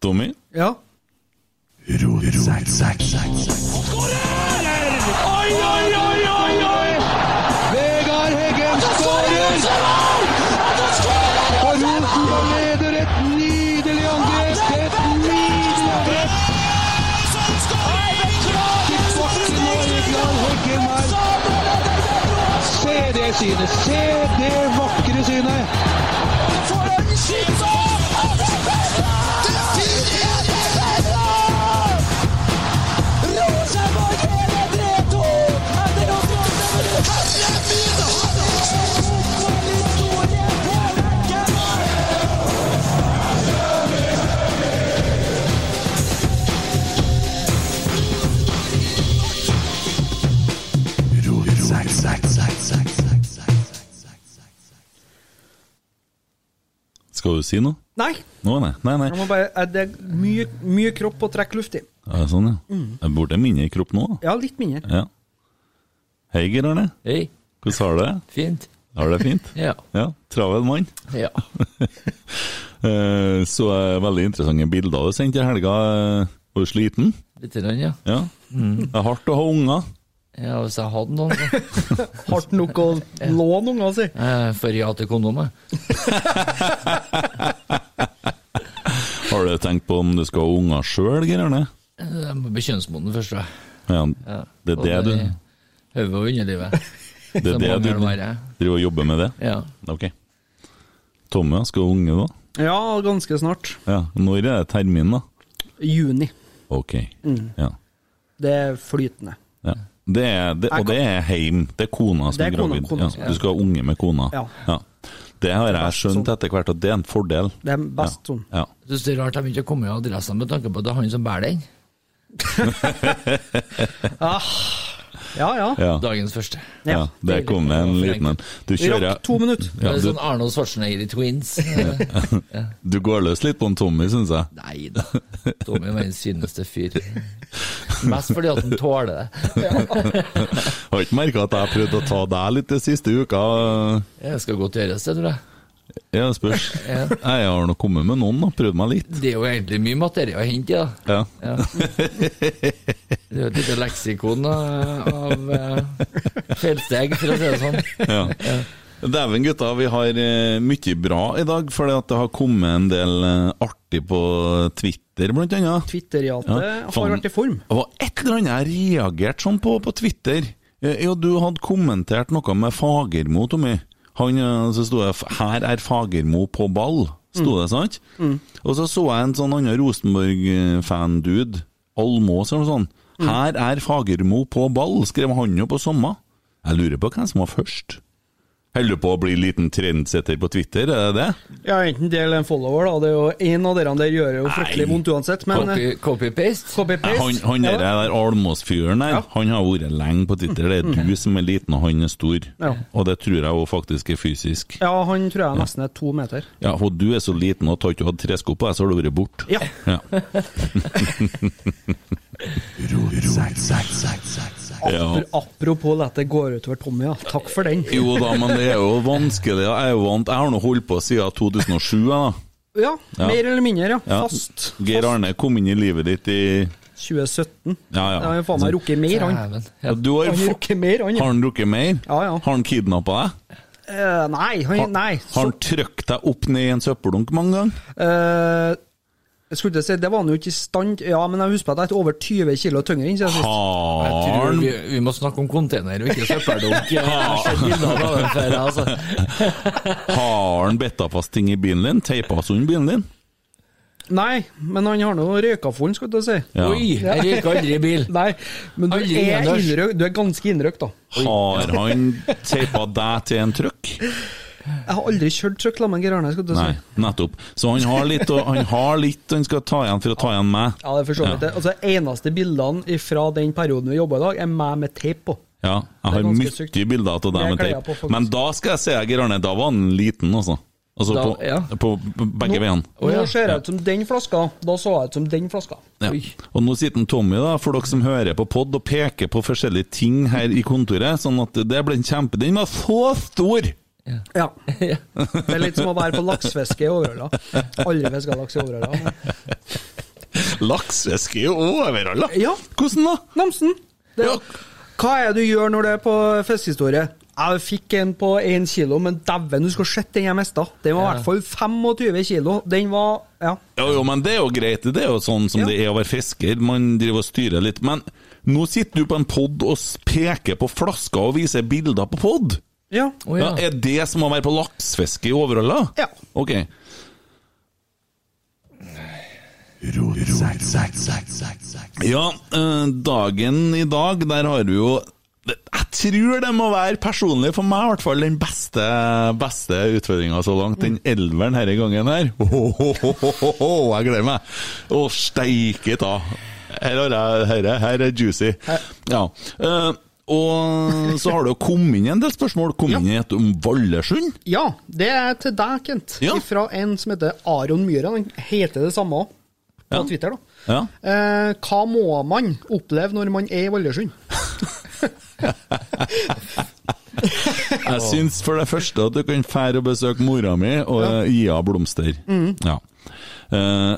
Tommy? Ja. Vegard Heggen skårer! Og Rosenborg leder et nydelig angrep! Et nydelig angrep! Tilbake nå, Vegard Heggen her. Se det synet! Se det vakre synet! Skal du si noe? Nei. Nå, nei. Nei, nei. Jeg må bare, eh, det er mye, mye kropp å trekke luft i. Ja, sånn, ja. Jeg burde mindre kropp nå, da. Ja, litt mindre. Ja. Hei, Geir Arne. Hei, Hvordan har du det? fint. Har du det fint? Ja. Ja, travel mann. ja. Eh, Så eh, veldig interessante bilder du sendte i helga. eh, Var du sliten? Litt, grann, ja. Ja. Det er hardt å ha unger. ja. Hvis jeg hadde noen, så Hardt nok å låne unga si. eh, får jeg til kondomet. Har du tenkt på om du skal ha unger sjøl, Geir Arne? Jeg Eh, må bli kjønnsmoden først, tror jeg. Ja, det er det du, Hodet og underlivet. det er så det mange du er det bare. driver og jobber med det? Ja. Ok. Tommy, skal du ha unge da? Ja, ganske snart. Ja. Når er det termin, da? Juni. Ok. Ja. Det er flytende. ja. Det er, det, og det er heim. Det er kona som Det er er, kona- gravid. kona som- ja. Du skal ha unge med kona. Ja. sånn. Det har jeg skjønt etter hvert at det er en fordel. Det er best ja. sånn. Ja. Jeg synes det er rart de ikke har kommet i adressen med tanke på at det er han som bærer den. Ja, ja. Ja. Dagens første. ja. ja. Der kom det en liten en. Du kjører Rakk to minutter. Det ja, er du, sånn Arnold Schwarzenegger i Twins. du går løs litt på en Tommy, syns jeg. Nei da. Tommy er verdens syneste fyr. Mest fordi at han tåler det. Har ikke merka at jeg prøvde å ta deg litt de siste uka. Det skal godt gjøres, det tror jeg. Ja, det spørs. Nei, Jeg har nå kommet med noen, da. Prøvd meg litt. Det er jo egentlig mye materie å hente, da. Ja. Ja. Det er jo et lite leksikon eh, av eh, feilsteg, for å si det sånn. ja. Dæven, gutta. Vi har eh, mye bra i dag, for det har kommet en del eh, artig på Twitter, blant annet. Twitter-jatet eh, har faen. vært i form. Det var et eller annet jeg reagerte sånn på på Twitter. Eh, Ja, du hadde kommentert noe med Fagermo, Tommy. Han, eh, så sto det 'Her er Fagermo på ball', Mm. sto det, sant? Og så så jeg en sånn annen Rosenborg-fan-dude, Almås eller noe sånt. Mm. 'Her er Fagermo på ball', skrev han jo på samme. Jeg lurer på hvem som var først. Holder du på å bli liten trendsetter på Twitter, er det det? Ja, enten det eller en follower, da. Det er jo En av dere der gjør jo fryktelig Nei. vondt uansett, men eh, Copy- Copy-paste. Nei, copy-paste Han, han der, der Almås-fyren der, han har vært lenge på Twitter. Det er du som er liten, og han er stor. Mm. Ja. Og det tror jeg òg faktisk er fysisk. Ja, han tror jeg nesten er to meter. Ja, og du er så liten og har ikke hatt tresko på deg, så har du vært borte. Ja. Ja. Ja. For apropos at det går utover Tommy, ja. Takk for den. Jo da, men det er jo vanskelig. Jeg er jo vant. Jeg har nå holdt på siden 2007, jeg, da. Ja, Ja. mer eller mindre, ja. Ja. Fast. Geir Fast Arne kom inn i livet ditt i 2017. Ja, ja. Da har han faen meg rukket mer, han. Dæven. Ja, Du har, Han fa- rukket mer, han. har han drukket mer? Ja, ja. Har han kidnappa deg? Eh, nei, han, nei. Har Så, han trykt deg opp ned i en søppeldunk mange ganger? eh, jeg skulle til å si, det var han jo ikke i stand Ja, men jeg husker på at jeg er over 20 kilo tyngre enn siden sist. jeg Har tror han vi, vi må snakke om container og ikke søppeldunk. Jeg har sett bilder av den før, altså. Har han bitt fast ting i bilen din? Teipa sund bilen din? Nei, men han har nå røyka full, skulle jeg til å si. Ja. Oi, jeg røyker aldri i bil. Nei, men du Aldri er, Anders. innrøkt, du er ganske innrøkt, da. Har han teipa deg til en trøkk? Jeg har aldri kjørt trøkk sammen med Geir Arne, skulle jeg til å Nei, si. nettopp. Så han har litt, og han, har litt han skal ta igjen for å ta igjen meg. Ja, det er for så vidt det. Altså, eneste bildene fra den perioden vi jobber i dag, er meg med teip på. Ja, jeg har Det er ganske sykt. mye bilder av deg Jeg med kler på, teip. faktisk. Men da skal jeg si deg, Geir Arne, da var han liten, altså. Altså Da- på, ja. på begge veiene. Å, ja. Nå ser jeg ut som den flaska, da så jeg ut som den flaska. Ja. Oi. Og nå sitter en Tommy, da, for dere som hører på pod og peker på forskjellige ting her i kontoret, sånn at det ble en kjempe... Den var så stor! Ja. Det er litt som å være på laksefiske i Overhalla. Aldri fiska laks i Overhalla. men- Laksefiske er jo overalt, da. Ja. Hvordan da? Namsen! Det, Ja. Hva er det du gjør når det er på fiskehistorie? Jeg fikk en på én kilo, men dæven, du skal se den jeg mista. Den var i Ja. hvert fall 25 kilo. Den var Ja. Jo, jo, men det er jo greit. Det er jo sånn som Ja. det er å være fisker. Man driver og styrer litt. Men nå sitter du på en pod og s- peker på flasker og viser bilder på pod. Ja. Å ja. Ja, er det som å være på laksefiske i Overhalla? Ja. Ok. Ja, eh, dagen i dag, der har du jo Jeg tror det må være personlig for meg, i hvert fall, den beste, beste utfordringa så langt. Den elveren denne gangen her. Ohohohoho, jeg gleder meg! Å, steike ta! Her, har jeg- her, er- her er juicy. Ja. eh, og så har det jo kommet inn en del spørsmål. Kom inn et om Vallersund. ja. Det er til deg, Kent. Ja. Fra en som heter Aron Myhra. Han heter det samme òg, på Ja. Twitter. da. Ja. Eh, hva må man oppleve når man er i Vallersund? Jeg syns for det første at du kan fære og besøke mora mi og eh, gi henne blomster. Ja. Eh,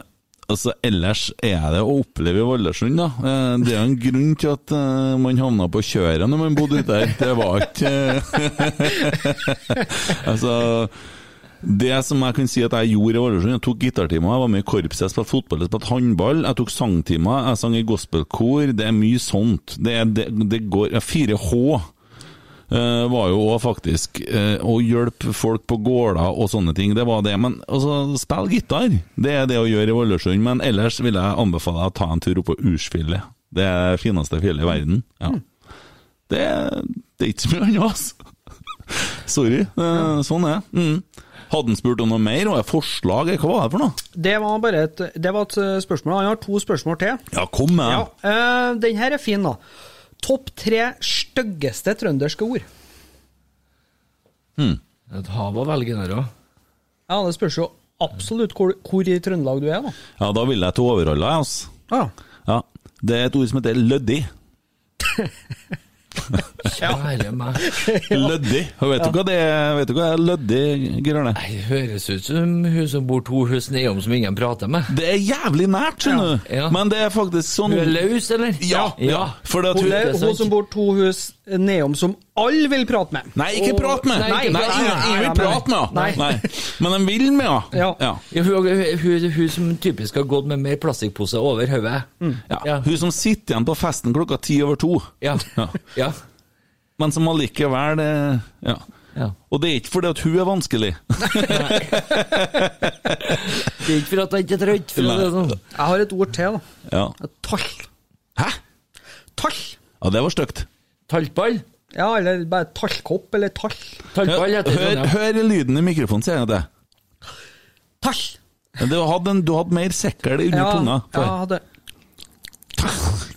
altså, ellers er det å oppleve i Vallersund, da. Eh, det er jo en grunn til at eh, man havna på kjøret når man bodde ute der. Det var ikke eh, Altså det som jeg kan si at jeg gjorde i Ålesund, jeg tok gitartimer, jeg var med i korps, jeg spilte fotball, jeg spilte håndball, jeg tok sangtimer, jeg sang i gospelkor, det er mye sånt. Det, er, det, det går ja, 4H eh, var jo òg faktisk eh, å hjelpe folk på gårder og sånne ting. Det var det. Men altså, spill gitar! Det er det å gjøre i Ålesund. Men ellers vil jeg anbefale deg å ta en tur opp på Ursfjellet. Det er det fineste fjellet i verden. Ja. Det, det er ikke så mye annet, altså. Sorry. Eh, Sånn er det. Mm. Hadde han spurt om noe mer, og et forslag, hva var det for noe? Det var bare et, det var et eh, spørsmål. Han har to spørsmål til. Ja, kom med! Ja, eh, Den her er fin, da. Topp tre styggeste trønderske ord. Et hav å velge der òg. Ja, Det spørs jo absolutt hvor, hvor i Trøndelag du er, da. Ja, da vil jeg til Overhalla, jeg, altså. Ja, Ja. Det er et ord som heter løddig. Kjære meg. Løddig. Og Vet du hva det er? Vet du hva det er løddig, Grønne? Nei, det høres ut som hun som bor to hus nedom som ingen prater med. Det er jævlig nært, skjønner du. Ja. Ja. Men det er faktisk sånn Hun er løs, eller? Ja, ja. For det at Hun, hun er, det hun er sant. som bor to hus nedom, som alle vil prate med. Nei, ikke Åh, prat med! nei, Nei, ikke nei, prat. ingen ingen vil Nei, nei, prate med nei. henne! Nei. Men de vil med henne! Ja. Ja, hun, hun, hun, hun som typisk har gått med mer plastikkpose over hodet. Ja. Ja. Hun som sitter igjen på festen klokka ti over to, Ja. Ja. ja. men som allikevel eh, Ja. ja. Og det er ikke fordi at hun er vanskelig. Det er ikke for at jeg ikke er trøtt, for å si det sånn. Jeg har et ord til, da. Ja. Et tall. Hæ? Tall. Ja, det var stygt. Taltball? Ja, eller bare tallkopp, eller tall. Taltball Hør, heter det. hør, sånn, ja. hør lyden i mikrofonen, sier jeg til deg. Tall. Men Du hadde, en, du hadde mer sekkel under Ja, tunga. ja, jeg hadde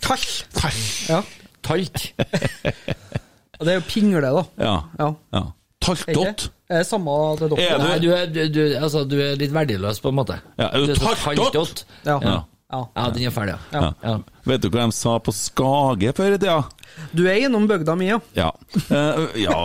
Tall. Ja. Talt. Og det er jo pingle, da. Ja. Ja. ja. Er ikke? Taltdott. Er det samme til dere? Er det- Nei, du er, du, du, altså, du er litt verdiløs, på en måte. Ja, er du Du er så taltdott? taltdott. Ja. Ja. ja. Ja, den er ferdig, ja. Ja. Ja. Vet du hva de sa på Skage før i tida? Du er innom bygda mi, ja. Ja. Eh, ja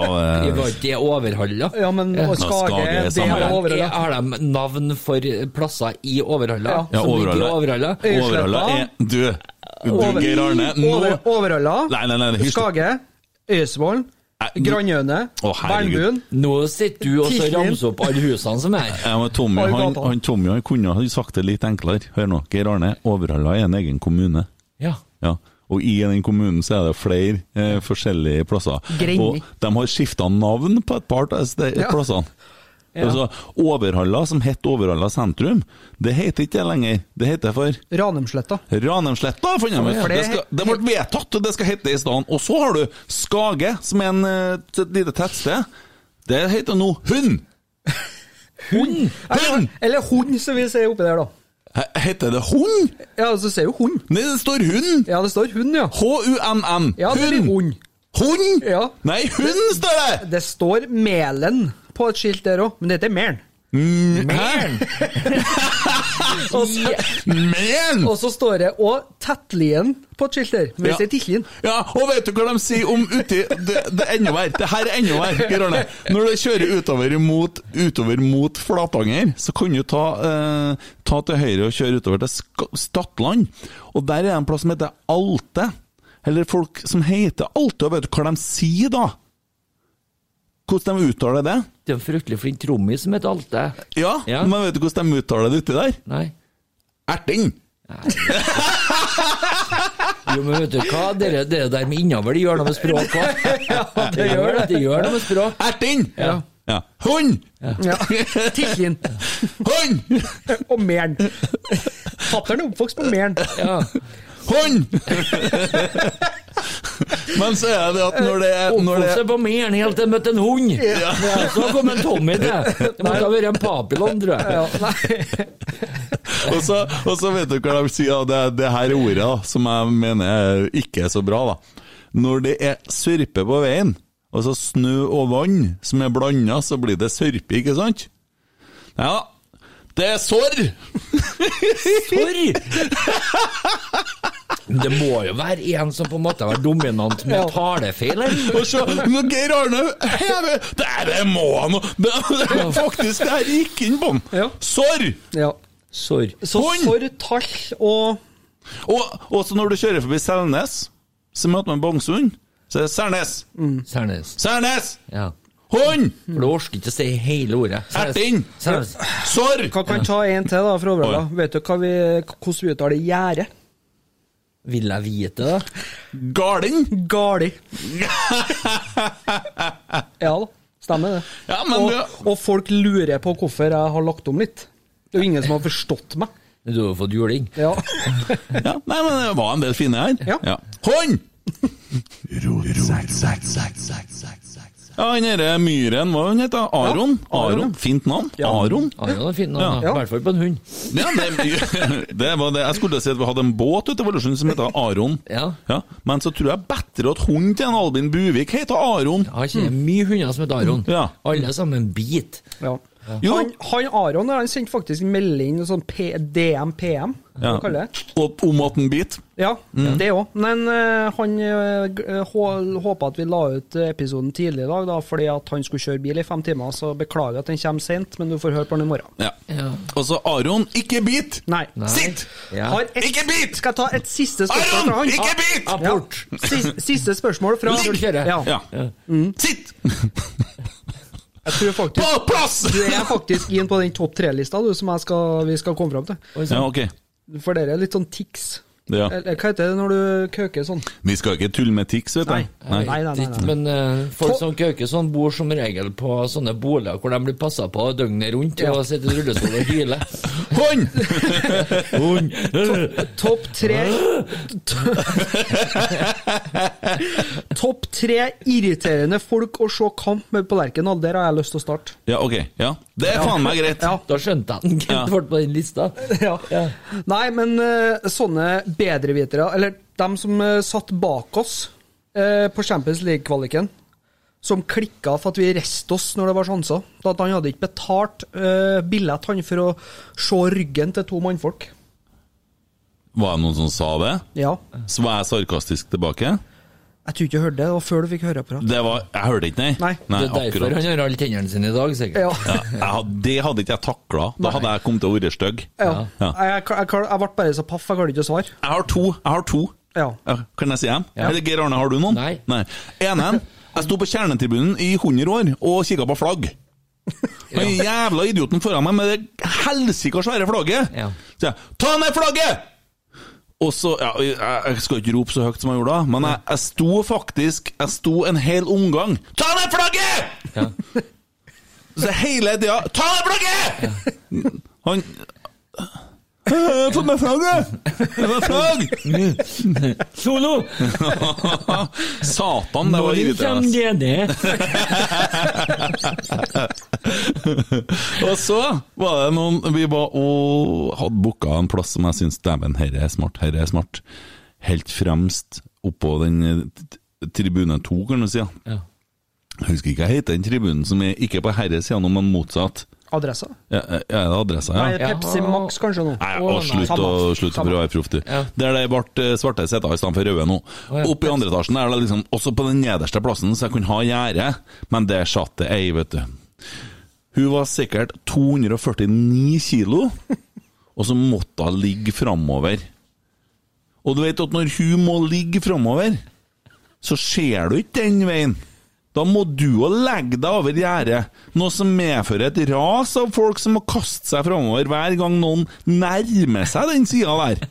Det eh, var ikke det overhalla. Ja, men og Skage, Skage er det samme er land. over, Er, da. har de navn for plasser i Overhalla? Ja. Ja, som ligger i Overhalla. Overhalla? Overhalla er Du, du Over- Geir Arne, nå Over, overhalla. Nei, nei, nei, det er hysj. Eh, Skage. Øysevollen. Nei, du- Grandøyene. Å, herregud. Mm. Bernbuen. Nå sitter du og så Tirsdagen. ramser opp alle husene som er her. ja, men Tommy, Oi, han, gata. han, Tommy han kunne ha sagt det litt enklere. Hør nå. Geir Arne, Overhalla er en egen kommune. Ja. Ja. Og i den kommunen så er det flere eh, forskjellige plasser. Greni. Og de har skifta navn på et par av disse de- Ja. plassene. Altså, Overhalla, som het Overhalla sentrum, det heter ikke det lenger. Det heter for Ranumsletta. Ranheimsletta, fant jeg ut. Ja, for Det, det- skal- det ble vedtatt, og det skal hete i stedet. Og så har du Skage, som er en, eh, et lite tettsted. Det heter nå Hund! Hund! Hund! Eller hund, som vi sier oppi der, da. He- Heter det hund? Ja, så sier jo hund. Nei, det står hund! Ja, det står hund, ja. H-U-N-N. Ja, det blir Hund! hund. Hund? Ja. Nei, hund står det! Det står Melen på et skilt der òg, men det heter Melen. Mæren! Og så, Mæren! og så står det òg Tettlien på et skilt der. Men Ja. hvis det er Tittlien Ja, og vet du hva de sier om uti Det, det er enda verre. Det her er enda verre. Geir Arne. Når du kjører utover mot, utover mot Flatanger, så kan du ta, eh, ta til høyre og kjøre utover til Sk Stadland. Og der er det en plass som heter Alte. Eller folk som heter Alte, og vet du hva de sier da? Hvordan de uttaler det? Det er en fryktelig flink trommis som heter Alte. Ja, Ja. men vet du hvordan de uttaler det uti der? Nei. Erting! Jo, men vet du hva, dere, dere der med innavl, det gjør noe med språk også. det gjør det. Det gjør noe med språk. Erting! Ja. ja. Hund! ja. Tittlien Hund! og Mæren. Fatter'n er oppvokst på Mæren. Ja. Hånd! Men så er det at når det er når det, Oppholdt seg på Mæren helt til jeg møtte en hund. Ja, så kom en Tommy til. Det måtte ha vært en papillon, tror jeg. Ja, nei. og, så, og så vet du hva de sier, og det, det her er ordet da, som jeg mener er ikke er så bra. da. Når det er sørpe på veien, altså snø og vann som er blanda, så blir det sørpe, ikke sant? Ja, det er sorr! For! Men det må jo være en som på en måte har vært dominant med talefeil, eller? Og så når Geir Arne hever Det er det må han! Det, det, faktisk, det her gikk inn på Ja. han! Sorr! Ja. Sorry. Så Hund! for tall og Og også når du kjører forbi Selnes, så møter man Bangsund. Så er det Sernes! Særnes. Sernes! Ja. Hund! For du orker ikke å si hele ordet. Særnes. Erting! Særnes. Sorr! Hva kan ta en til, da, fra Overhalla? Oi. Vet du hva vi, hvordan vi uttaler gjerde? Vil jeg vite det? Garden! Gali. ja da, stemmer det. Ja, men og, du- og folk lurer på hvorfor jeg har lagt om litt. Det er jo ingen som har forstått meg. Du har jo fått juling. Ja. Ja, nei, men det var en del fine her. Ja. Hånd! Ja, han derre Myhren, hva han heter han? Aron? Ja, Aron, Aron? Fint navn. Aron? Ah, Ja, det var fint, da. Ja. I hvert fall på en hund. Ja, det, det var det. Jeg skulle si at vi hadde en båt ute i Valdresund som heter Aron. Ja. Men så tror jeg bedre at hunden til en Albin Buvik heter Aron. Jeg kjenner mye hunder som heter Aron. Mm. Ja. Alle sammen bit. ja. Jo. Han, han Aron han sendte faktisk en melding, en sånn P DM-PM, hva Ja. Mm. kaller det? Og om at en bit. Ja, det òg. Men eh, han uh, håpa at vi la ut episoden tidlig i dag, da, fordi at han skulle kjøre bil i fem timer. Så beklager at den kommer sent, men du får høre på den i morgen. Ja. Ja. Og så Aron, ikke bit! Nei. Sitt! Ja. Har ett- Ikke bit! Skal jeg ta et siste spørsmål fra Aron, han? ikke bit! Ja. Apport! Ja. Siste, siste spørsmål fra Ligg! Ja. Ja. Mm. Sitt! Jeg tror faktisk På plass! du er faktisk inn på den topp tre-lista du, som jeg skal, vi skal komme fram til. Ja, ok. For dere er litt sånn tics. Ja. liksom- Eller hva heter det når du køker sånn? Vi skal ikke tulle med tics, vet du. Nei. Nei, nei, nei, nei. Men eh, folk som kauker sånn, bor som regel på sånne boliger hvor de blir passa på døgnet rundt og sitter i rullestol og hyler. Hånd! Hund! Topp tre Topp tre irriterende folk å se kamp med på Lerkendal. Der har jeg lyst til å starte. Ja, ok. Ja. Det er faen meg greit. Ja. Da skjønte jeg at Kent Ja. ble på den lista. Ja. Ja. Nei, men eh, sånne bedrevitere, eller dem som eh, satt bak oss eh, på Champions League-kvaliken, som klikka for at vi reiste oss når det var sjanser. Da At han hadde ikke betalt eh, billett han for å se ryggen til to mannfolk. Var det noen som sa det? Ja. Så var jeg sarkastisk tilbake? Jeg tror ikke du hørte det. Det var før du fikk høreapparat. Det var Jeg hørte ikke, nei. Nei. det er derfor akkurat. han har alle tennene sine i dag, sikkert. Ja. Ja, jeg hadde, det hadde ikke jeg takla. Da hadde jeg kommet til å være stygg. Ja. Ja. Jeg, jeg, jeg, jeg ble bare så paff, jeg klarte ikke å svare. Jeg har to. Jeg har to. Ja. Ja, Kan jeg si dem? Ja. Eller Geir Arne, har du noen? Nei. Nei. Enen, jeg sto på kjernetribunen i 100 år og kikka på flagg. Den jævla idioten foran meg med det helsika svære flagget! Ja. Så jeg 'ta ned flagget!' Og så, ja, jeg, jeg skal ikke rope så høyt som jeg gjorde da, men jeg, jeg sto faktisk Jeg sto en hel omgang 'Ta ned flagget!' Ja. Så hele tida 'Ta ned flagget!' Han «Jeg har fått meg flagget! Jeg har flagg! Solo! Satan, det var irriterende. det ned? Og så var det noen Vi var og hadde booka en plass som jeg syns Dæven, herre er smart, herre er smart. Helt fremst oppå den eh, tribune to, kan du si. ja. Ja. Jeg husker ikke hva heter den tribunen som er ikke på herre sida, men motsatt. Adressa? Ja, ja, er det adressa, Nei, ja? Pepsi Max kanskje nå. Nei, og slutt å, Samme. slutt å Samme. prøve å være proff, du. Ja. Der det ble eh, svarte seter i stedet for røde nå. Å, ja. Oppe i andre etasjen er det liksom Også på den nederste plassen, så jeg kunne ha gjerde, men det satt det ei, vet du. Hun var sikkert 249 kilo, og så måtte hun ligge framover. Og du vet at når hun må ligge framover, så ser du ikke den veien. Da må du jo legge deg over gjerdet, noe som medfører et ras av folk som må kaste seg framover hver gang noen nærmer seg den sida der.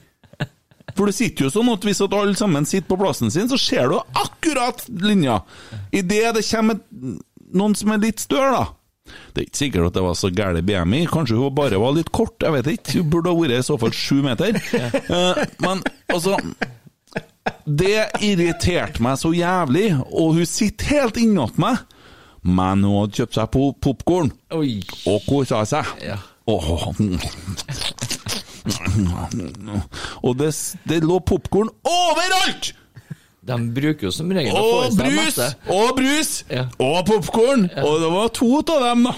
For det sitter jo sånn at hvis at alle sammen sitter på plassen sin, så ser du akkurat linja. Idet det kommer et- noen som er litt større, da. Det er ikke sikkert at det var så gæren BMI, kanskje hun bare var litt kort, jeg vet ikke. Hun burde ha vært i så fall sju meter. Eh, Men altså Det irriterte meg så jævlig, og hun sitter helt innat meg. Men hun hadde kjøpt seg po- popcorn Oi. og kosa seg. Ja. Åh. Og det, det lå popkorn overalt! De bruker jo som regel å få i Og seg brus! masse. Og brus! Ja. Og popkorn! Og det var to av dem, da.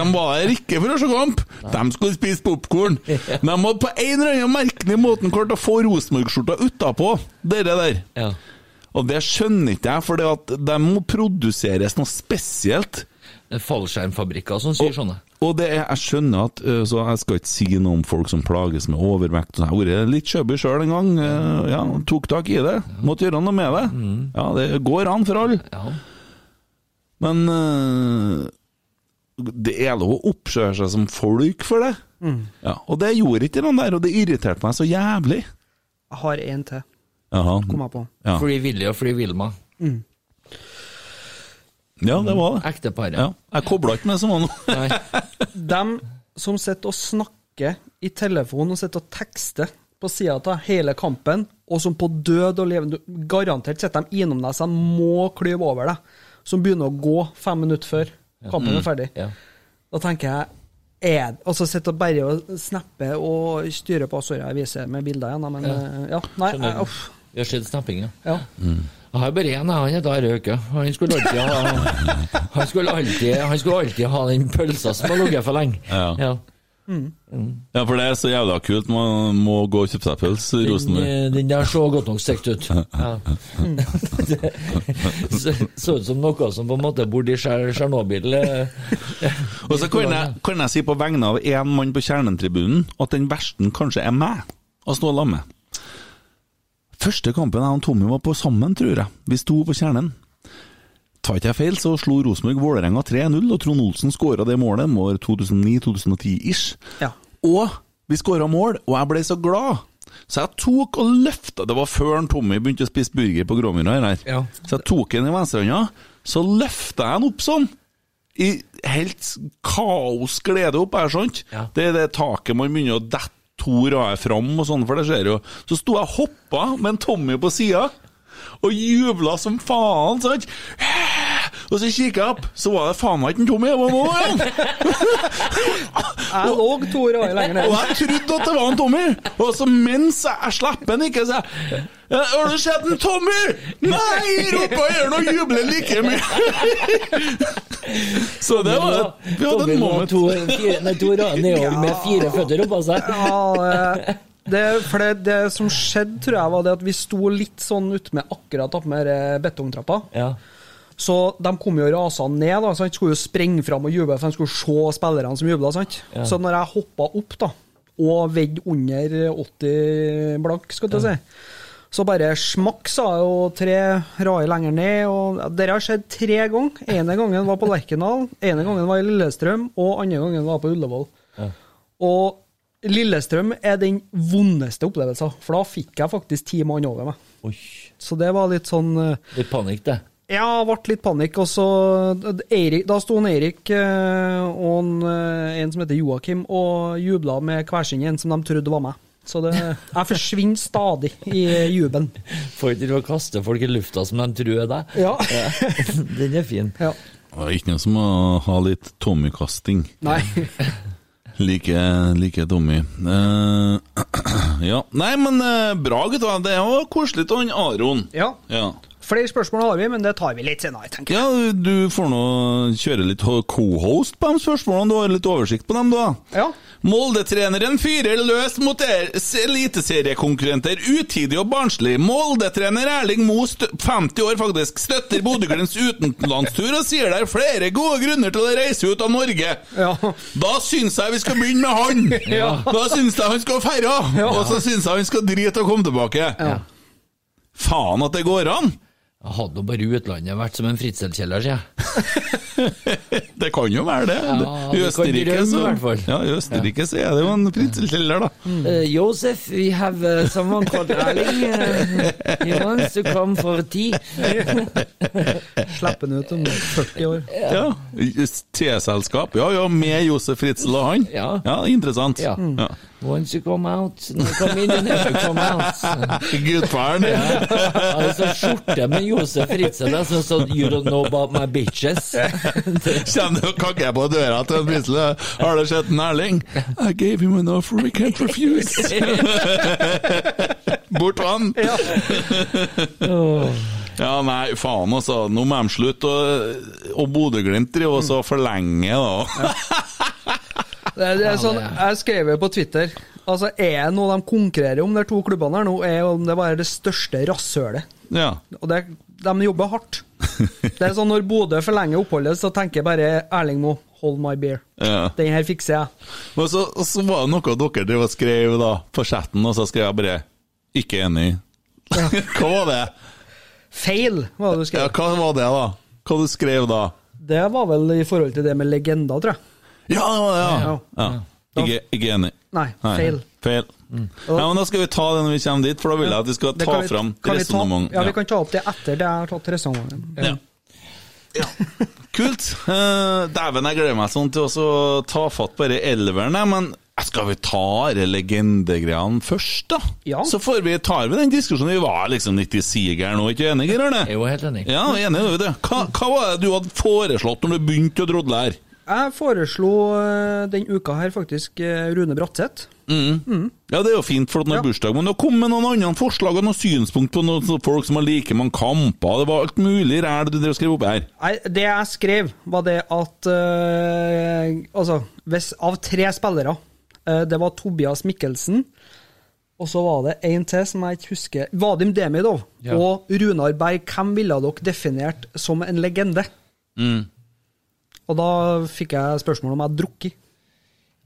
De var her ikke for å se kamp, de skulle spise popkorn. De hadde på en eller annen merkelig måte klart å få Rosenborg-skjorta utapå, dere der. Ja. Og det skjønner ikke jeg, for de må produseres noe spesielt. Det er fallskjermfabrikker som sier sånne. Og det er, jeg skjønner at øh, Så jeg skal ikke si noe om folk som plages med overvekt. og sånn. Jeg har vært litt skjøby sjøl en gang. øh, Ja, tok tak i det. Måtte gjøre noe med det. Ja, det går an for alle. Ja. Men øh, det er lov å oppføre seg som folk for det. Ja, og det gjorde ikke den der, og det irriterte meg så jævlig. Jeg har en til. Jaha. Kom jeg på. Ja. Free Willy og Free Wilma. ja, det var det. Ekteparet. Ja. Jeg kobla ikke med sånn. Nei. Dem som sitter og snakker i telefonen og sitter og tekster på sida av hele kampen, og som på død og levende Garantert sitter de innom deg, så de må klyve over deg. Som begynner å gå fem minutter før kampen er ferdig. Ja. Da tenker jeg er, altså sitter og bare og snapper og styrer på Sorry, jeg viser med bilder igjen, da, men eh, ja. Nei, Skjønner. eh, uff. Vi har sett snappinga. Ja. Jeg har bare én, jeg. han heter Are Øke. Han skulle alltid ha Han skulle alltid, han skulle alltid ha den pølsa som har ligget for lenge. Ja. Ja, for det er så jævla kult. Man må gå og kjøpe seg pølse, Den, Rosenborg. eh, den der så godt nok stekt ut. Ja. Det så- så ut som noe som på en måte bodde i Tsjer- Tsjernobyl. eh. Og så kan jeg, kan jeg si på vegne av én mann på Kjernen-tribunen at den versten kanskje er meg, å stå sammen med. Første kampen jeg og Tommy var på sammen, tror jeg. Vi sto på Kjernen. Tar ikke jeg feil, så slo Rosenborg Vålerenga 3-0, og Trond Olsen skåra det målet, må være 2009-2010-ish. ja. Og vi skåra mål, og jeg ble så glad. Så jeg tok og løfta Det var før han Tommy begynte å spise burger på Gråmyra. her, her. Ja. Så jeg tok han i venstrehånda, så løfta jeg han opp sånn. I helt kaosglede opp her, sant. Ja. Det er det taket man begynner å dette to rader fram og sånn, for det skjer jo. Så sto jeg og hoppa med en Tommy på sida, og jubla som faen, sant. Og så kikka jeg opp, så var det faen meg ikke en Tommy, det var Moen! Jeg lå to rader lenger ned. Og jeg trodde at det var en Tommy. Og så mens jeg, jeg slipper den ikke, så jeg «Ja, Har du sett en Tommy? Nei! roper jeg gjør noe jubler like mye. Så det var Vi hadde en Tommy lå moment. To, fire, nei, to rader nedover med fire føtter oppå seg. Ja, eh, det, for det, det som skjedde, tror jeg, var det at vi sto litt sånn utmed akkurat oppmed eh, betongtrappa. Ja. Så de kom jo rasende ned, da, sant? skulle jo sprenge fram og juble, for de skulle se spillerne som jubla. Sant? Så når jeg hoppa opp da, og veide under 80 blank, skal du si, så bare smakk, sa jeg, og tre rader lenger ned. og ja, Dette har skjedd tre ganger. Ene gangen var på Lerkendal, ene gangen var i Lillestrøm, og andre gangen var på Ullevål. Og Lillestrøm er den vondeste opplevelsen, for da fikk jeg faktisk ti mann over meg. Oi. Så det var litt sånn eh, Litt panikk, det. ja, det ble litt panikk, og så Eirik, Da sto han Eirik eh, og en, eh, en som heter Joakim og jubla med hver sin en som de trodde var meg. Så det, jeg forsvinner stadig i jubelen. Får ikke til å kaste folk i lufta som de tror er deg. Ja. Den er fin. ja. Det er ikke noe som å ha litt Tommy-kasting. Nei. Like, like Tommy. Eh, ja. Nei, men eh, bra, gutta. Det var koselig av han Aron. Ja. Ja. Flere spørsmål har vi, men det tar vi litt senere, tenker jeg. Ja, du får nå kjøre litt co-host på de spørsmålene, du har litt oversikt på dem, du. da. Ja. Molde-treneren fyrer løs mot er- eliteseriekonkurrenter, utidig og barnslig. Molde-trener Erling Moe, stø- 50 år faktisk, støtter Bodø-Glimts utenlandstur og sier det er flere gode grunner til å reise ut av Norge. Ja. Da syns jeg vi skal begynne med han! Ja. Da syns jeg han skal feire, og så syns jeg han skal drite og komme tilbake. Faen at det går an! Jeg hadde nå bare i utlandet vært som en fritselkjeller, sier jeg. Det kan jo være det. Ja, I det kan Østerrike, drømme, så, i hvert fall. ja, i Østerrike så er det jo en prinselkjeller, da. Uh, Josef, we have uh, someone called Erling. Uh, he wants to come for tea. Slipp den ut om 40 år. Ja. Teselskap. Ja ja, med Josef Fritzel og han. Ja. Interessant. Ja. Ja. Once you come out, no, come in and never come out. Gudfaren. Altså, skjorte med Josef Fritzl, jeg syns at you don't know about my bitches. Kommer du og kakker på døra til en Fritzel? Har du sett en Erling? I gave him an offer we can't refuse. Bort med han. Ja. nei, faen altså. Nå må de slutte. Og, og Bodø-Glimt driver også og forlenger, da. Det er, det er sånn, jeg skrev jo på Twitter Altså, er det noe de konkurrerer om, de to klubbene her nå, er om det bare er det største rasshølet. Ja. Og det, de jobber hardt. Det er sånn når Bodø forlenger oppholdet, så tenker jeg bare Erling Moe, hold my beer. Ja. Den her fikser jeg. Og så, og så var det noe dere drev og skrev da, på chatten, og så skrev jeg bare 'ikke enig'. hva var det? Feil, var det du Ja, skrev. hva var det, da? Hva du skrev da? Det var vel i forhold til det med legender, tror jeg. Ja, det var det, ja! Ja. ja. Ikke, ikke enig. Nei, feil. Mm. Feil. Ja, men Da skal vi ta det når vi kommer dit, for da vil jeg at vi skal Det ta kan vi- fram kan vi ta- resonnement. Ja, vi kan ta opp det etter det jeg har tatt resonnementet. Ja. Ja. Kult. Eh, Dæven, jeg gleder meg sånn til å så ta fatt på disse elverne, men skal vi ta de legendegreiene først, da? Ja. Så får vi, tar vi den diskusjonen. Vi var liksom litt i sigeren og ikke enige, Arne? Jeg er jo helt enig. Ja, vi er enige, det er vi det. Hva, hva var det du hadde foreslått når du begynte å drodle her? Jeg foreslo eh, den uka her faktisk eh, Rune Bratseth. Ja, det er jo fint, for at han har Ja. bursdag, men det kom med noen andre forslag og noen synspunkt på noen sånne folk som har like mange kamper, det var alt mulig ræl du drev og skrev opp her. Nei, det jeg skrev, var det at eh, Altså, hvis av tre spillere eh, Det var Tobias Mikkelsen, og så var det en til som jeg ikke husker Vadim Demidov Ja. og Runar Berg. Hvem ville dere definert som en legende? Mm. Og da fikk jeg spørsmål om jeg hadde drukket.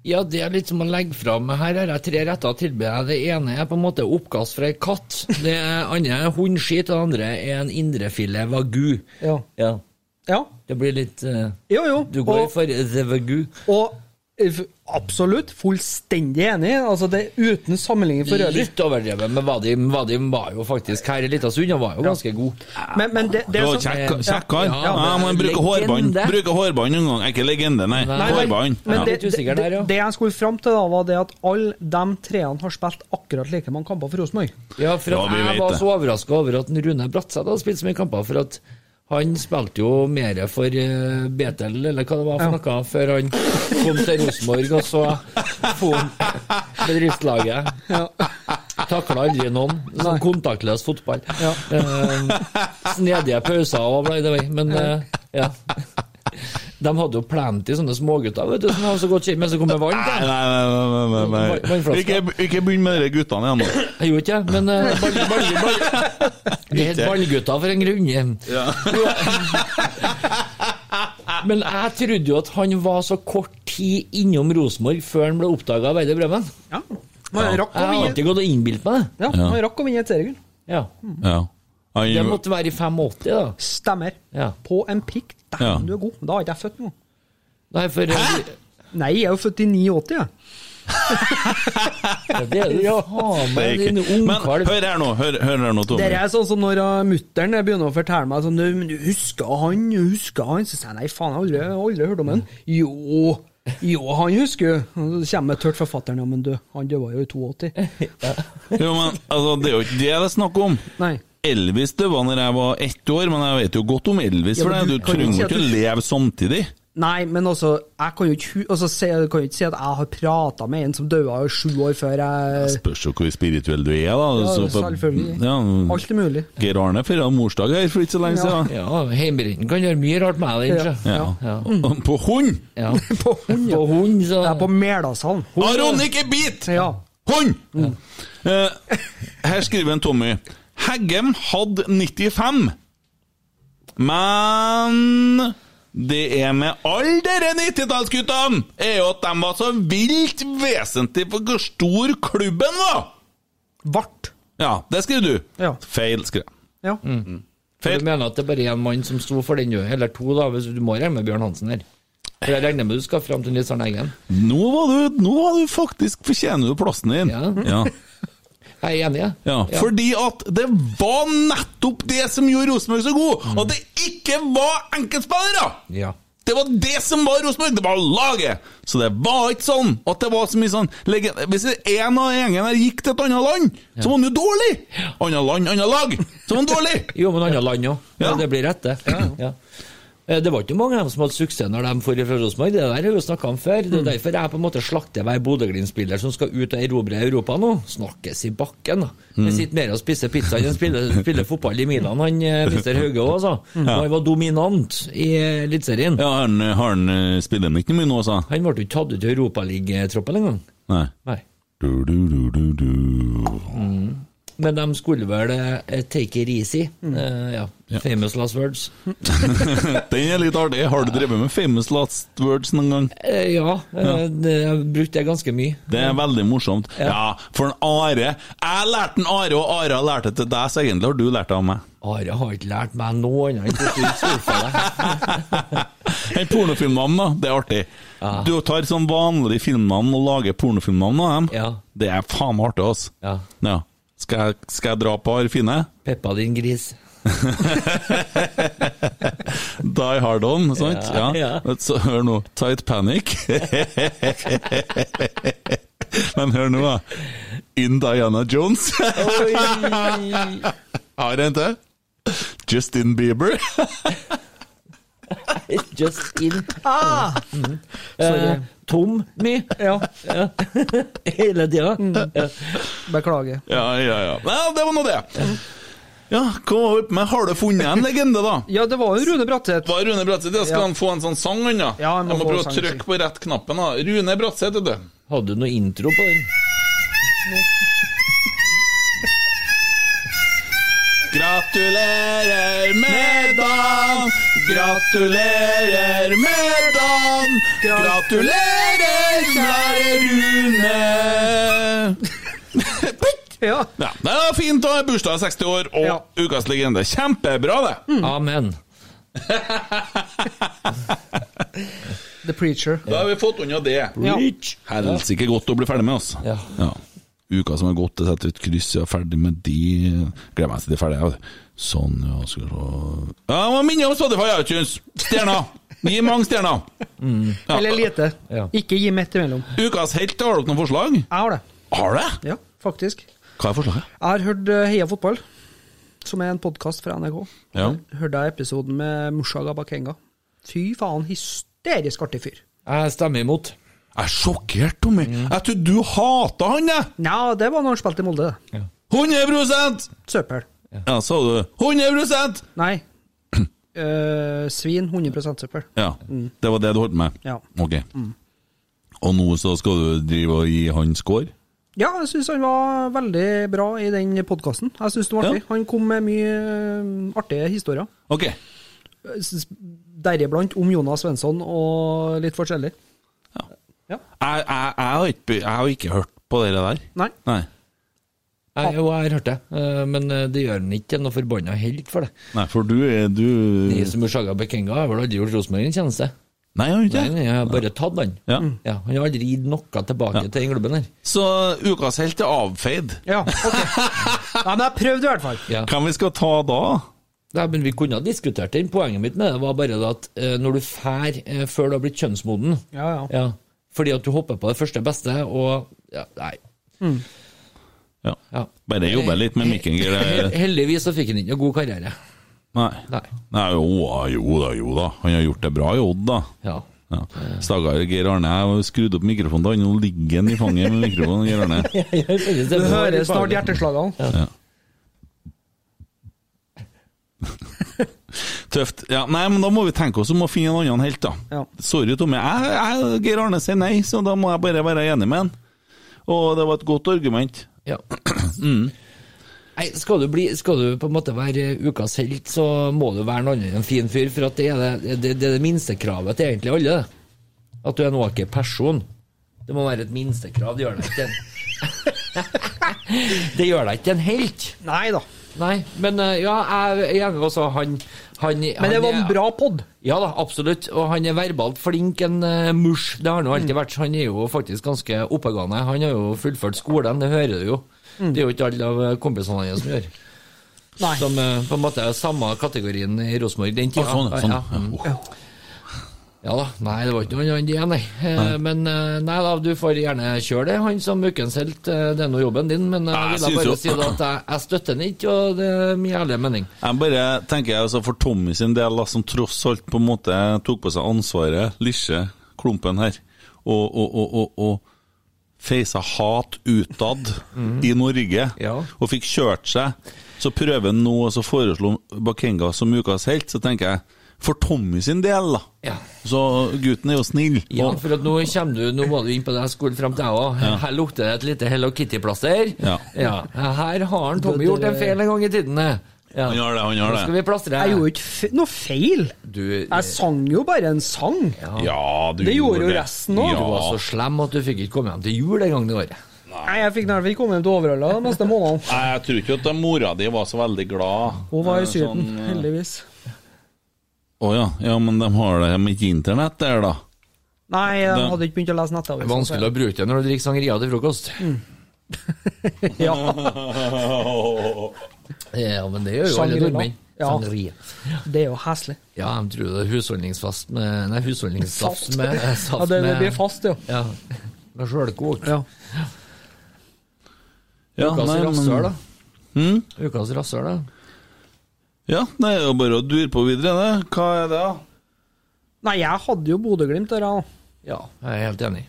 Ja, det er litt som å legge fram. Her har jeg tre retter å tilby deg. Det ene er på en måte oppkast fra ei katt. Det andre er hundskit, og det andre er en indrefilet vagu. Ja. Ja. ja. Det blir litt eh, Jo, jo. Du går og, for the vagu. og eh, f- absolutt fullstendig enig. Altså, det er uten sammenligning for øvrig. Litt overdrevet, men Vadim, Vadim var jo faktisk her i lita stund, han var jo ganske god. Men, men det, det Det er var sånn- kjekk, kjekk han. Ja, Ja, men men bruke hårbånd. legende. Bruke hårbånd en gang. Er ikke legende, nei. Nei. Nei, Hårbånd. Men Ja. det, Litt usikker det, der, ja. det jeg skulle fram til, da, var det at alle de treene har spilt akkurat like mange kamper for Rosenborg. Ja, for Ja, at vi vet jeg var det. så overraska over at Rune Bratseth hadde spilt så mye kamper, for at han spilte jo mer for eh, Betel, eller hva det var for noe, før han kom til Rosenborg, og så for han bedriftslaget. Takla aldri noen. Sånn kontaktløs fotball. Eh, snedige pauser og blei det vei, men eh, ja. De hadde jo plenty sånne smågutter, vet du, som var så godt kjent, men så kom det vann Nei, til. nei, nei, nei, nei, nei. Vannflaska. Ikke, ikke begynn med de guttene igjen nå. Jeg gjorde ikke det, men eh, ball, ball, ball. Det het Ballgutta for en grunn. Men jeg trodde jo at han var så kort tid innom Rosenborg før han ble oppdaga av Veide Bremen. Ja. Man rakk å Jeg har vinne alltid gått og innbilt meg det. ja, man rakk å vinne et seriegull. Ja. Ja. Det Han, måtte være i 85, da. Stemmer. Ja. På en prikk. Dæven, Ja. du er god. Da er ikke jeg født nå. Nei, for eh, Hæ? Nei, jeg er jo født i 89, jeg. Det er du faen det er meg, din ikke. Men hør ungkalv. her nå, hør, hør her nå, Tommy. Dere er sånn som når uh, mutter'n begynner å fortelle meg sånn du, men du husker han, du husker han? Så sier jeg nei, faen, jeg har aldri, aldri hørt om han. Jo, jo, han husker jo. Og Så kommer det tørt fra fatter'n, ja, men du, han døde jo i 82. Jo, men altså, det er jo ikke det det er snakk om. Nei. Elvis døde når jeg var ett år, men jeg vet jo godt om Elvis, Ja, for men det. du Du kan jo trenger si jo at ikke du- leve samtidig. Nei, men altså, jeg kan jo ikke, hu- altså, se, jeg kan jo ikke si at jeg har prata med en som døde sju år før jeg Spørs jo hvor spirituell du er, da. Så- selvfølgelig. Ja. Alt er mulig. Geir Arne feira morsdag her for ikke så lenge Ja. siden. Ja, heimbrennen kan gjøre mye rart med deg, Ja. Mm. ikke Ja. Og På hund! Ja. På hund, ja. På hund, så Jeg er på Melasand. Aron, ikke bit! Ja. Hund! Eh, her skriver en Tommy. Heggem hadde 95, men det er med alle dere 90-tallsguttene, er jo at de var så vilt vesentlig for hvor stor klubben var! Vart. Ja, det skriver du. Ja. Feil, skriver jeg. Ja. For Du mener at det bare er én mann som sto for den, jo, eller to, da, hvis du må regne med Bjørn Hansen her. For jeg regner med du skal fram til Nils Arne Eggen. Nå var du, nå var du faktisk fortjener du plassen din. Ja. Ja. Jeg er enig, jeg. Ja, Fordi at det var nettopp det som gjorde Rosenborg så god! At det ikke var enkeltspillere! Ja. Det var det som var Rosenborg! Det var laget! Så det var ikke sånn at det var så mye sånn lege- Hvis en av gjengen her gikk til et annet land, så var han jo dårlig! Annet land, annet lag! Så var han dårlig! Jo, men andre land òg. Ja. Ja. Det blir rett, det. Ja. Eh, Det var ikke mange av dem som hadde suksess når de dro fra Rosenborg. Det der har vi jo snakka om før. Det er derfor jeg på en måte slakter hver Bodø-Glimt-spiller som skal ut og erobre Europa nå. Snakkes i bakken, da. Det sitter mer og spiser pizza enn å spille, spille fotball i Milan, han eh, Mister Hauge òg, altså. Han var dominant i eh, Eliteserien. Ja, han, han eh, spiller han ikke mye nå, sa Han ble jo ikke tatt ut i Europaligatroppen engang. Nei. Nei. Du, du, du, du, du. Men de skulle vel eh, take it easy. Eh, ja. Mm. Famous last words. Den er litt artig. Har du drevet med famous last words noen gang? Eh, ja, eh, det- jeg brukte det ganske mye. Det er veldig morsomt. Ja, for en Are. Jeg lærte en Are, og Are har lært det til deg, så egentlig har du lært det av meg. Are har ikke lært meg noe annet enn hvordan du surfer deg. Den pornofilmnavn, da. Det er artig. Ah. Du tar sånn vanlig filmnavn og lager pornofilmnavn av dem. Ja. Det er faen meg artig, altså. Ja. Ja. Skal, jeg- skal jeg dra på Arfine? Peppa din gris. Die Hard On, sant? Ja. Ja, ja. Så hør nå. Tight Panic. Men hør nå, da. In Diana Jones. Har jeg en til? Justin Bieber. Just in. Ah! Sorry. Eh, tom me Ja. hele tida. Eh, Ja. Beklager. Ja, ja, ja. Nei, det var nå det. Ja, hva var opp med? Har du funnet en legende, da? Ja, det var jo Rune Bratseth. Var Rune Bratseth det? Skal Ja. han få en sånn sang, han, da? Ja, han må jeg må få prøve å sang, trykke på rett knappen. da. Rune Bratseth, vet du. Hadde du noe intro på den? Gratulerer med dagen, gratulerer med dagen, gratulerer, kjære Rune. Ja. Ja, det er fint, da. Bursdag 60 år, og Ja. Mm. ukas legende. Kjempebra, det. Amen. The Preacher. Da har vi fått unna det. Ja. Helsike godt å bli ferdig med, altså. Ja. Uka som har gått, jeg setter et kryss, jeg er ferdig med de Gleder meg til de er ferdige. jeg vet du. Sånn, ja, skal vi se Ja, jeg må minne om Spotify iTunes! Stjerner! Gi mange stjerner! Ja. Eller lite. Ja. Ikke gi midt imellom. Ukas helt, har dere noen forslag? Jeg har det. Har det? Ja, faktisk. Jeg Hva er forslaget? har hørt eh, Heia fotball, som er en podkast fra NRK. Ja. Hørte jeg episoden med Mushaga Bakenga. Fy faen, hysterisk artig fyr. Jeg stemmer imot. Jeg er sjokkert, Tommy. Jeg trodde du hata han, jeg! Nja, det var når han spilte i Molde, det. 100 Søppel. Ja, sa du 100 Nei. Eh, svin. 100 søppel. Ja. Det var det du holdt med? Ja. Ok. Og nå så skal du drive og gi han score? Ja, jeg syns han var veldig bra i den podkasten. Jeg syns det var artig. Ja. Han kom med mye eh, artige historier. Ok. Jeg synes Deriblant om Jonas Svensson og litt forskjellig. Ja. Jeg, jeg, jeg, har ikke, jeg har ikke hørt på dere der. Nei. Nei. Jeg, jo, jeg har hørt det, eh, men eh, det gjør han ikke til noe forbanna helt for det. Nei, for du er du De som er Shaga Bekenga, har vel aldri gjort Rosenborg en tjeneste? Nei, jeg har ikke Nei, nei, Mm. det. jeg har bare tatt han. Ja. Ja, han har aldri gitt noe tilbake til den klubben her. Så ukas helt er avfeid. Ja, ok. Nei, men jeg prøvde i hvert fall. Ja. Hvem vi skal ta da? Nei, men Vi kunne ha diskutert den. Poenget mitt med det var bare det at eh, når du fær eh, før du har blitt kjønnsmoden Ja, ja. ja, Fordi at du hopper på det første beste, og ja, Nei. Ja. Ja. Bare jobbe litt med mikken. Geir. Hel- Heldigvis så fikk han ikke noe god karriere. Nei. Nei. Nei jo, da, jo da, jo da. Han har gjort det bra i Odd, da. Ja. Ja. Stakkar Geir Arne. Jeg har skrudd opp mikrofonen til han, nå ligger han i fanget med mikrofonen. Geir Arne. Du Du hører snart hjerteslagene. Tøft. Ja, nei, men da må vi tenke oss om å finne en annen helt, da. Ja. Sorry, Tommy. Jeg, jeg, Geir Arne sier nei, så da må jeg bare være enig med han. Og det var et godt argument. Ja. Mm. Nei, skal du, bli, skal du på en måte være ukas helt, så må du være noen annen enn en fin fyr. For at det er det, det, det, er det minstekravet til egentlig alle. det. At du er en åker person. Det må være et minstekrav. Det gjør deg ikke en Det gjør deg ikke en helt. Nei da. Nei, men eh, ja, jeg er enig også. Han, han Men det var en bra pod. ja da, absolutt. Og han er verbalt flink, en eh, mush. Det har han jo Mm. alltid vært. Han er jo faktisk ganske oppegående. Han har jo fullført skolen, det hører du jo. Mm. Det er jo ikke alle av eh, kompisene hans som gjør. Nei. Som eh, på en måte er samme kategorien i Rosenborg den Å, tida. sånn, ja, sånn. Ja, mm. Ja. Oh. ja da. Nei, det var ikke noe annet igjen, nei. Eh, Men eh, nei da, du får gjerne kjøre det, han som ukens helt. eh, Det er nå jobben din, men eh, Nei, jeg jeg ville bare synes si jo- da at jeg, jeg støtter den ikke, og det er min ærlige mening. Jeg bare tenker jeg altså for Tommy sin del, da, som tross alt på en måte tok på seg ansvaret, lisje, klumpen her, og, og, og, og, og feisa hat utad i Norge, Mhm. Ja. og fikk kjørt seg, så prøver han nå og så foreslo Bakenga som ukas helt, så tenker jeg for Tommy sin del, da. Ja. Så gutten er jo snill. Ja, og- for at nå kommer du, nå må du inn på det jeg skulle frem til, jeg òg. Her lukter det et lite Hello Kitty-plaster. Ja. Her har han Tommy gjort en feil en gang i tiden. eh. Ja. Han gjør det, han Nå gjør skal det. vi plastre. Jeg gjorde ikke fe noe feil. Du, Jeg sang jo bare en sang. Ja, du Det gjorde jo resten også. Ja. du var så slem at du fikk ikke komme hjem til jul en gang i året. Nei, jeg fikk nærmest ikke komme hjem til Overhalla de neste månedene. Nei, Jeg tror ikke at mora di var så veldig glad. Hun var Eh, i Syden, sånn, eh, heldigvis. Å ja. ja, men de har det med ikke internett der, da. Nei, jeg Da- hadde ikke begynt å lese Det er nettavisen. vanskelig å bruke det når du drikker sangria til frokost. Mm. Ja. Ja, men det gjør jo alle Sangria. nordmenn. Ja. Sangria. Det er jo heslig. Ja, jeg tror det er husholdningsfast med Nei, husholdningssaft Saft. med eh, saft Ja, det, det med- blir fast, ja. Ja. Med sjølkokt. ja. Ja, Ukas nei, men- rasshøl, da. Mm? Ukas rasshøl, da. Ja, det er jo bare å dure på videre, det. Hva er det, da? Nei, jeg hadde jo Bodø-Glimt der, jeg òg. Ja, jeg er helt enig.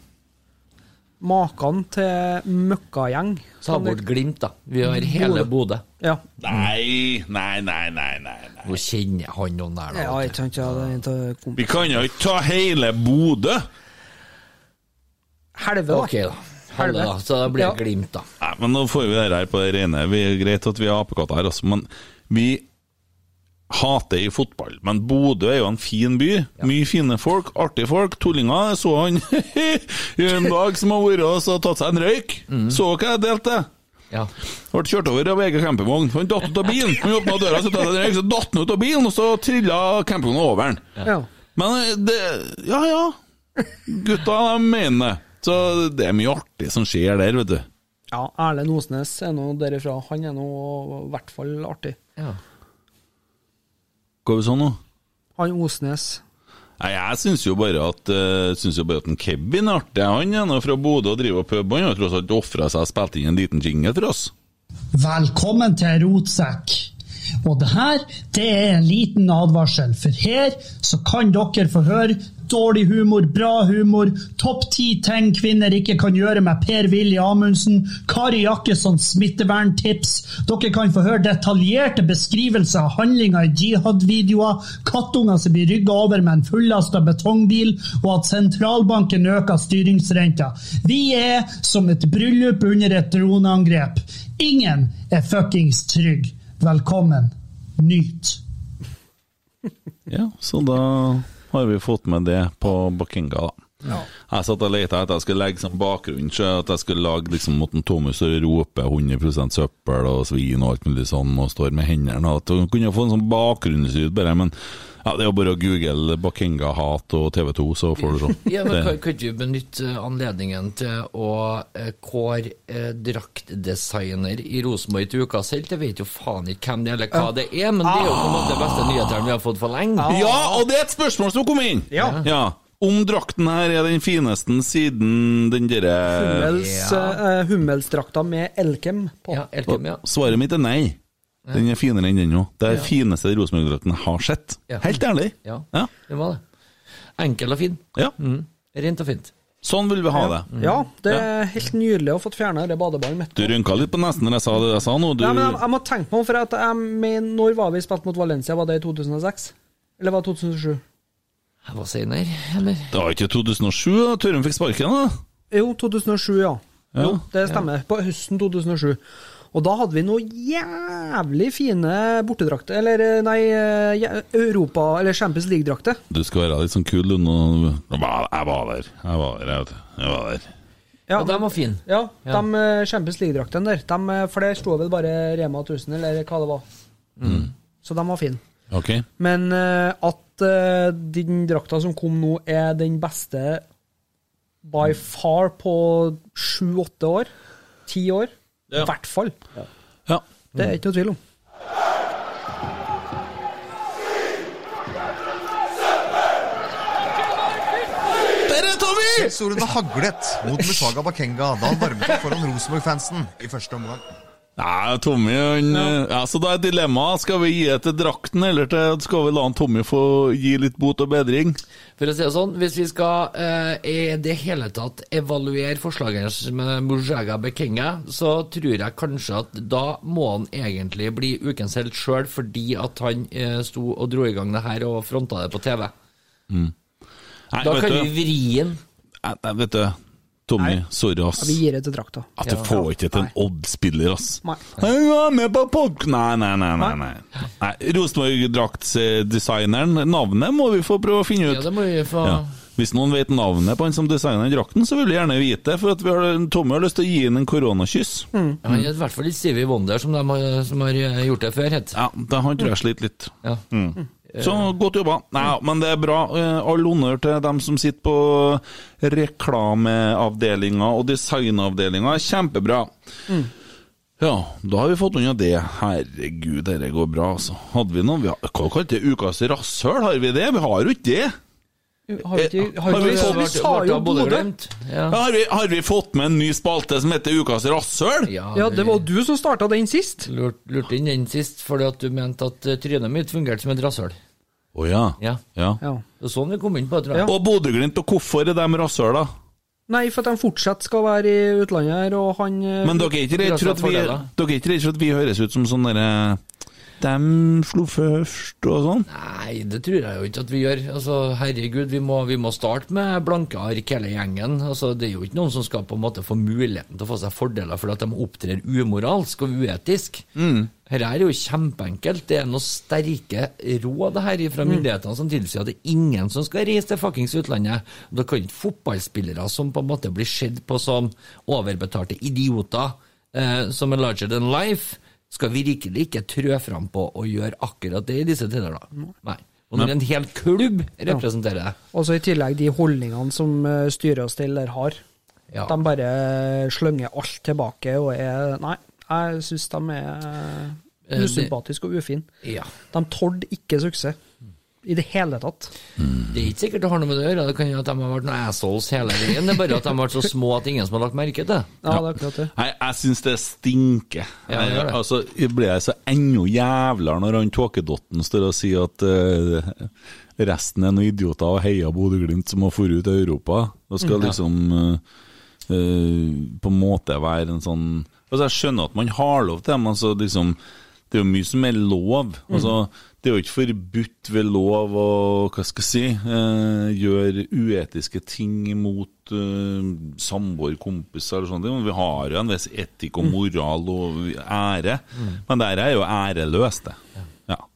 Maken til møkkagjeng. Ta bort Glimt, da. Vi har hele Bodø. Ja. Nei, nei, nei, nei, nei. nei. Nå kjenner jeg han noen der, da. ja, jeg tenkte jeg hadde en til kompis. Vi kan jo ikke ta hele Bodø! Helve, da. Ok, da. Halve, da. Så da blir det Ja. Glimt, da. Nei, men nå får vi det her på det rene. Vi er greit at vi er apekatter her også, men vi hater i fotball. Men Bodø er jo en fin by. Mye fine folk, artige folk. Tullinger jeg så han i en dag som har vært og så tatt seg en røyk. Så hva jeg delte? Ja. Ble kjørt over av egen campingvogn. Han datt ut av bilen. Han åpna døra, så tatt seg en røyk, så datt han ut av bilen, og så trilla campingvogna over han. Ja. Men eh, det Ja ja. Gutta de mener det. Så det er mye artig som skjer der, vet du. ja, Erlend Osnes er nå derifra. Han er nå i hvert fall artig. ja. Går vi sånn nå? Han Osnes Nei, Jeg syns jo bare at eh, synes jo bare at en Kevin er artig. Han er nå fra Bodø og driver pub. Han har tross alt ofra seg og spilt inn en liten jingle for oss. Velkommen til Rotsekk. Og det her, det er en liten advarsel, for her så kan dere få høre dårlig humor, bra humor, topp ti ting kvinner ikke kan gjøre med Per-Willy Amundsen, Kari Jakkesson smitteverntips. Dere kan få høre detaljerte beskrivelser av handlinger i jihad-videoer, kattunger som blir rygga over med en fullasta betongbil, og at sentralbanken øker styringsrenta. Vi er som et bryllup under et droneangrep. Ingen er fuckings trygg. Velkommen. Nyt. Ja, så da har vi fått med det på Bakenga, da. Jeg satt og leta etter at jeg skulle legge som bakgrunn, så at jeg skulle lage liksom mot en Thomas og rope 100 søppel og svin og alt mulig sånn, og står med hendene og at hun kunne få en sånn bakgrunnslyd, bare. Men ja, det er jo bare å google Bakenga-hat og TV2, så får du sånn. ja men Det- kan, kan ikke vi benytte eh, anledningen til å eh, kåre eh, draktdesigner i Rosenborg til ukas helt? Jeg vet jo faen ikke hvem det er, eller hva det er, men det er jo på en måte den beste nyhetene vi har fått for lenge. Ja, og det er et spørsmål som kom inn! Ja. Om drakten her er den fineste siden den derre Hummels, eh, Hummelsdrakta eh, med Elkem på. Ja, Elkem, ja. Svaret mitt er nei. Den er finere enn den òg. Det er den fineste Rosenborg-drakten jeg har sett. Ja. Helt ærlig. Ja. Ja. Det var det. Enkel og fin. Ja. Mm. Rent og fint. Sånn vil vi ha det. Mm. Ja, det er helt nydelig å ha fått fjerna det badeballet mitt. Du rynka litt på nesen når jeg sa det jeg sa nå. Du, Nei, men jeg, jeg må tenke på for at jeg mener, Når var vi spilt mot Valencia? Var det i 2006? Eller var det 2007? Jeg var senere, eller? Det var ikke 2007 da Tørum fikk sparken, da? Jo, 2007, ja. Jo, det stemmer. På høsten 2007. Og da hadde vi noen jævlig fine bortedrakter Eller eh, nei, eh, ja, Europa- eller Champions League-drakter. Du skal være litt sånn kul, du. nå- Jeg var jeg var der. Jeg var der, jeg vet du. Jeg var der. Ja, Og den var fin. ja, Ja. de eh, Champions League-draktene der. De, eh, for det sto vel bare Rema 1000, eller hva det var. Mm. Så de var fine. Ok. Men eh, at eh, den drakta som kom nå, er den beste by far på sju-åtte år. Ti år. I Ja. Mm. hvert fall. Ja. Det er ikke noe tvil om. Der er Tommy! Solen har haglet mot Musaga Bakenga da han varmet opp foran Rosenborg-fansen i første omgang. Nei, Tommy han, ja, Så da er dilemmaet. Skal vi gi det til drakten, eller til, skal vi la han Tommy få gi litt bot og bedring? For å si det sånn, hvis vi skal eh, i det hele tatt evaluere forslaget hans med Mujaga Bekenga, så tror jeg kanskje at da må han egentlig bli ukens helt sjøl, fordi at han eh, sto og dro i gang det her og fronta det på TV. Nei, Da vet kan du, vi vri den. Nei, nei, vet du Tommy, sorry, ass. Vi gir det til drakta. At du får ikke til en Odd-spiller, ass. Nei. Han var med på podk... Nei, nei, nei. nei, nei. nei Rosenborg-draktsdesigneren, navnet må vi få prøve å finne ut. Ja, det må vi få Ja. Hvis noen vet navnet på han som designer drakten, så vil vi gjerne vite det. For at vi har, Tommy har lyst til å gi ham en koronakyss. Ja, men I hvert fall ikke Stevie Wonder, som, de har, som har eh, gjort det før. Het. Ja, det har tror jeg slitt litt. Ja. Mm. Så godt jobba. Nei, ja, men det er bra. Eh, All honnør til dem som sitter på reklameavdelinga og designavdelinga. Kjempebra. Ja, da har vi fått unna det. Herregud, dette går bra, altså. Hadde vi noe vi har, Hva kalte det ukas rasshøl? Har vi det? Vi har jo ikke det. Eh, Har vi ikke har Eh, Har vi vi, ikke- fått- vi sa jo Bodø! Ja. Har vi, har vi fått med en ny spalte som heter Ukas rasshøl? Ja, det var du som starta den sist. Lurt, lurt inn den sist, fordi at du mente at eh, trynet mitt fungerte som et rasshøl. Å ja. Ja. ja. Ja. Det er sånn vi kom inn på det, tror jeg. Og Bodø-Glimt, og hvorfor er de rasshøla? Nei, for at de fortsatt skal være i utlandet her, og han eh, Men dere er ikke redd for at vi, Fordeler. dere er ikke redd for at vi høres ut som sånn derre Dem slo først og sånn? Nei, det tror jeg jo ikke at vi gjør. Altså, herregud, vi må, vi må starte med blanke ark hele gjengen. Altså, det er jo ikke noen som skal på en måte få muligheten til å få seg fordeler fordi at de opptrer umoralsk og uetisk. Dette er jo kjempeenkelt. Det er noen sterke råd her fra myndighetene som tilsier at det er ingen som skal reise til fuckings utlandet. Da kan ikke fotballspillere som på en måte blir sett på som overbetalte idioter, eh, som er larger than life, skal virkelig ikke trø fram på å gjøre akkurat det i disse tider, da. Nei. Og når en hel klubb representerer det Og så i tillegg de holdningene som eh, styrer oss til der har. Ja. At De bare slenger alt tilbake og er Nei, jeg syns de er eh, usympatiske og ufine. Ja. De tålte ikke suksess i det hele tatt. Det er ikke sikkert det har noe med det å gjøre, det kan jo at de har vært noen assholes hele veien, det er bare at de har vært så små at ingen som har lagt merke til det. Ja, det er akkurat det. Nei, jeg syns det stinker. Ja, det gjør det. Jeg, altså, jeg blir jeg så enda jævligere når han Tåkedotten står og sier at eh, resten er noen idioter og heier Bodø-Glimt som har dratt ut av Europa. Da Mm, skal liksom eh, eh, på en måte være en sånn Altså, jeg skjønner at man har lov til det, men altså, liksom Det er jo mye som er lov. Altså, det er jo ikke forbudt ved lov å hva skal jeg si, eh, gjøre uetiske ting mot eh, samboer, kompiser eller sånne ting. Men vi har jo en viss etikk og moral og ære. Men det her er jo æreløst, det. Ja.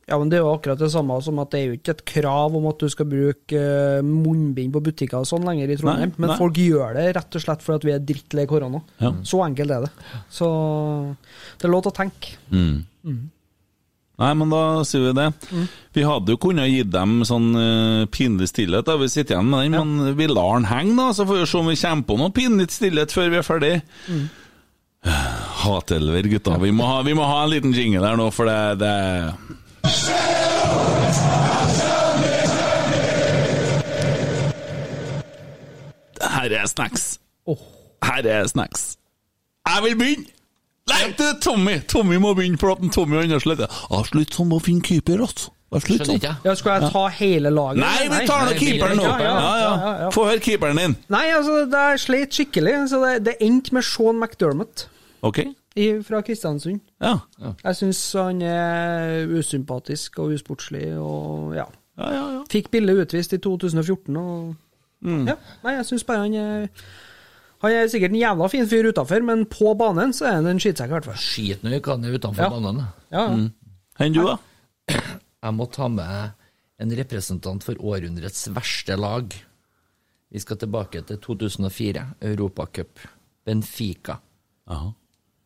Ja, men Det er jo akkurat det samme som at det er jo ikke et krav om at du skal bruke eh, munnbind på butikker og sånn lenger i Trondheim, Nei, men nei. folk gjør det rett og slett fordi at vi er drittlei korona. Ja. Så enkelt er det. Så det er lov til å tenke. Nei, men da sier vi det. Vi hadde jo kunnet gitt dem sånn eh, pinlig stillhet, da vi sitter igjen med den, men vi lar den henge, da, så får vi se om vi kommer på noe pinlig stillhet før vi er ferdig. Hatelver, gutta. Vi må, ha, vi må ha en liten jingle der nå, for det, det Her er snacks. Åh. Her er snacks. Jeg vil begynne! Nei, det er Tommy! Tommy må begynne praten. Tommy og Anders Lette. Jeg er slutt sånn med å finne keeper, altså. Jeg er slutt Skjønner sånn. ikke jeg. Ja, skal jeg ta hele laget? Nei, vi tar nå nei, keeperen nå! ja, ja, Ja, ja, ja, ja. Få høre keeperen din. Nei, altså, det er sleit skikkelig. Så det, det endte med Sean McDermott Ok? i, fra Kristiansund. Ja. Jeg syns han er usympatisk og usportslig og ja. Ja, ja, ja. Fikk Bille utvist i 2014 og Mm. Ja. Nei, jeg syns bare han er Han er sikkert en jævla fin fyr utafor, men på banen så er han en skittsekk, i hvert fall. Skit nå i hva han er utenfor Ja. banen. Ja, ja. Mm. Enn du, da? Jeg må ta med en representant for århundrets verste lag. Vi skal tilbake til 2004, Europacup. Benfica. Jaha.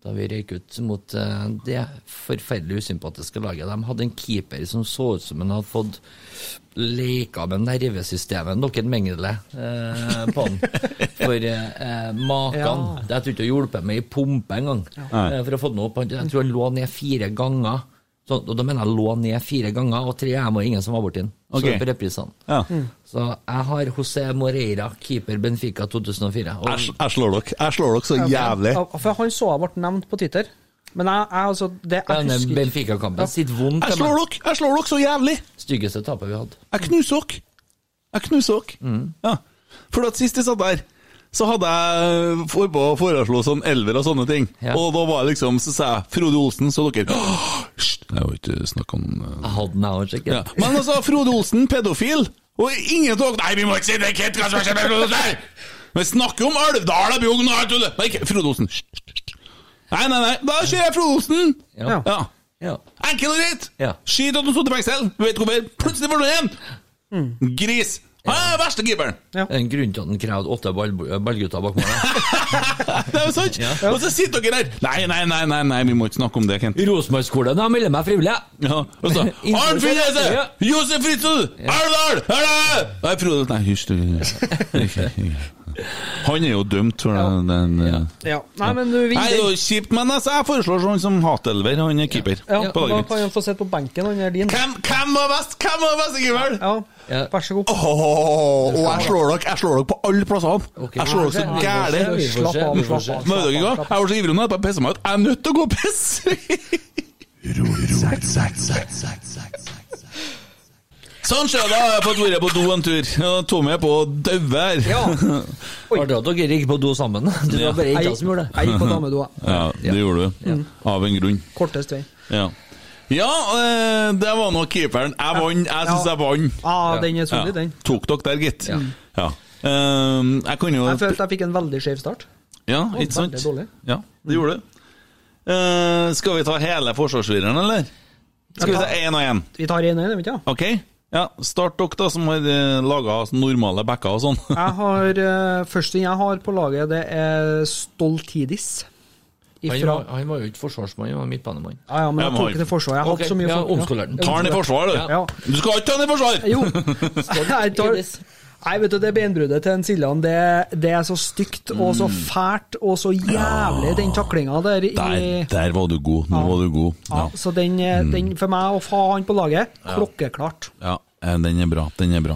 Da vi røyk ut mot eh, det forferdelig usympatiske laget. De hadde en keeper som så ut som han hadde fått leika med nervesystemet nok en mengde eh, på han. For eh, eh, maken Ja. Jeg tror ikke det hjulpet meg i pumpe engang. Eh, for å få den opp. Han- Jeg tror han lå ned fire ganger. Så, og da mener jeg lå ned fire ganger, og tre M og ingen som var borti den. Så Ok. på reprisene. Ja. Så jeg har José Moreira, keeper Benfica 2004. Og, Jeg sl- jeg slår dere. Jeg slår dere så jævlig. Ja, For han så jeg ble nevnt på Twitter. Men jeg, jeg altså det, jeg denne husker ikke. Benfica-kampen sitter vondt. Jeg til meg. slår dere! Jeg slår dere så jævlig! Styggeste tapet vi hadde. Jeg knuser dere. Jeg knuser dere. Ja. For at sist jeg satt der, så hadde jeg for på å foreslå sånn elver og sånne ting. Ja. Og da var jeg liksom, så sa jeg Frode Olsen, så dere «Åh, Hysj! Jeg har jo ikke snakka om eh, Jeg hadde den, jeg òg, ja. Men altså, Frode Olsen, pedofil, og ingen tok Nei, vi må ikke si det! Kent, hva som har skjedd med Frode Olsen? Vi snakker om Alvdal og Bjugn og alt det Nei, ikke- Frode Olsen. Hysj, hysj, hysj. Nei, nei, nei. Da kjører jeg Frode Olsen! Ja. ja. Ja. Enkelt og greit! Ja. Skit at hun satt i fengsel! Du vet hvorfor? Plutselig var det igjen! Gris! Han er den verste keeperen! Ja. En grunn til at han krevde åtte ball, ballgutter bak målet. Det er jo sant! Og så sitter dere der! Nei, nei, nei, nei, nei, vi må ikke snakke om det, Kent. Rosenborg-skolen, jeg melder meg frivillig! Ja, og så Innenfor- Arnfinn Hese! Ja. Josef Fritzl! Alvdal! Er det? Nei, Frode Nei, hysj, du. Han er jo dømt for den, den eh. Ja. Nei, men du Nei, det er vinner. jo kjipt, men altså, jeg foreslår sånn som Hatelver. Han er keeper. Ja, På da laget kan mitt. han få sitte på benken, han er din. Hvem, hvem var best? Hvem var best, keeper? Ja, Ja. vær så god. Åh, og jeg slår dere jeg slår dere på alle plassene! Jeg slår dere så gæli! Vi får Slapp se, av, vi får slapp se. av. Men vet dere hva? Jeg var så ivrig nå at jeg pisset meg ut. Jeg er nødt til å gå og pisse! Sånn skjer det. da har Jeg fått vært på do en tur. Ja, Tommy er på å daue her. Ja. Var det at dere gikk på do sammen? Det var bare Jeg jenta som gjorde det. jeg gikk på damedoa. Ja, det gjorde du. Av en grunn. Kortest vei. Ja, ja eh, det var nå keeperen. Jeg vant. Jeg syns jeg vant. Ja, den er solid, Ja. den. Tok dere der, gitt. Ja. Ja. Ehm, jeg kunne jo Jeg følte jeg fikk en veldig skjev start. Ja, var ikke sant? veldig dårlig. Ja, det gjorde det. Eh, skal vi ta hele forsvarsfireren, eller? Skal vi ta én og én? Vi tar én og én, vet du. ja. Ok? Ja, Start dere, da, som har laga normale backer og sånn. Jeg har eh, Første jeg har på laget, det er Stoltidis. Han Ifra var, han var jo ikke forsvarsmann, han var midtbanemann. Ja, ja, men Ja, men jeg tok han- ikke til forsvar. Jeg har Ok, hatt så mye sånn- ja, folk- omskolert. Ta den i forsvar, du! Ja. Du skal ikke ta den i forsvar! Jo. Nei, jeg tar, nei, vet du, det benbruddet til en Siljan, det, det er så stygt og så fælt og så jævlig, den taklinga der i Der, der var du god. Nå var du god. ja, Ja. Så den, eh, den for meg å få han på laget, klokkeklart. ja. eh, Den er bra. Den er bra.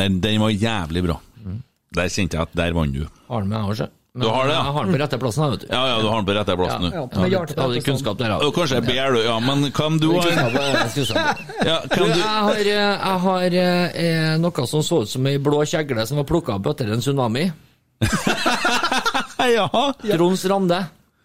Den, den var jævlig bra. Mm. Der kjente jeg at der vant du. Har han med, jeg òg, Du har det, ja? Jeg har han på rette plassen, jeg, vet du. Ja, sånn, ja, du har den på rette plass nå. Ja, Jeg med hadde- hjertet på hadde plassen. kunnskap der, Og kanskje jeg ber, du. Ja, men hvem du har sånn. ja. ja, Du, hvem jeg du... har, eh, jeg har eh, noe som så ut som ei blå kjegle som var plukka opp etter en tsunami. Jaha. Troms Rande.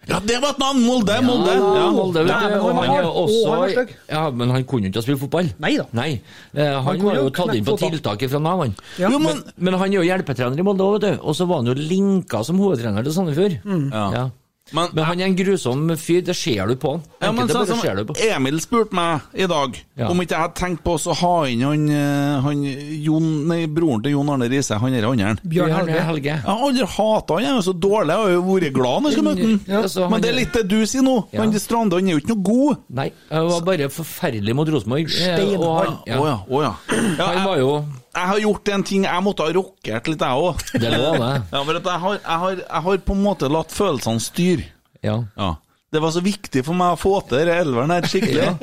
Ja, det var et navn! Molde! Molde! Ja, Ja. Molde, vet Nei, du. men Og han han var- er å, han var også stygg. Ja, men han kunne jo ikke spille fotball. Nei da. Nei. Eh, Han kunne var jo jo tatt inn på knekke tiltak fra Nav, han. Ja. Jo, men Men, men han er jo hjelpetrener i Molde òg, vet du. Og så var han jo linka som hovedtrener til Sandefjord. Mm. Ja. Ja. Men- Men han er en grusom fyr, det ser du på han. Ja, men sånn Enkelte bare som ser du på. Eh, Emil spurte meg i dag Ja. om ikke jeg hadde tenkt på å ha inn han, eh, han Jon, nei, broren til Jon Arne Riise, han derre andre. Bjørn Helge. Helge. Jeg har aldri hata han, jeg er jo så dårlig, jeg har jo vært glad når jeg skal møte han. Ja, altså, han Men det er er- litt det du sier nå. Ja. Han Strande han er jo ikke noe god. Nei, han var bare forferdelig mot Rosenborg. Eh, Steinhard. og han- Å Ja. ja, å ja. ja Han jeg, var jo jeg har gjort en ting jeg måtte ha rockert litt, jeg òg. Det lå det. Ja, for at jeg, har, jeg, har, jeg har på en måte latt følelsene styre. Ja. Ja. Det var så viktig for meg å få til den elveren her skikkelig.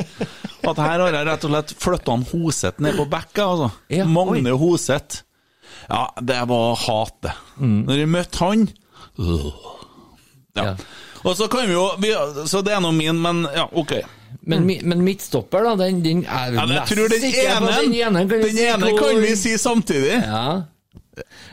At her har jeg rett og slett flytta han Hoseth ned på bekka, altså. Ja, Magne Hoseth. Ja, det var hat, det. Når jeg møtte han øh. ja. Mm. Ja. Og så kan vi jo vi, Så det er nå min, men ja, ok. Men, mi- men midtstopper, da, den, den er jo Ja, men jeg tror den ene den ene kan vi Den si ene hvor- kan vi si samtidig. Ja.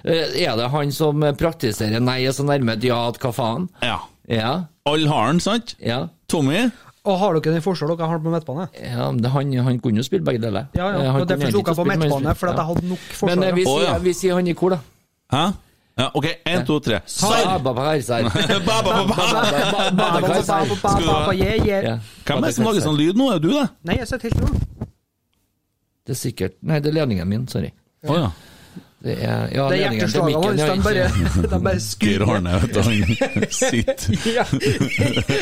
Eh, Er det han som praktiserer nei er så nærme et ja at hva faen? Ja. Ja, Alle har den, sant? ja. Tommy? Og har dere den forskjellen dere har på midtbane? ja men det- han, han kunne jo spille begge deler. Ja, Eh, ja. han Og derfor kunne tok jeg på egentlig ikke spille, men- midtbane, fordi at ja. jeg hadde nok Men eh, forsvarere. vi, Å, sier, ja. vi sier han i kor, da. Hæ? Ja, ok, én, to, tre. Sar! Sar! Ba, ba, ba, ba. Badekar. Skal du ha- Yeah, yeah. Hvem er det som lager sånn lyd nå? Er det du, det? Nei, jeg sitter helt rolig. Det er sikkert Nei, det er ledningen min, sorry. Å ja. Det er, ja, Det er ledningen til hjerteslagene mikken, hans. ja, De ikke- bare, de bare Geir skrur. Arne, vet du. Han sitter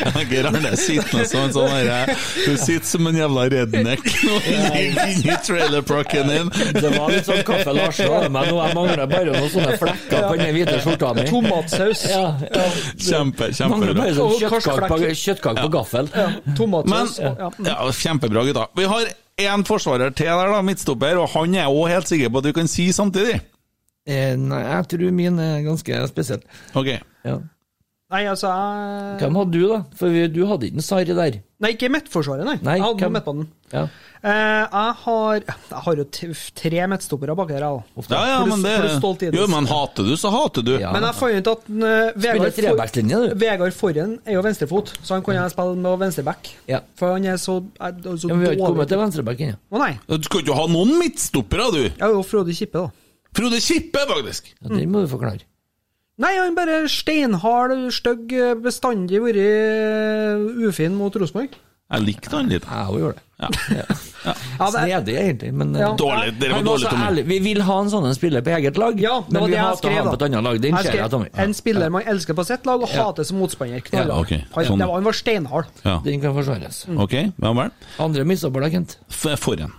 Ja. Ja, Geir Arne sitter nå som en sånn herre Du sitter som en jævla redneck og ligger inni trailerparken din. Det var litt sånn Kaffe Larsen over meg nå. Jeg mangler bare noen sånne flekker på den hvite skjorta mi. Tomatsaus. Ja, ja. Kjempe, Mangler kjempebra. bare sånn Og kjøttkake på, karsflekker. kjøttkake på gaffel. Men, Tomatsaus. ja, Ja. kjempebra, gutta. Vi har én forsvarer til der, da, midtstopper, og han er jeg òg helt sikker på at vi kan si samtidig. Eh, Nei, jeg tror min er ganske spesiell. Ok. Ja. Nei, altså jeg... Hvem hadde du, da? For vi- du hadde ikke en Sari der. Nei, ikke midtforsvaret, nei. Nei, Jeg hadde hvem- noe midtbanen. Ja. Eh, jeg har Jeg har jo t tre midtstoppere bak her, jeg òg. Ja, ja, men Pluss- pluss det stolthet. Jo, men hater du, så hater du. Ja. Men jeg fant ut at eh, Vegard, trebackslinje, du. Vegard Forhen er jo venstrefot, så han kunne jeg spille med venstreback. Ja. For han er så, er, er så Ja, men vi har ikke dårlig. kommet til venstrebacken, ja. Å nei. Du skal ikke ha noen midtstoppere, du! Jeg er jo Frode Kippe, da. Frode Kippe, faktisk! ja det må du forklare. Nei, han bare steinhard, stygg, bestandig vært eh, ufin mot Rosenborg. Jeg likte han litt. Jeg òg gjorde det. Ja, det er- Snedig, egentlig, men eh, Ja. Dårlig. Dere var Han var dårlig, så Tommy. ærlig. Vi vil ha en sånn en spiller på eget lag, ja, det men var vi det jeg hater skrev, han da. på et annet lag. Den Jeg ser jeg, skrev, Tommy. En spiller man elsker på sitt lag og hater som motstander. Knallhard. Ja, ok. Han, Sånn. det var, han var steinhard. Ja. Den kan forsvares. Ok, ja vel. Andre mistopper da, Kent. F- Forhen.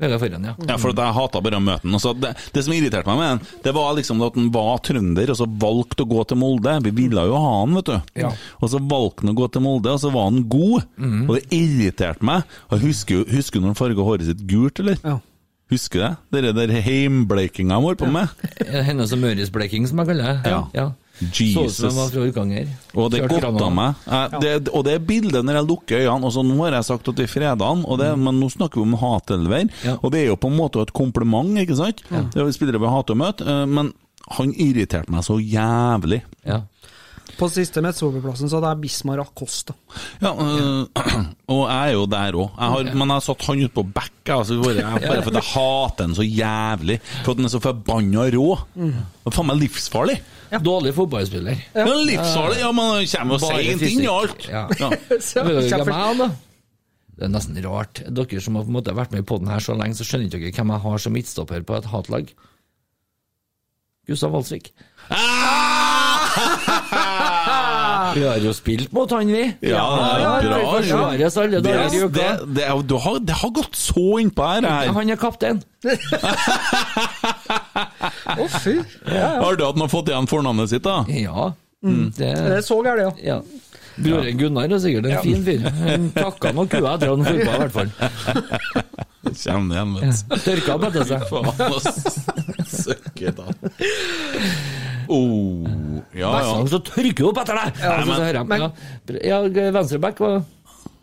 Vegard Forhen, Mm. ja. Ja, for at jeg hata bare å møte han. og så Det, det som irriterte meg med han, det var liksom at han var trønder, og så valgte å gå til Molde. Vi ville jo ha han, vet du. Ja. Mhm. Og så valgte han å gå til Molde, og så var han god. Og det irriterte meg. Og jeg husker, jo- husker du når han farga håret sitt gult, eller? Ja. Husker du det? Det der heimbleikinga han holdt på med. Hennes og Møris bleking, som jeg kaller det. Ja. Så ut som Jesus. jeg var fra Orkanger. Og det Kjørt godta krana. meg. Jeg, det, og det er bildet når jeg lukker øynene. Og så Nå har jeg sagt at vi freder han, og det, men nå snakker vi om hatelver. Ja. Og det er jo på en måte et kompliment, ikke sant? Det er jo spillere vi hater å møte. eh, Men han irriterte meg så jævlig. Ja. På siste midtsoverplassen så hadde jeg Bismar Acosta. Ja, øh, og jeg er jo der òg. Men jeg har satt han ut på bekka, altså, bare, jeg, bare fordi jeg hater han så jævlig. For at han er så forbanna rå. Det er faen meg livsfarlig. Dårlig fotballspiller. Mm. Ja. livsfarlig, ja, men han kommer jo Bare seint fysikk. inn i alt. Ja. Ja. Så, Vet dere hvem kjempe- jeg er, da? Det er nesten rart. Dere som har på en måte vært med i podden her så lenge, så skjønner ikke dere hvem jeg har som midtstopper på et hatlag. Gustav Valsvik. Ah! Vi har jo spilt mot han, vi. Ja, det er bra. jo. Forsvares alle Det, dager i det, uka. det, er- du har, det har gått så innpå her. her. Han er kaptein. Å, fy. Har du at han har fått igjen fornavnet sitt, da? Ja. Mm. Det, Det så gærent, ja. ja. Broren Gunnar er sikkert en fin fyr. Han takka nok kua etter han fotba, i hvert fall. Kjem det igjen, vet du. Tørka opp etter seg. Faen, ass. Søkke, da. Oh, ja, ja. Vestland, så tørker opp etter deg! Ja, men- så hører jeg, ja, ja venstreback var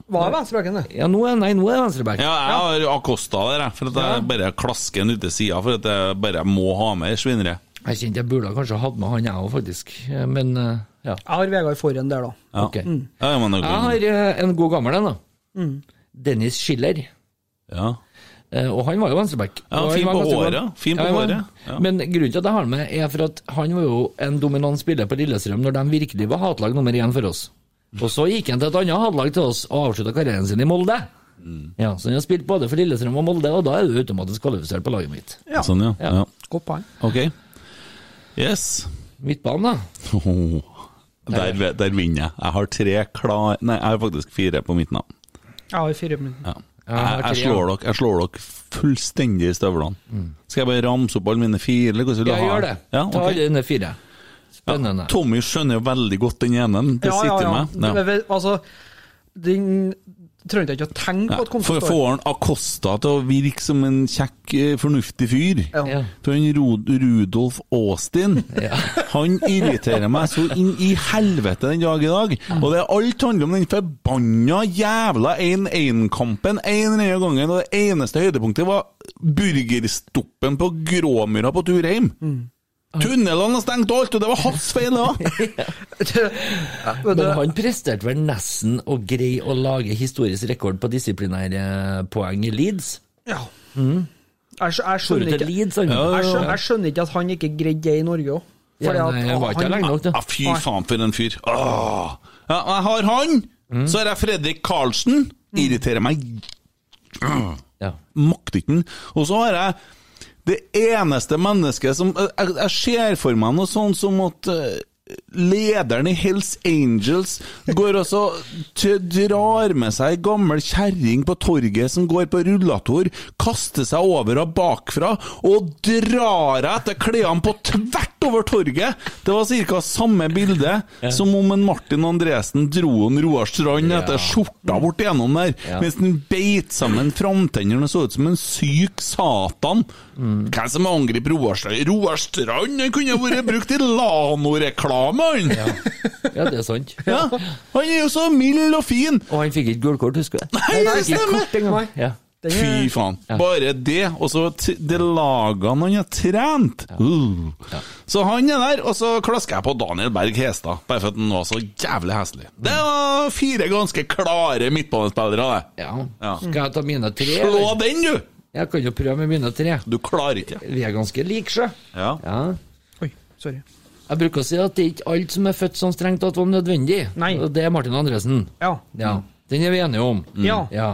Var venstrebacken, det. Ja, nå er, nei, nå er venstreback. Ja, jeg har Acosta der, jeg, for at jeg bare klasker den ut til sida, for at jeg bare må ha med ei svinere. Jeg kjente jeg burde kanskje hatt med han jeg òg, faktisk. Eh, Men eh, ja. Jeg har Vegard Forhen der, da. Ja. Mm. Ok. Ja, ja, men det er Jeg god. har eh, en god gammel en, da. Mm. Dennis Schiller. Ja. Eh, Og han var jo venstreback. Ja, Og han fin var på ganske håret, bra. fin på han var- håret, ja. Men grunnen til at jeg har han med, er for at han var jo en dominant spiller på Lillestrøm når de virkelig var hatlag nummer én for oss. Og så gikk han til et annet hatlag til oss og avslutta karrieren sin i Molde. Mm. Ja, Så han har spilt både for Lillestrøm og Molde, og da er du automatisk kvalifisert på laget mitt. Ja. Sånn, ja. Ja. ja. Godt poeng. Ok. Yes. Midtbanen, da. Oh. Der, der vinner jeg. Jeg har tre klar... Nei, jeg har faktisk fire på mitt navn. Jeg har fire minutter. Ja. jeg har Jeg, jeg, tre, slår dere, jeg slår dere fullstendig i støvlene. Skal jeg bare ramse opp alle mine fire? eller hvordan vil du Mm. Ja, ha? gjør det. Ja, Ta ok. alle dine fire. Spennende. Tommy skjønner jo veldig godt den ene. Det sitter i meg. Men, Ja. men, altså, Den trengte jeg ikke å tenke på at kom til For å å stå få der. han Acosta til å virke som en kjekk, eh, fornuftig fyr. Ja. Ja. For han Rod Rudolf Austin, han irriterer meg så inn i helvete den dag i dag. Og det er alt handler om den forbanna jævla 1-1-kampen en eller annen gangen, og det eneste høydepunktet var burgerstoppen på Gråmyra på tur hjem. Mm. Tunnelene er stengt og alt, og det var hans feil, da! Ja, vet du, Men han presterte vel nesten å greie å lage historisk rekord på disiplinærpoeng i Leeds. ja. Jeg, skj- jeg, Tror du skjønner til ikke, jeg, Leeds, han? skjønner, jeg skjønner ikke at han ikke greide det i Norge òg. Ja, nei, jeg var ikke her lenge nok, da. Ja, fy faen, for en fyr. Åh. Ja, jeg har han, Mm. så har jeg Fredrik Karlsen. Irriterer meg Ja. makter ikke den. Og så har jeg det eneste mennesket som eh, Jeg, jeg ser for meg noe sånt som at eh, lederen i Hells Angels går og så t- drar med seg ei gammel kjerring på torget som går på rullator, kaster seg over henne bakfra og drar henne etter klærne på tvert over torget! Det var ca. samme bilde som om en Martin Andresen dro en Roar Strand etter skjorta bort igjennom der, Ja. mens den beit sammen framtennene og så ut som en syk satan. Mm. Hvem som angriper Roar Strand? Roar Strand han kunne vært brukt i Lano-reklame, han! Ja. ja, det er sant. Han er jo så mild og fin! Og han fikk ikke gullkort, husker du? Nei, det Ikke stemmer! kort engang. Ja. Fy faen. Bare det, og så t- det lagene han har trent. Uh. Så han er der, og så klasker jeg på Daniel Berg Hestad, bare for at han var så jævlig heslig. Det Mm. var fire ganske klare midtbanespillere, det. Ja. Ja. Skal jeg ta mine tre? Slå eller? den, du! Jeg kan jo prøve med mine tre. Du klarer ikke. Vi er ganske like, sjø. Ja. Ja. Oi, sorry. Jeg bruker å si at det er ikke alt som er født sånn strengt tatt var nødvendig. Nei. Og det er Martin Andresen. Ja. Ja. Den er vi enige om. Mm. Ja. Mm. Ja.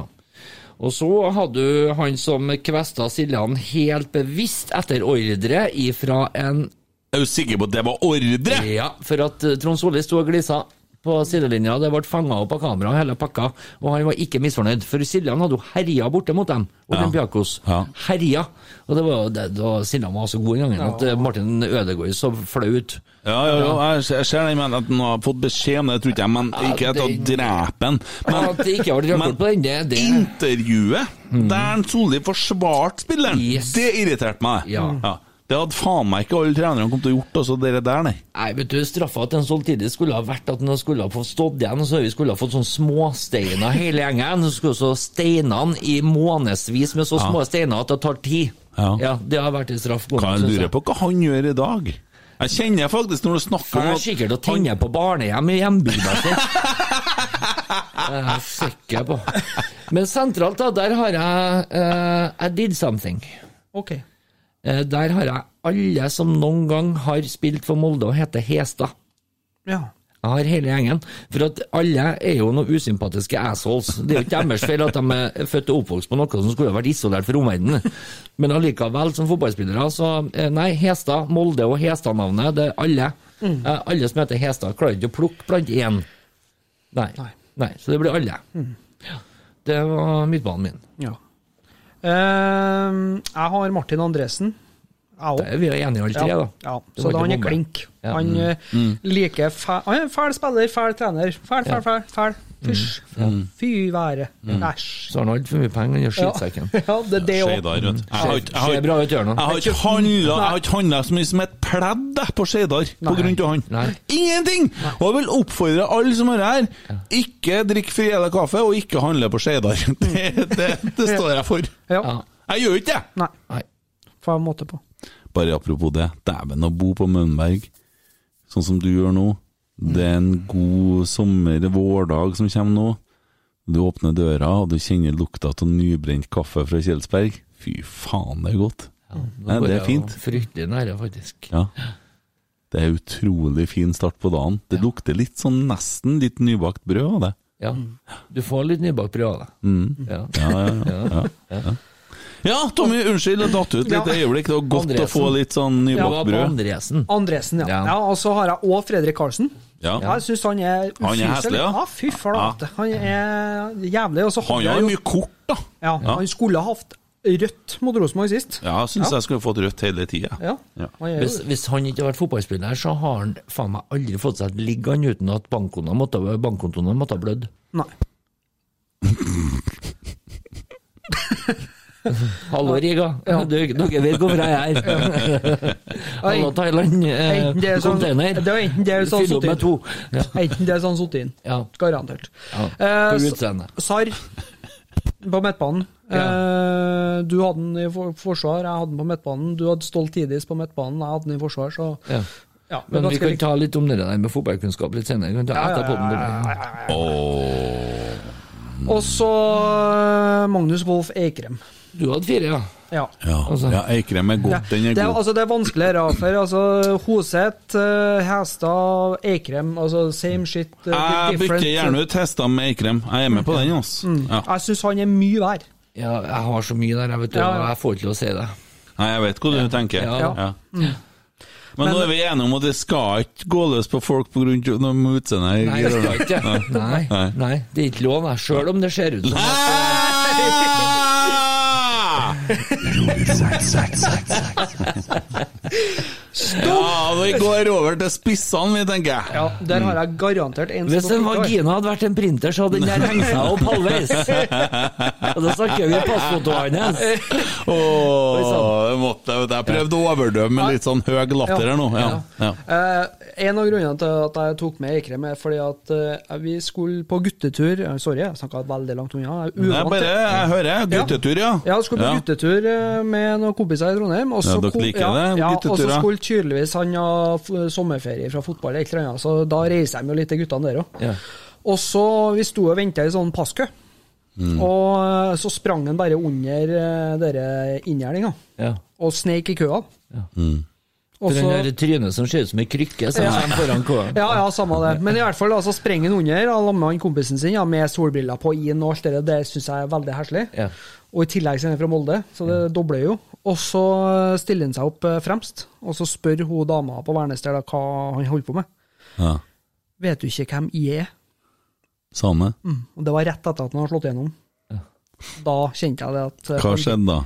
Og så hadde du han som kvesta Siljan helt bevisst etter ordre ifra en Er du sikker på at det var ordre? Ja, for at eh, Trond Solli sto og glisa på sidelinja, det ble fanga opp av kamera hele pakka, og han var ikke misfornøyd. For Siljan hadde jo herja borte mot dem, Olympiakos. Ja. Herja. Og det var, jo det, da Siljan var så god den gangen at eh, Martin Ødegaard så flau ut. Ja, ja, ja, jeg ser- jeg ser den, men at han har fått beskjed om det, tror ikke jeg, men ikke at han den- dreper han. Men At det ikke var men- rekord på den, det, det Mm. intervjuet der han Solli forsvarte spilleren, Yes. det irriterte meg. Ja. Det hadde faen meg ikke alle trenerne kommet til å gjort, altså, dere der, nei. Nei, vet du, straffa til en samtidig skulle ha vært at han skulle ha fått stått igjen, og så skulle ha fått sånn småsteiner hele gjengen. Så skulle så steinene i månedsvis med så små steiner at det tar tid. Ja. det har vært en straff. Kan jeg lure på hva han gjør i dag? Jeg kjenner faktisk når du snakker Han om er at sikkert å tenne på barnehjem i hjembygda si. Det er jeg sikker på. Men sentralt, da, der har jeg eh, I did something. Ok. Eh, der har jeg alle som noen gang har spilt for Molde og heter Hestad. Ja. Jeg har hele gjengen. For at alle er jo noen usympatiske assholes. Det er jo ikke deres feil at de er født og oppvokst på noe som skulle ha vært isolert fra omverdenen. Men allikevel, som fotballspillere, så eh, Nei, Hestad, Molde og Hestad-navnet, det er alle. Mm. Eh, Alle som heter Hestad, klarer ikke å plukke blant én. Nei. Nei. Mm. nei. Så det blir alle. Ja. Det var midtbanen min. ja. Ehm, jeg har Martin Andresen. Jeg Da òg. er vi jo enige, alle tre, Ja, da. ja. Så Det var da ikke han er bombe. klink. Ja. Mm. Han eh, liker fæl Han er en fæl spiller, fæl trener. Fæl, fæl, fæl. fæl. Mm. Fysj. Fy være. Æsj. Så har han altfor mye penger under Ja. skittsekken. ja, det er det òg. Skeidar, vet du. Jeg har ikke- jeg har Ser bra ut i hjørnet. jeg har ikke handlet- jeg har ikke handla så mye som et pledd jeg, på Skeidar på grunn av han. Nei. Ingenting! Og jeg vil oppfordre alle som er her, ikke drikk Friele kaffe, og ikke handle på Skeidar. Det, det, det står jeg for. Ja. Ja. Jeg gjør ikke det! Nei, Nei. får jeg måte på. Bare apropos det, dæven å bo på Mønberg, sånn som du gjør nå. Mm. Det er en god sommer, vårdag som kommer nå. Du åpner døra, og du kjenner lukta av nybrent kaffe fra Kjelsberg. Fy faen, det er godt. Nei, det er fint. Fryktelig nære, faktisk. Ja. Det er utrolig fin start på dagen. Det lukter litt sånn nesten litt nybakt brød av det. Ja. Mm. Du får litt nybakt brød av det. Ja. Ja, Tommy, unnskyld, jeg datt ut litt Ja. et øyeblikk. Det var godt å få Andresen. litt sånn Det var nybakt på brød. Andresen. Andresen, ja. Ja. ja. Og så har jeg òg Fredrik Karlsen. Ja. Jeg syns han er Han er heslig, ja. ja. Fy flate. Han er jævlig. Og så Han jeg har jo- jo mye kort, da. Ja, han skulle ha hatt rødt mot Rosenborg sist. Ja, jeg syns jeg skulle fått rødt hele tida. Ja. Ja. Han er jo- Hvis, hvis han ikke har vært fotballspiller, så har han faen meg aldri fått seg et ligg han uten at bankkontoen måtte, bankkontoen måtte ha blødd. Nei. Hallo, Riga. Ja. Du, dere vet hvor bra jeg er. Hallo, Thailand. Eh, Enten det er sånn- container. det er enten det er sånn Fyll opp med to. sortering. Enten det er sånn sittet inn. Ja. Garantert. Ja, Eh, på s- utseendet. Sar på midtbanen. Eh, du hadde den i for forsvar, jeg hadde den på midtbanen. Du hadde Stolt Tidis på midtbanen, jeg hadde den i forsvar, så Ja. ja, det er Men vi ganske kan likt. ta litt om det der med fotballkunnskap litt senere. Vi kan ta etterpå om det der. Og så eh, Magnus Wolff Eikrem. Du hadde fire, ja. Ja. Ja, Altså- ja Eikrem er god. Den er det, god. altså, det er vanskeligere, for altså, Hoseth, eh, Hestad, Eikrem altså, Same shit, eh, Jeg bytter gjerne ut hester med Eikrem. Jeg er med på den, altså. Ja. Jeg syns han er mye vær. ja. Jeg har så mye der, jeg vet du. Ja, og ja. Jeg får ikke lov å si det. Nei, jeg vet hva du tenker. Ja. Mm. Ja. Men nå er vi enige om at det skal ikke gå løs på folk pga. utseendet. her, Nei, det Gerard. skal ikke det. Nei, Nei. nei, det er ikke lov, nei. Sjøl om det ser ut som Ah! Ja, vi går over til spissene, vi, tenker jeg. Ja, der har Mm. jeg garantert en Hvis en som ikke har. vagina hadde vært en printer, så hadde den der hengt seg opp halvveis. Og da snakker vi passfotoet hans. Oi, sånn. Åh, sann. det måtte jeg, vet du. jeg prøvde å overdøve med litt sånn høy latter her nå. Ja, ja. Eh, en av grunnene til at jeg tok med Eikrem, er fordi at eh, vi skulle på guttetur eh, Sorry, jeg snakka veldig langt unna. Jeg er Jeg uvant. bare, jeg hører. Guttetur, ja. Ja, skulle på guttetur eh, med noen kompiser i Trondheim. og så Ja, dere kom- liker ja, det, ja, Og gutteturer. så skulle tydeligvis han ha f- sommerferie fra fotball, eller et eller annet, så da reiser de jo litt, de guttene der òg. Ja. Og så Vi sto og venta i sånn passkø, Mm. og eh, så sprang han bare under eh, dere inngjerdinga Ja. og sneik i køa. Og Mm. For så, den der trynet som ser ut som ei krykke som kommer foran køen. ja, ja, samme det. Men i hvert fall, altså, sprenger han under og lammer han kompisen sin ja, med solbriller på inn og alt det der. Det syns jeg er veldig heslig. Ja. Og i tillegg så er han fra Molde, så det dobler jo. Og så stiller han seg opp eh, fremst, og så spør hun dama på Værnes der da hva han holder på med. ja. Vet du ikke hvem jeg er? Sane, Mm. Og det var rett etter at han hadde slått gjennom. Da kjente jeg det at eh, hva han- skjedde da?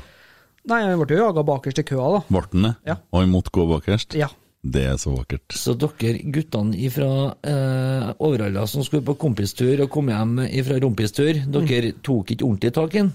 Nei, han ble jo jaga bakerst i køa, da. Ble han det? Ja. Og han måtte gå bakerst? Ja. Det er så vakkert. Så dere guttene fra eh, Overhalla som skulle på kompistur og kom hjem fra rompistur, dere tok ikke ordentlig tak i den?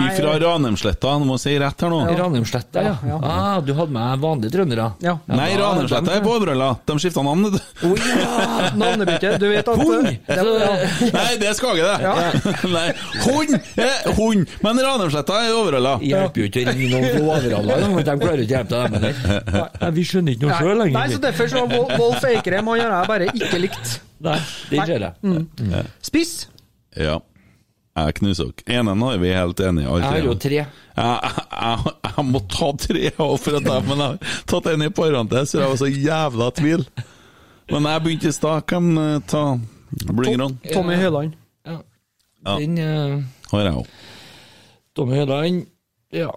Ifra Ranheimsletta, nå må jeg si rett her nå. I Ranheimsletta, ja. Ja, ja. Ah, du hadde med vanlige trøndere? ja. Nei, Ja, Ranheimsletta er på Overhalla. De skifta navn. vet du. Å ja! Navnebytte. Du vet at eh, Pung! det var, ja. Nei, det skal ikke det. Nei, Hund! eh, Hund! Men Ranheimsletta er i Overhalla. Hjelper jo ikke å ringe noen fra Overhalla, engang, for de klarer ikke å hjelpe deg med det. Nei, Vi skjønner ikke noe Nei, sjøl nei, lenger. så derfor så var Wol- Wolf Eikrem han har jeg bare ikke likt. Nei, det gjør Mm. jeg. Spiss. Ja. Jeg knuser dere. Enen er vi helt enige i. alle Jeg har jo tre. tre. Jeg, jeg, jeg må ta tre òg, for at jeg, men jeg har tatt en i parentes, for jeg var så jævla tvil. Men jeg begynte i stad. Hvem eh, ta Blingron? Tommy Høiland. Ja. Ja. Den eh, Har jeg òg. Tommy Høiland ja,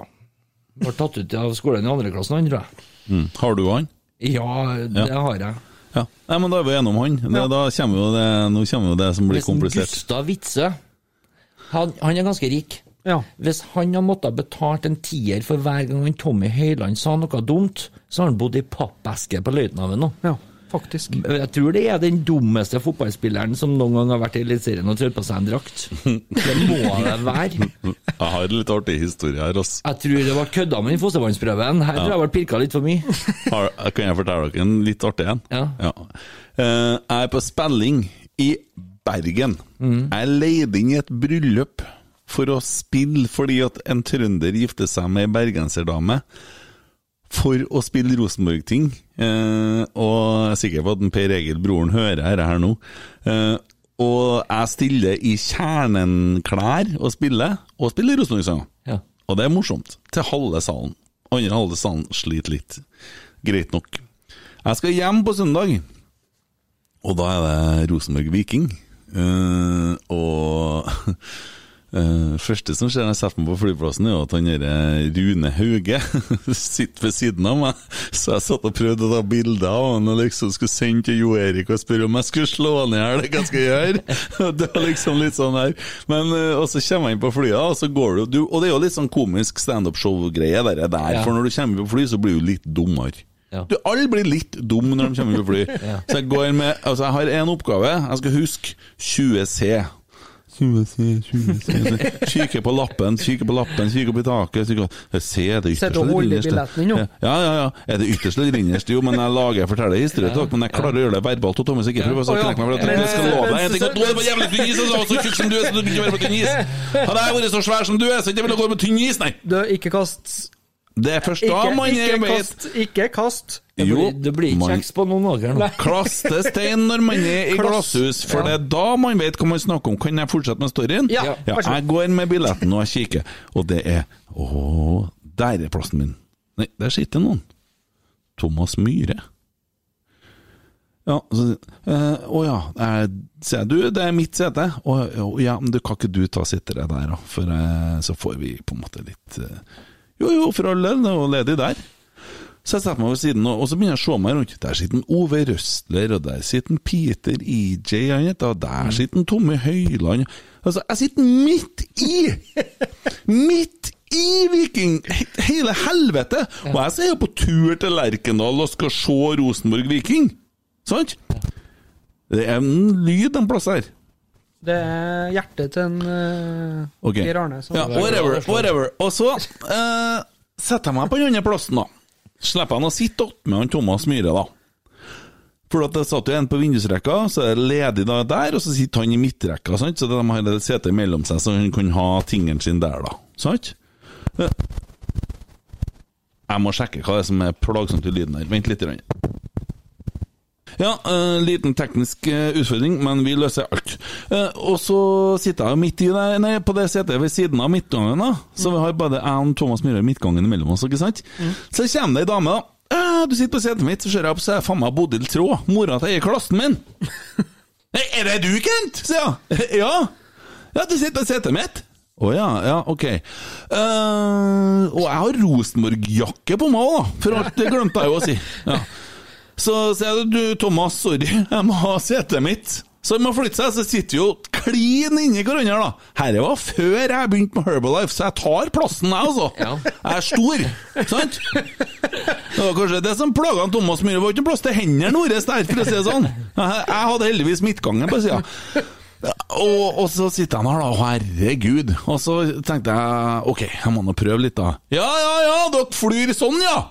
ble tatt ut av skolen i andre klassen, han, tror jeg. Mm. Har du han? Ja, det har jeg. Ja. Nei, men da er vi gjennom han. Det, Da kommer jo det, nå kommer jo det som blir Hvis en komplisert. Gustav Witzøe han, han er ganske rik. Ja. Hvis han har måttet ha betalt en tier for hver gang han Tommy Høiland sa noe dumt, så har han bodd i pappeske på Løitenhaven nå. ja, faktisk. Mm. Jeg tror det er den dummeste fotballspilleren som noen gang har vært i Eliteserien og tørt på seg en drakt. Det må det være. Jeg har litt artig historie her, ass. Jeg tror det var kødda med den fostervannsprøven. Her tror jeg jeg ble pirka litt for mye. Har, kan jeg fortelle dere en litt artig en? Ja. Eh, jeg er på spilling i Bergen. Jeg er leid inn i et bryllup for å spille fordi at en trønder gifter seg med ei bergenserdame. For å spille Rosenborg-ting. Eh, og jeg er sikker på at en Per Egil, broren, hører dette her nå. Eh, og jeg stiller i kjernenklær og spiller, og spiller Rosenborg-sanger. Ja. Og det er morsomt. Til halve salen. Andre halve salen sliter litt. Greit nok. Jeg skal hjem på søndag, og da er det Rosenborg Viking. Eh, og eh, første som skjer når jeg setter meg på flyplassen, er jo at han derre Rune Hauge sitter ved siden av meg. Så jeg satt og prøvde å ta bilder av han og liksom skulle sende til Jo Erik og spørre om jeg skulle slå han i hjel, hva skal jeg gjøre? Det var liksom litt sånn her. Men, eh, og så kommer jeg inn på flyet, og så går det jo du- Og det er jo litt sånn komisk standup-show-greie der, der Ja. for når du kommer på fly, så blir du litt dummere. Ja. Du, alle blir litt dum når de kommer på fly. Så jeg går med Altså, jeg har én oppgave. Jeg skal huske 20 C. 20, se, 20, se, se. Kikker på lappen, kikker på lappen, kikker opp i taket kikker. Jeg ser det Sitter ytterste og holder eller innerste. billetten din nå? Ja, ja, ja, ja. Er det ytterste eller innerste? Jo, men jeg lager jeg forteller historie til dere, men jeg klarer å gjøre det verbalt. Og Thomas ikke prøver å Å, ja. knekke meg for at jeg skal love deg en ting. at Du er på jævlig tynn is, og så er du så tjukk som du er, så du begynner å være på tynn is. Hadde jeg vært så svær som du er, så hadde jeg ikke ville gå på tynn is, nei. Du, ikke kast Det er først Ikke, da man ikke vet kast! Ikke kast! Det Jo, blir, det blir ikke man- kjeks på noen åker nå. Klaste stein når man er i Klass- glasshus, for det er da man vet hva man snakker om. Kan jeg fortsette med storyen? Ja, vær så god. jeg går med billetten og jeg kikker, og det er Å, der er plassen min. Nei, der sitter noen. Thomas Myhre. Ja, så, eh, å ja, eh, sier jeg. Du, det er mitt sete. Å å, ja, men du kan ikke du ta sitteret der, da? For eh, så får vi på en måte litt eh, Jo jo, for all del, det er jo ledig der. Så jeg setter meg ved siden, og og så begynner jeg å se meg rundt. Der sitter en Ove Røsler, og der sitter en Peter EJ, han heter, og der sitter en Tommy Høiland. Altså, jeg sitter midt i! Midt i Viking! he- Hele helvete! Og jeg er jo på tur til Lerkendal og skal se Rosenborg Viking. Sant? Det er en lyd en plass her. Det er hjertet til en eh, Ok. Geir Arne. som- Ja, whatever, whatever. Og så eh, setter jeg meg på den andre plassen, da. Slipper han å sitte opp med han Thomas Myhre, da. For at det satt jo en på vindusrekka, så er det ledig da der, og så sitter han i midtrekka, sant? så de har et sete mellom seg, så han kan ha tingen sin der, da. Sant? Eh, Jeg må sjekke hva det er som er plagsomt i lyden her. Vent litt. Grann. Ja, eh, liten teknisk eh, utfordring, men vi løser alt. Eh, og så sitter jeg jo midt i der, nei, på det setet ved siden av midtgangen, da. Så vi har bare jeg og Thomas Myhre i midtgangen imellom oss, ikke sant? Så kommer det ei dame, da. «Eh, du sitter på setet mitt, så ser jeg opp, så er faen meg Bodil Traa, mora til ei i klassen min. Nei, er det du, Kent? sier jeg. Ja. Ja, du sitter på setet mitt. Å ja, ja, ok. Eh, og jeg har Rosenborg-jakke på meg òg, da, for alt det glemte jeg jo å si. Ja. Så sier jeg du, Thomas, sorry, jeg må ha setet mitt. Så de må flytte seg, så sitter vi jo klin inni hverandre, da. Herre var før jeg begynte med Herbalife, så jeg tar plassen, jeg, altså. Jeg er stor, sant? Det var kanskje det som plaga han Thomas Myhre, det var ikke plass til hendene våre der, for å si det sånn. Jeg jeg hadde heldigvis midtgangen på sida. Og, og så sitter han her, da. Herregud. Og så tenkte jeg OK, jeg må nå prøve litt, da. Ja, ja, ja, dere flyr sånn, ja!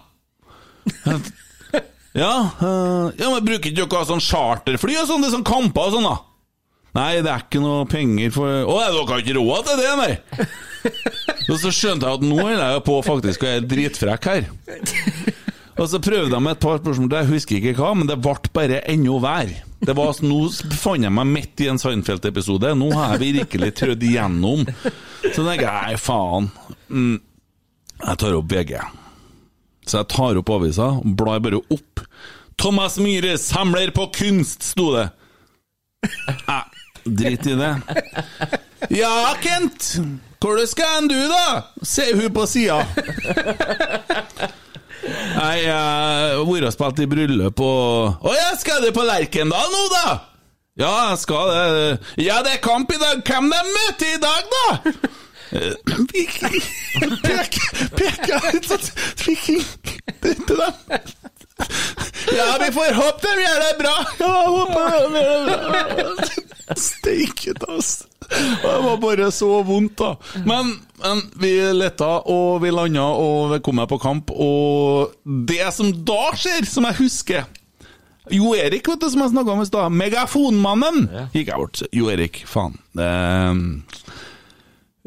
Ja, eh, ja men bruker ikke dere sånn charterfly og sånn? Det er sånn kamper og sånn, da? Nei, det er ikke noe penger for Å, nei, dere har ikke råd til det, nei! Og så skjønte jeg at nå er jeg på faktisk og jeg er dritfrekk her. Og så prøvde jeg med et par spørsmål, jeg husker ikke hva, men det ble bare enda vær. Det var, altså- nå fant jeg meg midt i en Seinfeld-episode, nå har jeg virkelig trødd igjennom. Så tenker jeg, nei faen. Mm. Jeg tar opp VG. Så jeg tar opp avisa, og blar bare opp. Thomas Myhre samler på kunst, sto det. Eh, Drit i det. Ja, Kent! Hvor du skal hen du, da? Sier hun på sida. Jeg har vært og spilt i bryllup og Å ja, skal du på Lerkendal nå, da? Ja, jeg skal det. Ja, det er kamp i dag. Hvem de møter i dag, da? Eh, Viking Pek, Peker ut at Viking drepte dem. Ja, vi får håpe de gjør det bra. Ja, jeg håper de gjør det bra. Steike ta, ass. Det var bare så vondt, da. Men, men vi letta, og vi landa, og vi kom meg på kamp. Og det som da skjer, som jeg husker Jo Erik, vet du, som jeg snakka om i stad. Megafonmannen! Gikk jeg bort. Jo Erik, faen. Eh,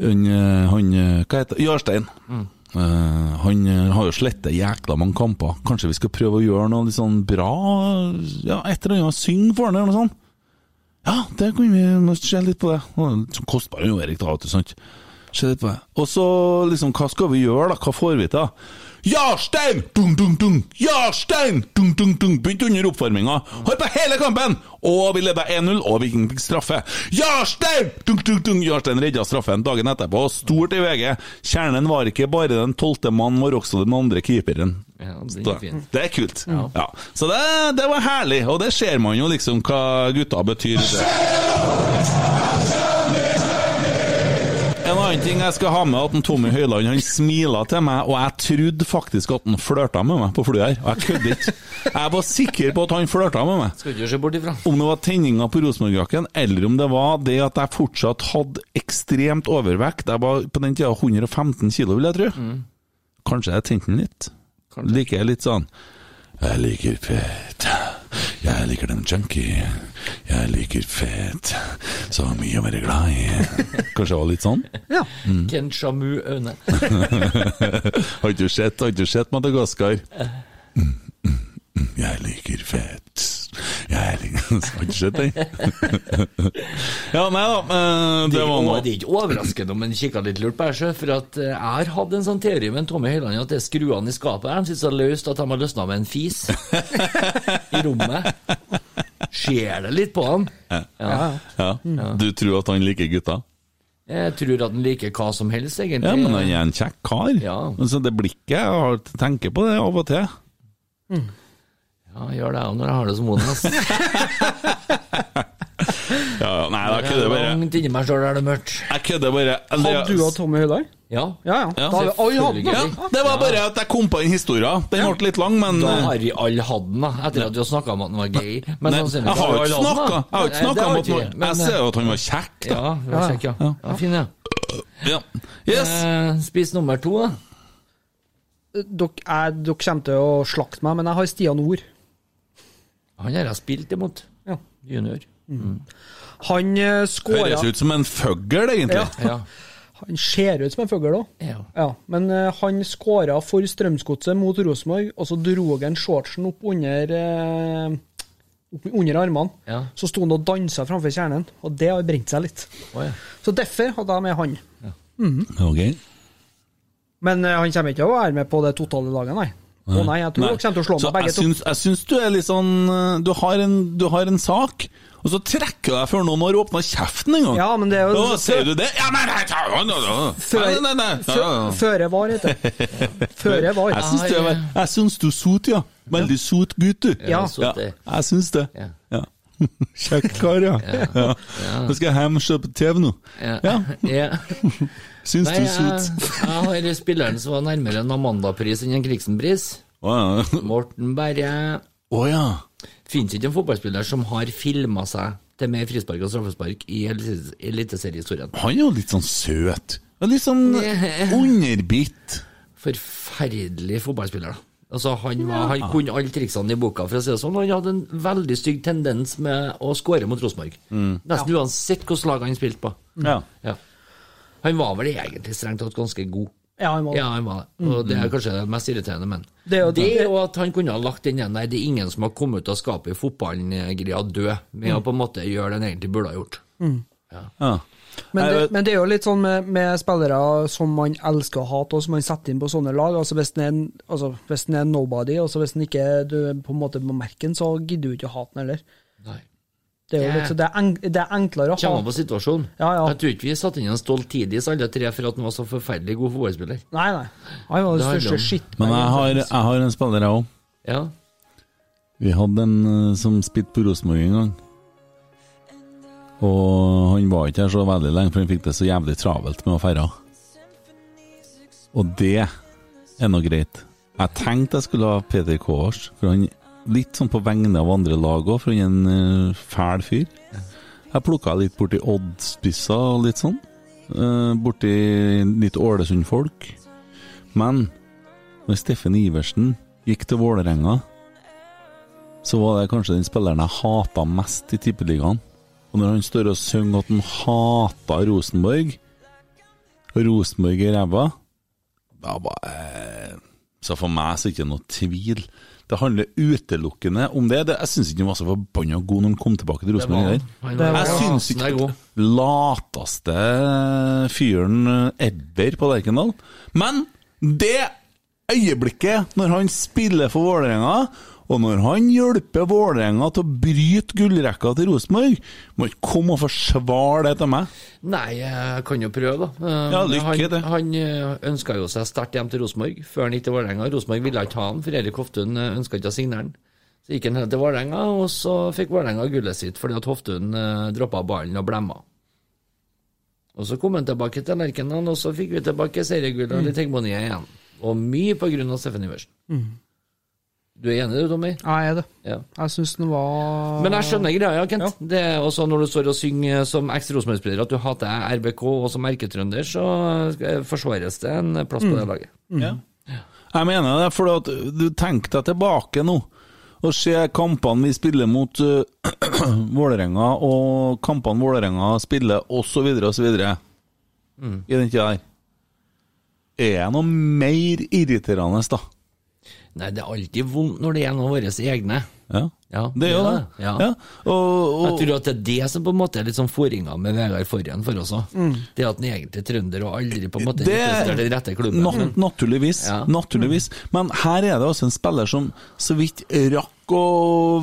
han, eh, han eh, Hva heter Jarstein. Eh, han eh, har jo slettet jækla mange kamper. Kanskje vi skal prøve å gjøre noe litt sånn bra? Ja, Et eller annet. Synge for han, eller noe sånt? Ja, det kunne vi må se litt på det. Han er litt sånn Kostbar jo Erik, da, vet du. sant? Se litt på det. Og så liksom, hva skal vi gjøre, da? Hva får vi til? Jarstein! Dung, dung, dung! Jarstein! Dung, dung, dung! Begynte under oppvarminga. Holdt på hele kampen! Og vi leda 1-0, og Viking fikk straffe. Jarstein! Dung, dung, dung! Jarstein redda straffen dagen etterpå. Stort i VG. Kjernen var ikke bare den tolvte mannen, var også den andre keeperen. Ja, det Så er fint. Det er kult. Ja. Så det, det var herlig, og det ser man jo liksom hva gutta betyr. Det. En En annen ting jeg skal ha med, at en Tommy Høiland han smila til meg, og jeg trodde faktisk at han flørta med meg på flyet her. Og jeg kødder ikke. Jeg var sikker på at han flørta med meg. Skal ikke se bort ifra. Om det var tenninga på Rosenborg-jakken, eller om det var det at jeg fortsatt hadde ekstremt overvekt. Jeg var på den tida 115 kilo, vil jeg tro. Kanskje jeg tente den litt. Liker jeg litt sånn Jeg liker fett. Jeg liker den junkie. Jeg liker fett. Så mye å være glad i. Kanskje jeg var litt sånn? Ja. Ken Shamu Aune. Har ikke du sett, har ikke du sett Madagaskar? Mm, mm, mm, Jeg liker fett. Jeg liker Har ikke sett den? ja, nei da. eh, Det var Og det noe. er ikke overraskende om en kikker litt lurt på seg, for at eh, jeg har hatt en sånn teori med en Tommy Høiland at det er skruene i skapet her, de sitter så løst at de har løsna med en fis i rommet. Ser det litt på han. Ja. Ja. Du tror at han liker gutta? Jeg tror at han liker hva som helst, egentlig. Ja, men han er en kjekk kar. Ja. Men Så det blikket jeg har, tenker på det av og til. Ja, gjør det jeg òg når jeg har det som vond. ass. Ja, ja, nei, jeg Det kødder er bare. Langt inni meg sjøl er det mørkt. Jeg kødder bare. Hadde du og Tommy Høiland? Ja. Ja, ja. Da hadde vi alle hatt den. Ja, det var bare at jeg kom på den historien. Den ble litt lang, men Da eh, har vi alle hatt den, da, etter at vi har snakka om at den var gay. Men Nei, sannsynligvis jeg har jo vi ikke alle hatt snakka den, da. Jeg har jo ikke Nei, det snakka om vi at han- ikke, men, eh, Jeg ser jo at han var kjekk, da. Ja, det var kjekk, ja. ja fin, ja. Ja. Yes. Eh, spis nummer to, da. Dere, jeg, dere kommer til å slakte meg, men jeg har Stian Ord. Han har jeg spilt imot. Ja. Junior. Han eh, Høres skåra ut som en fugl, egentlig. Ja. Ja. Han ser ut som en fugl, da. ja. Ja, men eh, han skåra for Strømsgodset mot Rosenborg, og så dro han shortsen opp under eh, opp under armene. Ja. Så sto han og dansa framfor kjernen, og det har brent seg litt. Å, ja. Så derfor hadde jeg med han. Ok. Men eh, han kommer ikke til å være med på det totale laget, nei. Å nei, jeg tror Nei. dere kommer til å slå Så meg begge jeg to. syns, jeg syns du er litt sånn eh, Du har en, du har en sak, og så trekker du deg før noen har åpna kjeften en gang. Ja, men det er jo- Da Ser du det? Ja, nei, nei, ta, ja, ja, ja. Før, Ah, nei, nei, nei, ja, ja, fø- ja. Føre var, heter det. Føre var. Jeg syns du, er- jeg syns du er sot, ja. Veldig sot gutt, du. Ja. Så det- jeg syns det. Ja. Ja. Kjekk kar, ja. ja. Nå skal jeg hjem og se på TV nå. Ja. Ja, ja. syns du Eh, Nei, er jeg, sot. jeg har spilleren som var nærmere en Amanda-pris enn en Kriksen-pris. Å ja. Morten Berre. Å, ja. Fins ikke en fotballspiller som har filma seg til mer frispark og straffespark i elites- eliteseriehistorien. Han er jo litt sånn søt. Og Litt sånn underbitt. Forferdelig fotballspiller, da. Altså, han, var, han kunne alle triksene i boka, for å si det sånn. og Han hadde en veldig stygg tendens med å skåre mot Rosenborg. Nesten uansett hvilket lag han spilte på. Ja. Ja. Han var vel egentlig strengt tatt ganske god. Ja, han var Ja, han var det. Og det er kanskje det mest irriterende, men Det er jo det. er jo at han kunne ha lagt den igjen der. Det er ingen som har kommet ut av skapet i fotballen-greia død, med å på en måte gjøre det han egentlig burde ha gjort. ja. Men Jeg det, vet- men det er jo litt sånn med, med spillere som man elsker å hate, og som man setter inn på sånne lag. Altså Hvis den er, en- altså, hvis den er nobody, altså hvis den ikke du på en måte må merke den, så gidder du ikke å hate den heller. Nei. Det er jo Ja. litt, så det er, enk, det er enklere å Kjenner hate. på situasjonen. Ja, ja. Jeg tror ikke vi satte inn en stolt tidis, alle tre, for at han var så forferdelig god fotballspiller. Nei, nei. Han var Det den handler om- største skitt... Men jeg har, jeg har en spiller, jeg òg. Ja. Vi hadde en eh, som spilte på Rosenborg en gang. Og han var ikke her så veldig lenge, for han fikk det så jævlig travelt med å ferde. Og det er nå greit. Jeg tenkte jeg skulle ha Peter Kårs, for han litt sånn på vegne av andre lag òg, for han er en eh, fæl fyr. Jeg plukka litt borti Odd-spisser og litt sånn. eh, Borti litt Ålesund-folk. Men når Steffen Iversen gikk til Vålerenga så var det kanskje den spilleren jeg hata mest i Tippeligaen. Og når han står og synger at han hata Rosenborg, og Rosenborg i ræva da bare- Så for meg så er det ikke noe tvil. Det handler utelukkende om det. det jeg syns ikke han var så forbanna god når han kom tilbake til Rosenborg. heller. Han var Jeg syns rasende ikke god. lateste fyren ever på Lerkendal. Men det øyeblikket når han spiller for Vålerenga, og når han hjelper Vålerenga til å bryte gullrekka til Rosenborg Må ikke komme og forsvare det til meg. Nei, jeg kan jo prøve, da. Eh, Ja, men lykke han, til. Han ønska jo seg sterkt hjem til Rosenborg før han gikk til Vålerenga. Rosenborg ville ikke ha han, for Erik Hoftun ønska ikke å signere han. Så gikk han ned til Vålerenga, og så fikk Vålerenga gullet sitt fordi at Hoftun eh, droppa ballen og blemma. Og så kom han tilbake til Lerkendal, og så fikk vi tilbake seriegullene Mm. i Tegmonia igjen. Og mye på grunn av Steffen Iversen. Du er enig du, Tommy? Ja, jeg er det. Ja. Jeg syns den var Men jeg skjønner greia, Kent. Det er også når du står og synger som eks-Rosenborg-spiller at du hater RBK, og som erketrønder så eh, forsvares det en plass på Mm. det laget. Jeg mener det, for at du tenk deg tilbake nå og se kampene vi spiller mot uh, Vålerenga, og kampene Vålerenga spiller, osv., osv. I Mm. den tida der. Er det noe mer irriterende, da? Nei, det er alltid vondt når det er en av våre egne. Ja. Ja, det er jo ja, det. ja. Og, Jeg og, tror at det er det som på en måte er litt sånn forringa med Vegard Forhen for oss òg. Mm. Det at han egentlig er trønder og aldri på en måte representerer den rette klubben. Mm. Nat naturligvis. Ja. naturligvis. Men her er det altså en spiller som så vidt rakk å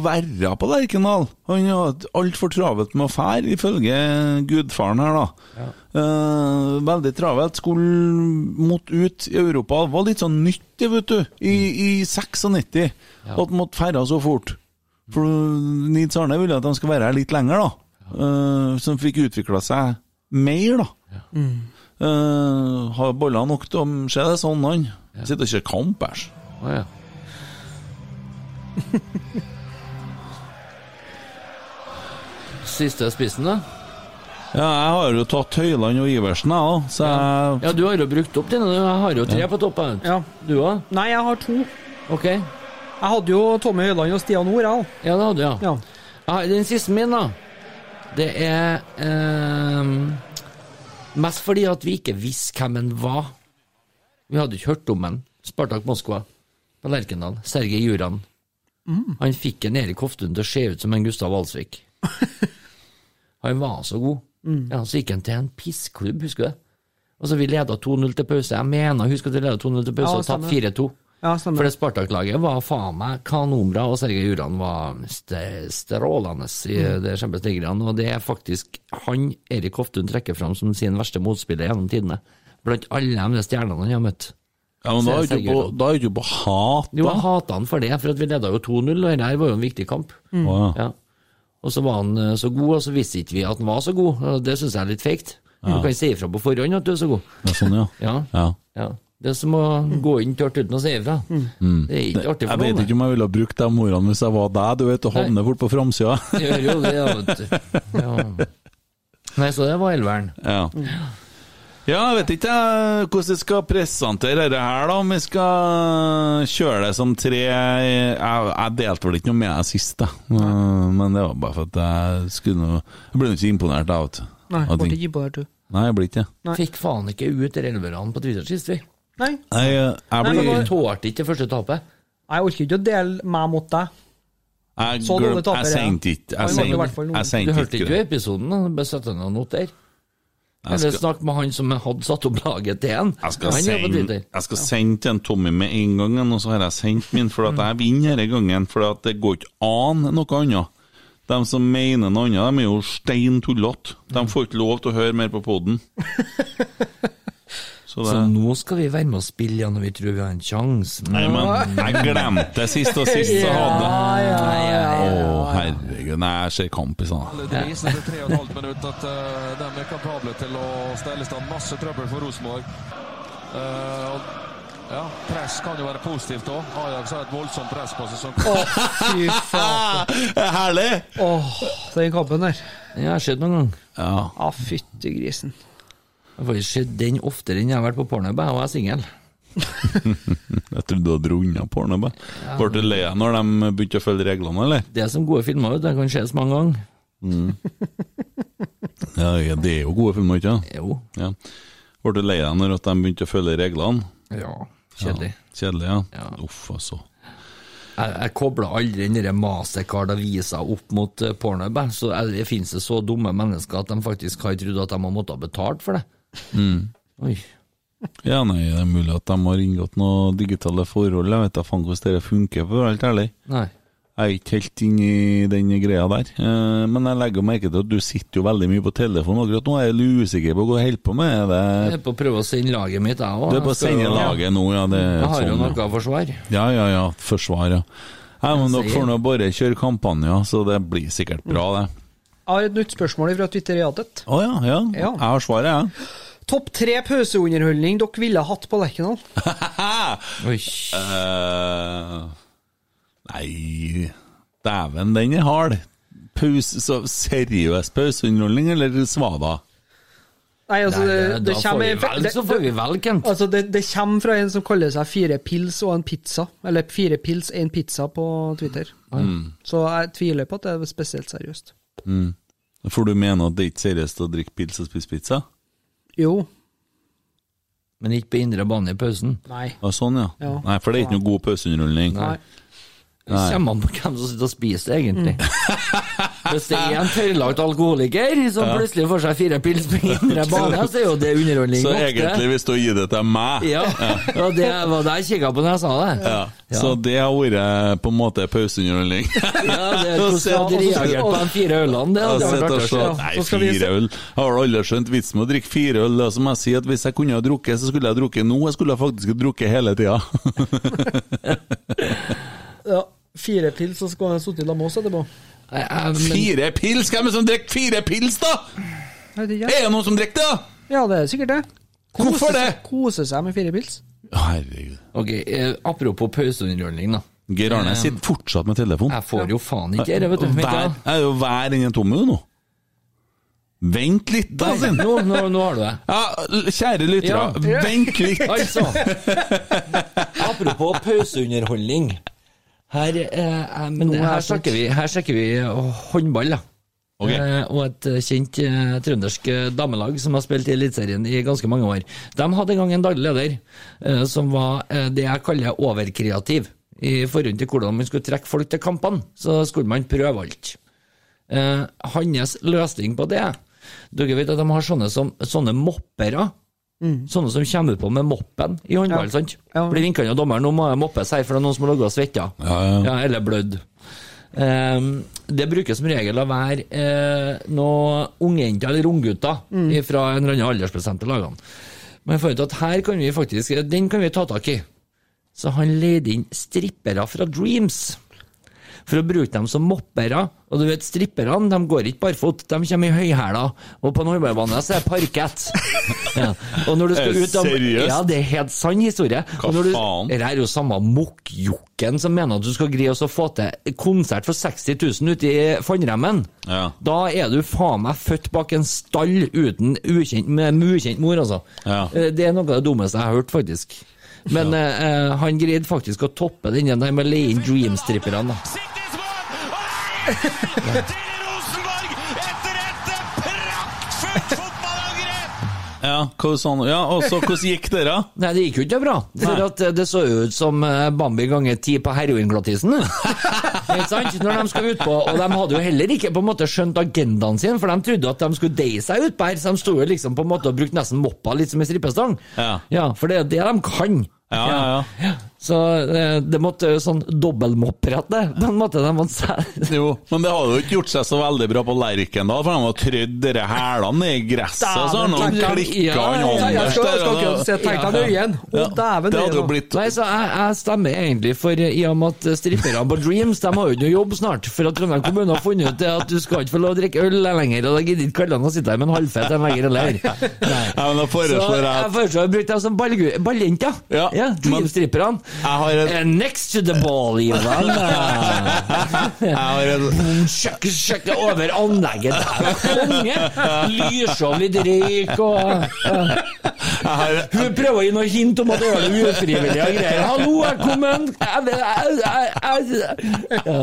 være på Lerkendal. Han har hatt altfor travelt med å fære, ifølge gudfaren her, da. Eh, veldig travelt. Skulle måtte ut i Europa. Var litt sånn nyttig, vet du, i, i Mm. 96. At måtte ferde så fort. For Nids Arne ville at de skulle være her litt lenger, da. Eh, som fikk utvikla seg mer, da. Eh, har boller nok til å se det sånn, han. Sitter ikke i kamp, æsj. Å, ja. Siste spissen, da? Ja, jeg har jo tatt Høyland og Iversen, jeg òg, så jeg Ja, du har jo brukt opp dine. Jeg har jo tre på toppen. Ja. Du òg? Nei, jeg har to. Ok. Jeg hadde jo Tommy Høiland og Stian Ord, jeg òg. Ja, det hadde du, ja. Ja. Ja, Ah, Den siste min, da. Det er ehm, mest fordi at vi ikke visste hvem han var. Vi hadde ikke hørt om han. Spartak Moskva på Lerkendal. Sergej Juran. Mm. Han fikk en Erik Hoftun til å se ut som en Gustav Alsvik. han var så god. Mm. Ja, Så gikk han til en pissklubb, husker du det? Og så Vi leda 2-0 til pause. Jeg mener, husker at vi leda 2-0 til pause Ja, og stemmer. tapte 4-2. Ja, stemmer. For Sånn det Spartak-laget var faen meg kanonbra, og Sergej Juran var st strålende i det Champions League-greiene. Og det er faktisk han Erik Hoftun trekker fram som sin verste motspiller gjennom tidene. Blant alle de stjernene han har møtt. Ja, men da er du på, da er du på hat, Jo, da. jeg hata han for det, for at vi leda jo 2-0, og dette her var jo en viktig kamp. Å, ja. Ja. Og så var han eh, så god, og så visste ikke vi at han var så god. og Det syns jeg er litt feigt. Du kan si ifra på forhånd at du er så god. Ja, sånn, ja. Ja. Mm. ja. ja. Det er som å gå inn tørt uten å si ifra. Det er ikke artig Jeg for vet noen. ikke om jeg ville ha brukt de ordene hvis jeg var deg, du vet, og havner fort på framsida. Gjør jo det, ja, vet du. Ja. Nei, så det var elveren. Ja. ja, jeg vet ikke jeg, hvordan jeg skal presentere dette her, da. Om vi skal kjøre det som tre Jeg, jeg delte vel ikke noe med deg sist, da. Men det var bare for at jeg skulle nå Jeg ble nå ikke imponert, jeg, vet du. Nei, Av ble ting. ikke imponert, du. Nei, jeg blir ikke det. Nei. Fikk faen ikke ut elverne på Twitter sist, vi. Nei, Nei, jeg, jeg Nei, men blir Vi nå- tålte ikke det første tapet. jeg orker ikke å dele meg mot deg. Jeg, Så dårlig glem, taper, jeg ja. sendte ikke Jeg Han var i hvert sendte fall noen. jeg Du sendte hørte ikke ikke det. episoden? da? Bare satte ned noter. Jeg Eller skal- snakk med han som hadde satt opp laget til en. Jeg skal, han er på sende, Twitter. jeg skal sende til en Tommy med en gang, og så har jeg sendt min, for at jeg vinner denne gangen. For at det går ikke an noe annet. De som mener noe annet, de er jo stein tullete. De får ikke lov til å høre mer på poden. Så det Så nå skal vi være med og spille igjen, og vi tror vi har en sjanse. Nei, men jeg glemte det sist, og sist så hadde jeg Å, herregud. Nei, jeg ser kamp i sånn. Dries etter tre og et halvt minutt at eh, de er kapable til å stelle i stand masse trøbbel for Rosenborg. Eh, og, ja, press kan jo være positivt òg. Ajax har et voldsomt press på seg. som Å, fy faen. Herlig! Åh, den kampen der. Ja, jeg har sett noen gang. Ja. Ja, fytti grisen. Jeg har faktisk sett den oftere enn jeg har vært på pornhub, jeg, og jeg er singel. Jeg trodde du hadde runda porno. bare. Ble du lei deg når de begynte å følge reglene, eller? Det er som gode filmer, vet du. De kan ses mange ganger. Ja, ja, det er jo gode filmer, ikke sant? Jo. Ja. Ble du lei deg når at de begynte å følge reglene? Ja. Kjedelig. Kjedelig, ja. Ja. Uff, altså. Jeg, jeg kobla aldri den der Mastercard-avisa opp mot eh, pornhub. jeg. Så jeg- det finnes det så dumme mennesker at de faktisk har trodd at de har måttet ha betalt for det. Mm. Oi. Ja, nei, det er mulig at de har inngått noen digitale forhold. Jeg vet da faen hvordan det funker, for å være helt ærlig. Nei. Jeg er ikke helt inne i den greia der. Eh, Men jeg legger merke til at du sitter jo veldig mye på telefonen akkurat nå. Jeg er litt usikker på hva jeg holder på med. Er Jeg det er på å prøve å sende laget mitt, jeg òg. Du er på sendelaget nå, ja. Det Jeg er har jo sånn, ja. noe å forsvare. ja, ja, ja. Forsvar, ja. Nei, men Jeg dere sier- Mm. får nå bare kjøre kampanjer, så det blir sikkert bra, det. Ja, har et nytt spørsmål fra Twitteriatet. Å ja, ja. Ja. Jeg har svaret, jeg. Topp tre pauseunderholdning dere ville hatt på Lerkendal? Oi. Eh, nei Dæven, den er hard. Pause, så seriøs pauseunderholdning, eller svada? Nei, altså, det, Nei, det da får kommer vi en- vel, det- så får vi vel, Kent. Altså, det, det kommer fra en som kaller seg Fire pils og en pizza. Eller Fire pils, en pizza på Twitter. Mm. Så jeg tviler på at det er spesielt seriøst. For du mener at det er ikke seriøst å drikke pils og spise pizza? Jo. Men ikke på indre bane i pausen. Nei. Ja, sånn, ja. Ja. Nei, for det er ikke noe god pauseunderholdning. Nei. Det kommer an på hvem som sitter og spiser, egentlig. Mm. Hvis det er en tørrlagt alkoholiker som plutselig får seg fire pils på indre bane, så er jo det underholdning Så nok, det. egentlig, hvis du gir det til meg Ja, og det var det jeg kikka på når jeg sa det. Ja. Så det har vært eh, på en måte pauseunderholdning. Ja, det er Hvordan jeg hadde reagert på de fire ølene, det hadde Jeg vært sitter og artig å se. ser- Nei, Så skal vi se- fire øl. Jeg har aldri skjønt vitsen med å drikke fire øl. Og så må jeg si at hvis jeg kunne ha drukket, så skulle jeg ha drukket nå. Jeg skulle ha faktisk ha drukket hele tida. Ja, fire pils, og så skulle han sittet i lag med oss etterpå. Nei, jeg- men- Fire pils? Hvem er det som drikker fire pils, da? Jeg vet ikke. Er det noen som drikker det? da? Ja, det er sikkert det. Hvorfor Kose- det? Kose seg med fire pils. Herregud. Ok, eh, Apropos pauseunderholdning, da. Geir Arne sitter fortsatt med telefon. Jeg får jo faen ikke det, vet du. Vent, Vær, da. jeg er jo hver inni en tomme nå. Vent litt, da, sin. Nå, nå, nå har du det. Ja, l- kjære lyttere, Ja. vent litt. Altså Apropos pauseunderholdning. Her, eh, eh, men Nå er jeg her, spent. snakker vi, her snakker vi eh, håndball, da. Ok. Eh, og et eh, kjent eh, trøndersk eh, damelag som har spilt i Eliteserien i ganske mange år. De hadde en gang en daglig leder eh, som var eh, det jeg kaller overkreativ i forhold til hvordan man skulle trekke folk til kampene. Så skulle man prøve alt. Eh, hans løsning på det Dere vet at de har sånne, som, sånne moppere. Sånne som kommer på med moppen i håndball. Ja. sant? Ja. Blir vinka av dommeren 'nå må jeg moppe seg', for det er noen som har ligget og svetta. Ja, ja. eller blødd. Ehm, det brukes som regel å være eh, noen ungjenter eller unggutter fra en eller annen aldersbestemte lagene. Men jeg fant ut at her kan vi faktisk, eh, den kan vi ta tak i. Så han leide inn strippere fra Dreams for å bruke dem som moppere. Og du vet, stripperne de går ikke barfot, de kommer i høyhæla, og på en håndballbane så er det parkett. Ja. Og når du skal Er det ut av, seriøst? Ja, det er helt sann historie. Hva Og når du, faen? Dette er jo samme mokkjokken som mener at du skal greie å få til konsert for 60 000 ute i Fannremmen. Ja. Da er du faen meg født bak en stall uten ukjent, med med ukjent mor, altså. Ja. Eh, Det er noe av det dummeste jeg har hørt, faktisk. Men eh, eh, han greide faktisk å toppe den igjen der med å leie inn Dream-stripperne. da. Ja, hva sa han? Ja, og så hvordan gikk det, da? Nei, det gikk jo ikke bra. For Nei. at eh, det så jo ut som eh, Bambi ganger ti på heroinglattisen. Ikke sant? Når de skulle utpå, og de hadde jo heller ikke på en måte skjønt agendaen sin, for de trodde at de skulle deie seg utpå her, så de sto jo liksom på en måte og brukte nesten moppa litt som en strippestang. Ja. For det er det de kan. Ja, ja, ja. Så eh, det måtte jo sånn dobbeltmopprett, det. På en måte, de måtte se- Jo, men det hadde jo ikke gjort seg så veldig bra på Lerkendal, for de har trødd dere hælene i gresset, og sånn, og Dæven, klikka han ja, ja, Jeg Anders skal, jeg der. skal ikke og se da- tenkt deg nøye igjen. Å, Ja, dæven. det hadde jo nå. blitt Nei, så jeg, jeg stemmer egentlig for eh, i og med at eh, stripperne på Dreams de har jo ikke noe jobb snart, for at Trondheim kommune har funnet ut det at du skal ikke få lov å drikke øl lenger, og da gidder ikke kallene å sitte her med en halvfet en lenger eller Nei. Ja, men da Så foreslår jeg jeg at foreslår å bruke dem som ballgu- balljenter. Ja, Ja, men- Dream-stripperne. jeg har et- And next to the ball, Ivan. jeg har en Sjekke, sjekke over anlegget der. Konge! Lyser litt røyk og ja. jeg har, Hun prøver å gi noe hint om at øl er ufrivillig og greier. 'Hallo, jeg kom en jeg vet- jeg- jeg- jeg- Ja.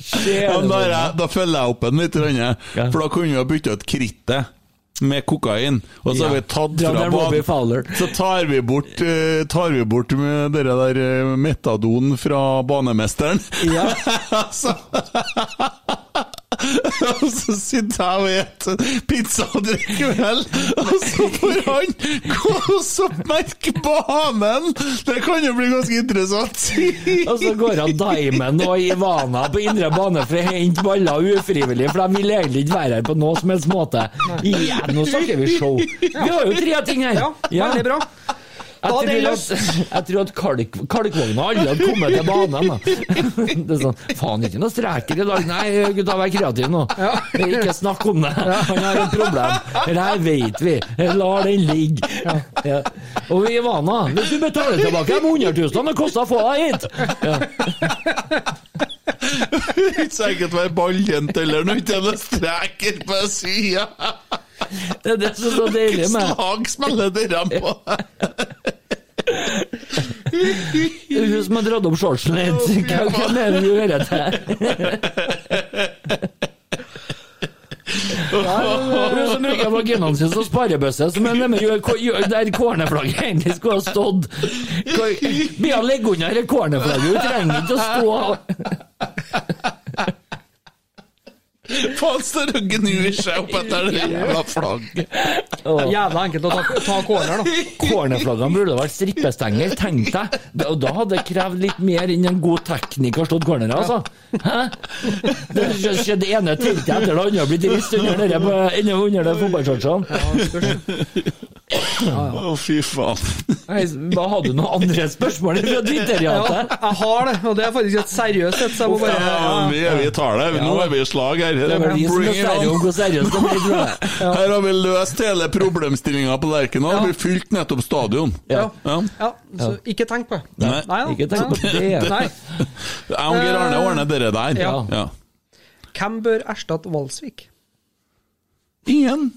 Skjer ja, det men da, noe? er jeg, da følger jeg opp en litt, grann, sånn? Ja. for da kunne vi ha bytta ut krittet. Med kokain, og så har vi Ja. tatt Dra fra ned banen. Robbie Fowler. Så tar vi bort, eh, tar vi bort med dere der eh, metadonen fra banemesteren. Ja. så, og så sitter jeg og spiser pizza og drikker øl, og så får han gå og så merke banen! Det kan jo bli ganske interessant. Og så går han Diamond og Ivana på indre bane for å hente baller ufrivillig, for de vil egentlig ikke være her på noe som helst måte. Igjen, nå snakker vi show. Vi har jo tre ting her. Ja, veldig bra. Da Jeg er det tror løst! at, jeg tror at kalk, kalkvogna aldri hadde kommet til banen. Da. Det er sånn, Faen, ikke noe streker i dag. Nei, gutta, vær kreative nå. Ikke snakk om det. Han har et problem. Det her vet vi. La den ligge. Ja. Og vi er vana. Hvis du betaler tilbake de 100 000 det kosta å få deg hit Ikke så enkelt å være balljente eller noe, ikke noen streker på sida! Det er det som er så deilig Hvilket med slag spiller dere på? det er Hun som har dratt opp shortsen litt. Hva hva mener du hører til? Hun som bruker vaginene sine som sparebøsse, som er nemlig gjør- gjør- der cornerflagget egentlig skulle ha stått. Hva- Blir hun ligge under det cornerflagget? Hun trenger ikke å stå Faen, står og gnur seg opp etter det jævla flagget! Jævla enkelt å ta, ta corner, da. Cornerflaggene burde vært strippestenger, tenk deg. Da- Og da hadde det krevd litt mer enn en god tekniker stått cornere, altså. Hæ? Det skjedde det ene teltet etter det andre, blitt rist under det på- under det fotballshortsene. Å, fy faen. Nei, Hva hadde du noen andre spørsmål fra Ja, Twitter-jatet? jeg har det, og det er faktisk et seriøst et, så jeg må bare Ja, vi, vi tar det. Nå er vi i slag her. Det er vel vi som er Bring it seriøse om on. hvor seriøst det blir, tror jeg. Her har vi løst hele problemstillinga på Lerkendal. Ja. Vi fylte nettopp stadion. Ja. Ja. Ja, så ikke tenk på det. Nei. da. Ikke tenk på Nei. det. Nei. Jeg og Geir Arne ordner dere der. Ja. Ja. Hvem bør erstatte Valsvik? Ingen.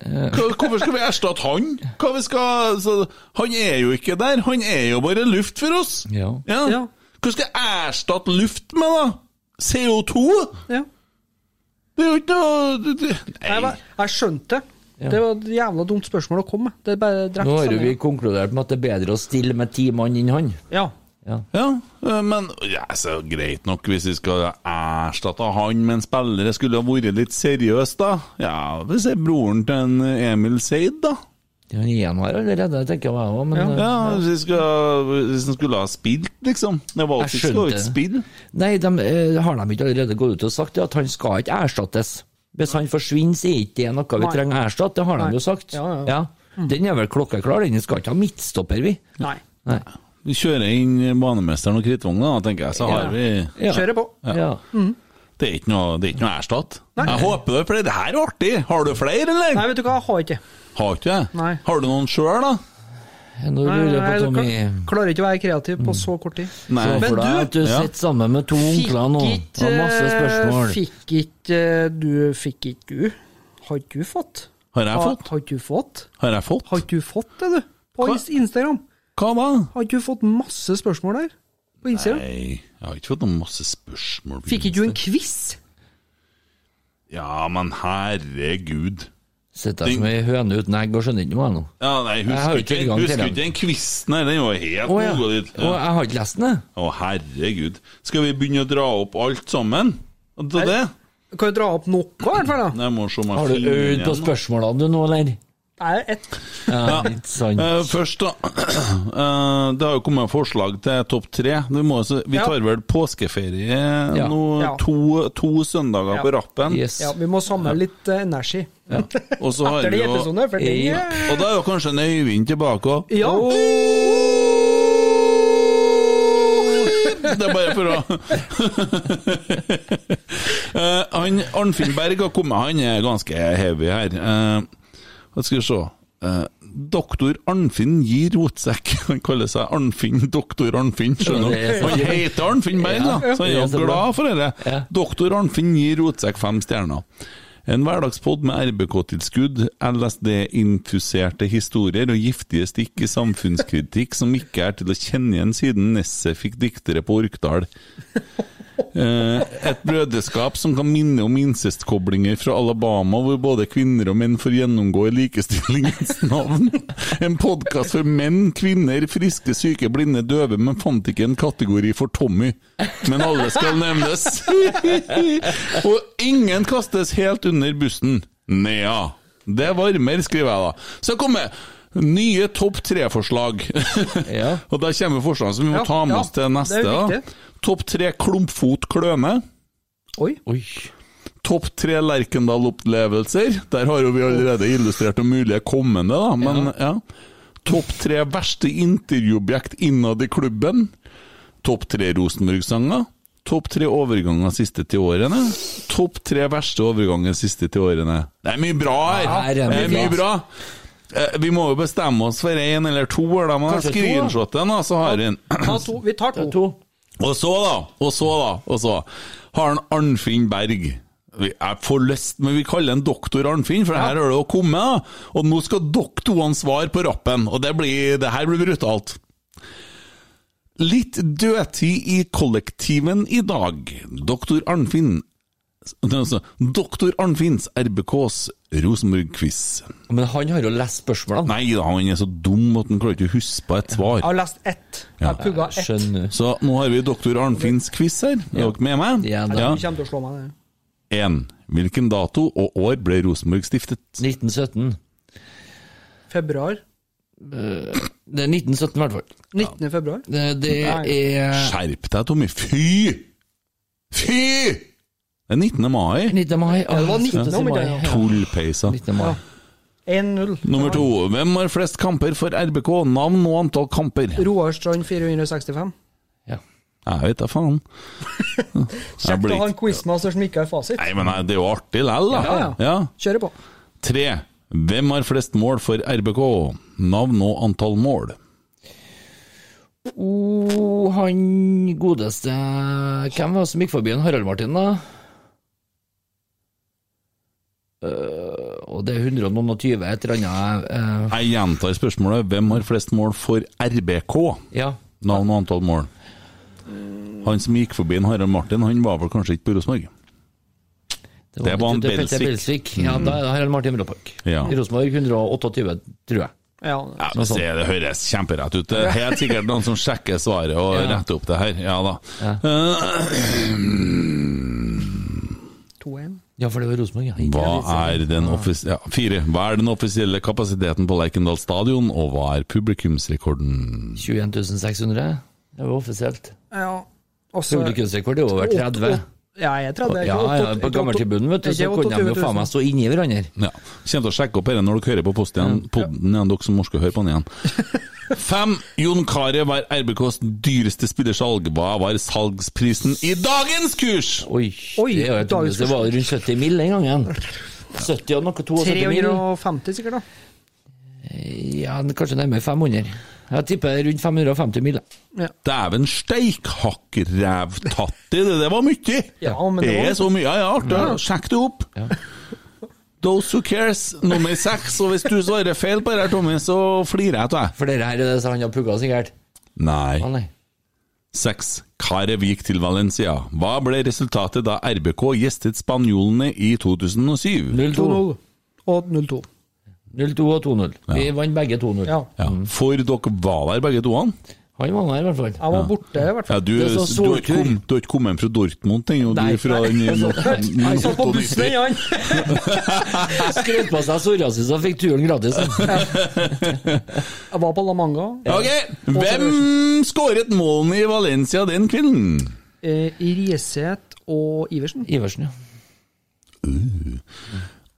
Eh. Hva- Hvorfor skal vi erstatte han? Hva vi skal, så, han er jo ikke der, han er jo bare luft for oss. Ja. Ja. Hva skal jeg erstatte luft med, da? CO2? Ja. Det er jo ikke noe det- det- Jeg, var, jeg skjønte det. Det var et jævla dumt spørsmål å komme med. Det er bare drept Nå har jo stemningen. vi konkludert med at det er bedre å stille med ti mann enn han. Ja. Ja, eh, men ja, så greit nok hvis vi skal erstatte han med en spiller det skulle ha vært litt seriøst, da. Ja, hvis det er broren til en Emil Seid, da. Han er en her allerede, tenker jeg òg, men eh, Ja, hvis, vi skal, hvis han skulle ha spilt, liksom. Det var Jeg ikke skal jo skjønte. ikke spille. Nei, de, eh, har de ikke allerede gått ut og sagt det, at han skal ikke erstattes? Hvis han forsvinner, så er ikke det noe vi Nei. trenger å erstatte, det har Nei. de jo sagt. Ja, ja. Den er vel klokkeklar, den skal ikke ha midtstopper, vi. Nei. Nei. Vi kjører inn banemesteren og krittvogna, da, tenker jeg, så har vi Ja. Kjører på. Ja. Det er ikke noe, det er ikke noe erstatt. Jeg håper det, for det her er artig. Har du flere, Nei, eller? vet du hva, jeg har ikke. Har ikke jeg. Nei. Har du noen sjøl, da? Nå Nei, lurer jeg nei, på, jeg Tommy klar- klarer ikke å være kreativ på så kort tid. Nei. Se Men for deg du- at du Ja. sitter sammen med to onkler nå, og eh, masse spørsmål. Fikk ikke du Fikk ikke du? Har ikke du fått? Har jeg Har- fått? Har ikke du fått? Har jeg fått? Har ikke du fått det, du? På Hva? ins- Instagram. Hva da? Har ikke du fått masse spørsmål der? På Instagram? Nei, jeg har ikke fått noen masse spørsmål. Fikk ikke du en quiz? Ja, men herregud. Sitter jeg som ei høne uten egg og skjønner ikke noe, jeg nå. Ja, nei, Jeg har husker jo ikke ikke, tilgang til husker den. ikke den quizen her, den var helt Å ja. noe dit. Å, Ja. jeg har ikke lest den, jeg. Å, herregud. Skal vi begynne å dra opp alt sammen? Og Til det? Kan du dra opp noe, i hvert fall? da? Jeg må se om jeg Har du finner den øvd på igjen, da. spørsmålene du nå, eller? Det er ett. Ja, litt sant. Eh, først, da. eh, det har jo kommet forslag til topp tre. Vi, må, også- vi Ja. tar vel påskeferie Ja. nå, Ja. to, to søndager Ja. på rappen. Yes. Ja, vi må samle litt eh, energi. Og så har Etter vi de jo episodene, for det Ja. Og da er jo kanskje en Øyvind tilbake òg. Ja. Det er bare for å Eh, han, Arnfinn Berg har kommet, han er ganske heavy her. Eh, Hva skal vi se Eh, Doktor Arnfinn gir rotsekk. Han kaller seg Arnfinn Doktor Arnfinn, skjønner Ja, det du. er sånn. så Han fint. heter Arnfinn Berg, da, Ja, så han er det er jo så bra. glad for dette. Ja. Doktor Arnfinn gir rotsekk fem stjerner. En hverdagspod med RBK-tilskudd, LSD-infuserte historier og giftige stikk i samfunnskritikk som ikke er til å kjenne igjen siden Nesset fikk diktere på Orkdal. Eh, Et brødreskap som kan minne om incestkoblinger fra Alabama, hvor både kvinner og menn får gjennomgå i likestillingens navn. En podkast for menn, kvinner, friske, syke, blinde, døve, men fant ikke en kategori for Tommy. Men alle skal nevnes. Og ingen kastes helt under bussen. Nea. Det varmer, skriver jeg da. Så kommer nye topp tre-forslag. Ja. Og der kommer forslagene som vi må Ja, ta med ja, oss til neste. det er da. viktig. Topp tre klumpfot kløne. Oi. Oi. Topp tre Lerkendal-opplevelser. Der har jo vi allerede illustrert det mulige kommende, da. Men ja. Topp tre verste intervjuobjekt innad i klubben. Topp tre Rosenborg-sanger. Topp tre overganger siste ti årene. Topp tre verste overganger siste ti årene. Det er mye bra her! Her er Det mye er mye bra! bra. Eh, Vi må jo bestemme oss for én eller to. Da må jeg Kanskje to, da. screenshotte den, da, så har vi den. Ta to. Vi tar to. To. Og så, da, og så, da, og så har han Arnfinn Berg. Vi- Jeg får lyst, men vi kaller han doktor Arnfinn, for her har det jo kommet. da. Og nå skal dere to ha svar på rappen, og det, blir, det her blir brutalt. Litt dødtid i kollektiven i dag. Doktor Arnfinn det er altså Doktor Arnfinns RBKs Rosenborg-quiz. Men han har jo lest spørsmålene. Nei da, han er så dum at han klarer ikke å huske på et svar. Jeg har lest ett. Jeg har pugga ett. Skjønner. Så nå har vi doktor Arnfinns quiz her. Er dere med meg? Ja, da. Du kommer til å slå meg ned. 1. Hvilken dato og år ble Rosenborg stiftet? 1917. Februar. Det er 1917 i hvert fall. 19. februar. Det, det er Skjerp deg, Tommy. Fy! Fy! Det er 19. mai. 19. mai. Ah, det var 19. slutt å si mai. mai, ja. Tullpeisa. 19. mai. 1-0. Nummer to. Hvem har flest kamper for RBK? Navn og antall kamper? Roar Strand 465. Ja. Jeg vet da faen. Jeg Kjekt blir å ha en ikke- quizmaster som ikke har fasit. Nei, men nei, det er jo artig lell, da. Ja, ja. Kjører på. Tre. Hvem har flest mål for RBK? Navn og antall mål? Oh, han godeste Hvem var det som gikk forbi en Harald Martin, da? Eh, og det er 120 et eller annet eh, Jeg gjentar spørsmålet. Hvem har flest mål for RBK? Ja. Navn og antall mål. Han som gikk forbi en Harald Martin, han var vel kanskje ikke på Rosenborg? Det var han Petter Belsvik. Ja, da er det Harald Martin Bråpark. Ja. I Rosenborg 128, tror jeg. Ja, Ja, men se, det høres kjemperett ut. Det er helt sikkert noen som sjekker svaret og Ja. retter opp det her. Ja da. Eh, 2-1. Ja, for det var Rosenborg, ja. Hva er den offis ja, fire. Hva er den offisielle kapasiteten på Lerkendal stadion, og hva er publikumsrekorden? 21 600. Det var offisielt. Ja. Også, Publikumsrekord er jo over 30. Ja, jeg er 30. Ja, ja, på gammeltribunen, vet du, så kunne de jo faen sånn. meg stå inni hverandre. Ja. Kjem til å sjekke opp dette når dere hører på posten igjen, podden igjen, dere som orker å høre på den igjen. Fem. Jon Carew var RBKs dyreste spillersalg. Hva var salgsprisen i dagens kurs? Oi, Oi, det, er jo et- dagens det var jo rundt 70 mil den gangen. 70 og noe 72 mil. 350 sikkert, da. Ja, kanskje nærmere 500. Jeg tipper rundt 550 mil. Dæven steikhakkrævtatti, det der var mye! Ja, men det det var- er sånn så mye, ja, ja, artig. Sjekk det opp. Those who cares, nummer seks. Og hvis du svarer feil på det her, Tommy, så flirer jeg av deg. For dere her er det som han har pugga, sikkert. Å Nei. nei. Seks. Karev gikk til Valencia. Hva ble resultatet da RBK gjestet spanjolene i 2007? 0-2 2-0 og 0-2. 0-2 og 2-0. Vi vant begge 2-0. Ja. Ja. For dere var der, begge toene? Han var der, i hvert fall. Jeg var borte, i hvert Ja, fall. du, du, Det er har sånn ikke soltur. kom- du har ikke kommet hjem fra Dortmund, tenker jeg, og du Nei. er fra den Jeg sånn satt på bussen, ja. han! Skrøt på seg psoriasis og fikk turen gratis. Jeg var på La Manga Ok, Hvem skåret målene i Valencia den kvelden? eh, i Rieseth og Iversen. Iversen, ja.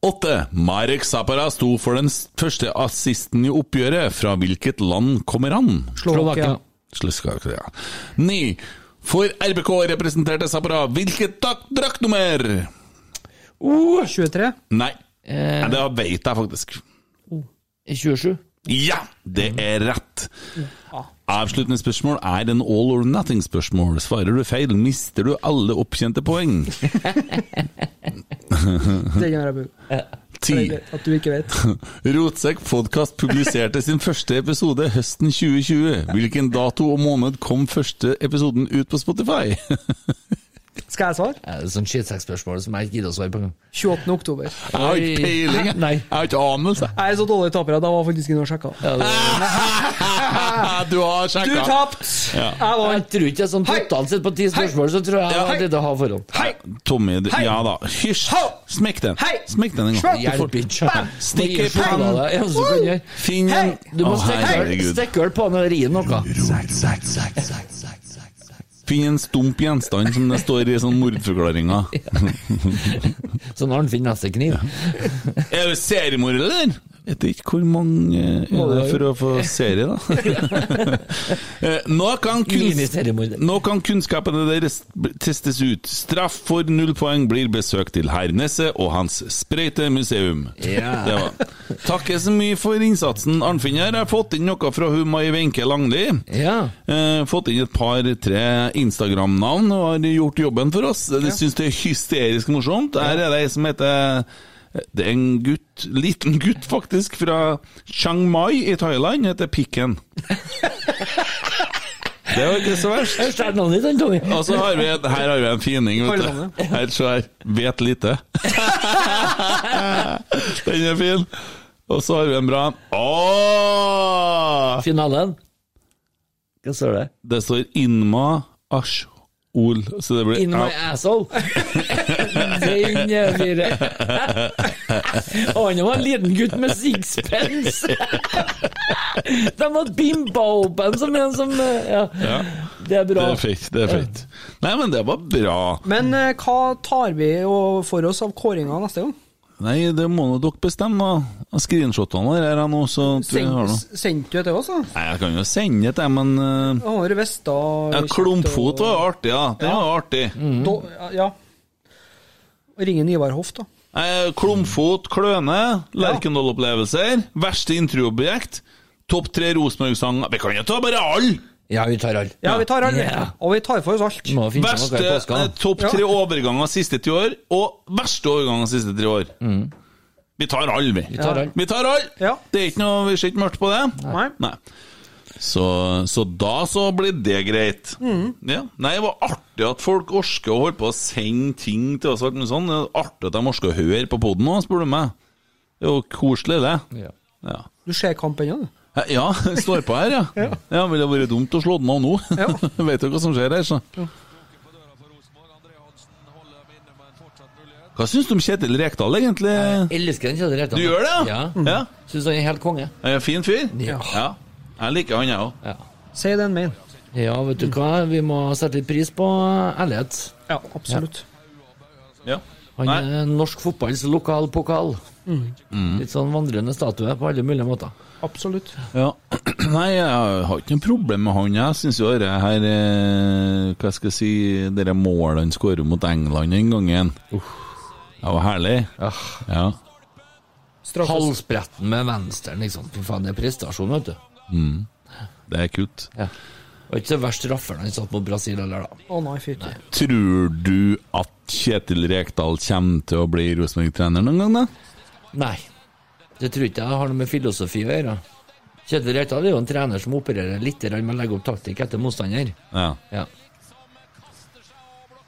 Åtte. Marek Zapara sto for den s- første assisten i oppgjøret. Fra hvilket land kommer han? Slovakia. Sluskakia. Ni. For RBK representerte Zapara hvilket dak- draktnummer? Oh, 23. Nei, eh, det veit jeg faktisk. 27. Ja, det er rett. Avsluttende spørsmål er en all or nothing-spørsmål. Svarer du feil, mister du alle opptjente poeng. Det kan jeg bruke. Det Ti. er greit At du ikke vet. Rotsekk podkast publiserte sin første episode høsten 2020. Hvilken dato og måned kom første episoden ut på Spotify? Skal jeg svare? Er det sånn skitsekkspørsmål som jeg ikke gidder å svare på engang? 28. oktober. Jeg har ikke peiling, jeg. Nei. Jeg har ikke anelse. Jeg er så dårlig taper at jeg var faktisk inne og sjekka. Ja, det- Du har Du sjekka. tapte! Jeg jeg vant. tror ikke jeg sånn Hei! totalt sett på ti spørsmål, så tror Ja, jeg jeg hei! hadde det å ha forhånd. Hei! Tommy, du, ja da. Hysj! Smekk den. Hei! Smekk den en gang. Hjelp ikke. Stikk i Gi seg pannen. da, det er eneste du kan gjøre. Finn Hei! den. Du må Å, herregud. stikke øl på han og ri noe. Finn en stump gjenstand, som det står i sånn mordforklaringa. Sånn Arnfinn Nestekniv. Er du seriemorder, eller? Vet ikke hvor mange eh, Må er det det for å få serie, da. Eh, Nå kan, kunst, Mini-seriemorder. nå kan kunnskapene deres b- testes ut. Straff for null poeng blir besøk til herr Nesse og hans sprøytemuseum. Ja. Det var. Takker så mye for innsatsen, Arnfinn her. Jeg har fått inn noe fra hun Mai Wenche Langli. Ja. Eh, fått inn et par-tre Instagram-navn og har gjort jobben for oss. De syns det er hysterisk morsomt. Her er det ei som heter Det er en gutt, liten gutt faktisk, fra Chiang Mai i Thailand, heter Pikken. Det var ikke så verst. Jeg stjal navnet ditt, han, Tommy. Og så Altså, har vi en, her har vi en fining, vet du. Her, så her, vet lite. Den er fin. Og så har vi en bra en. Åh! Finalen. Hva står det? Det står Inma Ashol, så det blir In my asshole. Den er fire. Han var en liten gutt med sixpence. De har bimba opp en som en som eh, Ja, Ja, det er det bra. er fint. Det er fint. Nei, men det var bra. Men eh, hva tar vi jo for oss av kåringa neste gang? Nei, det må nå dere bestemme, da. Screenshotene der er jeg nå, så at vi har Send- noe. Sendte du det til oss, da? Nei, jeg kan jo sende det til men eh, Jeg har visst da ja, Klumpfot var jo artig, da. Det var artig. Mm. Da- Ja. Ringen Ivar Hoff, da. Nei, klumpfot, kløne, Lerkendal-opplevelser, verste intervjuobjekt, topp tre Rosenborg-sanger Vi kan jo ta bare alle! Ja, vi tar alle. Ja, vi tar alle. Ja. Og vi tar for oss alt. Må finne på hva i Verste påska. eh, topp tre overganger siste ti år, og verste overganger siste tre år. Vi tar alle, vi. Vi tar alle. Vi tar alle! Mm. Ja. Det er ikke noe, Vi ser ikke mørkt på det. Nei. Nei. Så, så da så blir det greit. Ja. Nei, det var artig at folk orker å holde på å sende ting til oss. og alt mulig sånn. Det er artig at de orker å høre på poden nå, spør du meg. Det er jo koselig, det. Ja. Ja. Du ser kamp ennå, du. Eh, Ja, det står på her, ja. ja. ja ville det vært dumt å slå den av nå? Ja. Vet jo hva som skjer her, så. Hva syns du om Kjetil Rekdal, egentlig? Elsker den Kjell Rekdal. Du gjør det? Ja. ja. Syns han er helt konge. Er jeg en fin fyr? Ja. Jeg liker han, jeg òg. Ja. Si den main. ja, vet du hva, vi må sette litt pris på ærlighet. Ja, absolutt. Ja. Han Nei. Mm. er norsk fotballs lokalpokal. Litt sånn vandrende statue på alle mulige måter. Absolutt. Ja. Nei, jeg har ikke noe problem med han. Jeg syns jo det her eh, Hva skal jeg si Det der målet han skårer mot England den gangen Det var herlig. Ja. Straffes. Halsbretten med venstre, liksom. Fy faen, det er prestasjon, vet du. Det er kult. Ja. Og ikke så verst rafferen han satt mot Brasil heller, da. Å nei, fytti. Tror du at Kjetil Rekdal kommer til å bli Rosenborg-trener noen gang, da? Nei. Det tror ikke jeg har noe med filosofi å gjøre. Kjetil Rekdal er jo en trener som opererer litt grann med å legge opp taktikk etter motstander. Ja. Ja.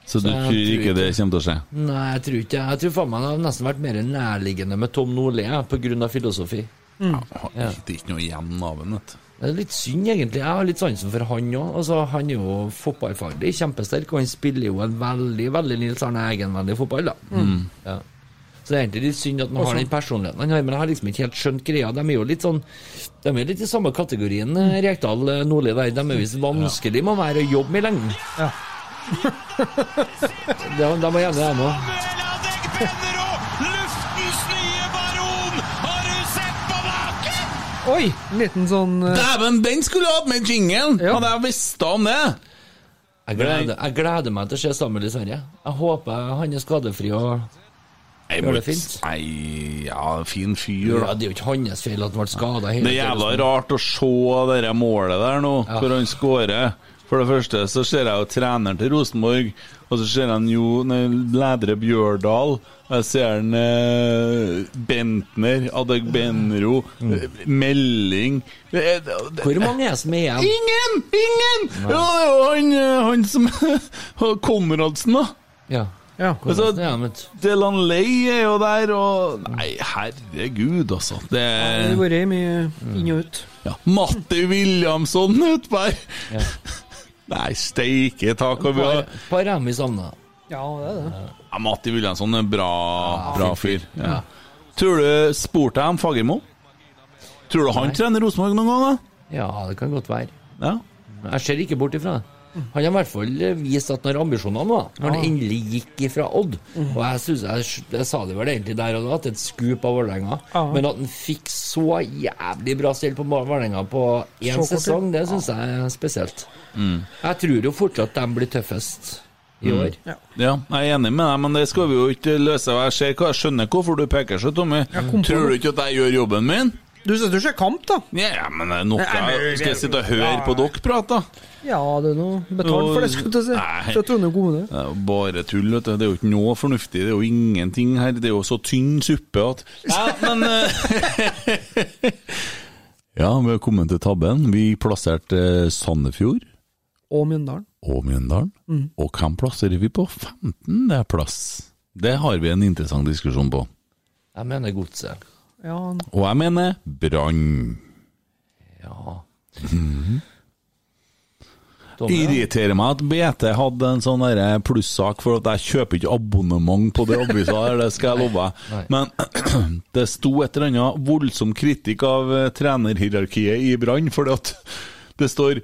Så du Jeg tror tror ikke det kommer til å skje? Nei, jeg tror ikke Jeg tror faen meg det har nesten vært mer nærliggende med Tom Nordli jeg, på grunn av filosofi. Ja. Det er ikke noe igjen av ham, vet du. Det er litt synd, egentlig. Jeg har litt sansen for han òg. Altså, han er jo fotballfaglig kjempesterk, og han spiller jo en veldig veldig Nils Arne Eggen-vennlig fotball, da. Mm. Ja. Så det er egentlig litt synd at han har den personligheten han har, men jeg har liksom ikke helt skjønt greia. De er jo litt sånn De er litt i samme kategorien, eh, Rekdal, eh, Nordli der. De er visst vanskelig med å være og jobbe med i lengden. Ja. de, de er gjerne det, òg. Meladek brenner opp! Luftens nye baron! Har du sett på maken? Oi! En liten sånn eh, Dæven, den skulle jeg hatt med jinglen! Ja. Hadde jeg visst om det! Jeg gleder, jeg gleder meg til å se Samuel i Sverige. Jeg håper han er skadefri og Nei, Gjør men- det fint. Nei, ja, fin fyr, Ja, da. det er jo ikke hans feil at han ble skada. Det er jævla rart å se det der målet der nå, hvor han skårer. For det første så ser jeg jo treneren til Rosenborg, og så ser jeg jo nei, Lædre Bjørdal. Jeg ser han eh, Bentner, Adeg Benro, eh, Melding det, er- det, Hvor mange er det som er igjen? Ingen! Ingen! Ja, det er jo han, eh, han som Konradsen, da. Ja. Ja. Hvor Altså- mange er det, vet du? Delan Ley er jo der, og Nei, herregud, altså. Det Det er har vært mye Mm. inn og ut. Ja, Matti Williamson utpå her! Nei, steike tak og vi har- Par- Par er vi savna. Ja, det er det. ja, Matti Williamson er en bra, bra fyr. Ja. Tror du spurte jeg om Fagermo? Tror du han trener Rosenborg noen gang, Ja, det kan godt være. da? Ja. Jeg ser ikke bort ifra det. Han har i hvert fall eh, vist at han har ambisjoner nå, da, når han endelig gikk ifra Odd. Og jeg synes, jeg, jeg sa det vel egentlig der og da, at det er et skup av Vålerenga. Ja. Men at han fikk så jævlig bra stell på Vålerenga på Så én kort tid. sesong, det syns jeg er spesielt. Jeg tror jo fortsatt de blir tøffest i år. Ja, jeg er enig med deg, men det skal vi jo ikke løse. og Jeg, ser, hva- jeg skjønner hvorfor du peker seg, Tommy. kom på Tror du ikke at jeg gjør jobben min? Du syns du ser kamp, da? Ja, men det er noe Nei, men- jeg- Skal jeg sitte og høre på dere prate, da? Ja, det er noe betalt for det, skulle jeg til å Nei. si. Fra Trondheim kommune. Det er jo Eh, bare tull, vet du. Det er jo ikke noe fornuftig. Det er jo ingenting her. Det er jo så tynn suppe at Ja, men eh, Ja, vi har kommet til tabben. Vi plasserte eh, Sandefjord Og Mjøndalen. og Mjøndalen. Og hvem plasserer vi på 15. plass? Det har vi en interessant diskusjon på. Jeg mener Godset. Ja, Og jeg mener Brann. Ja. Det Tommy, ja. irriterer meg at BT hadde en sånn derre plussak, for at jeg kjøper ikke abonnement på det avisa der, det skal jeg love. Nei. Men det sto et eller annet voldsom kritikk av eh, trenerhierarkiet i Brann, for at det står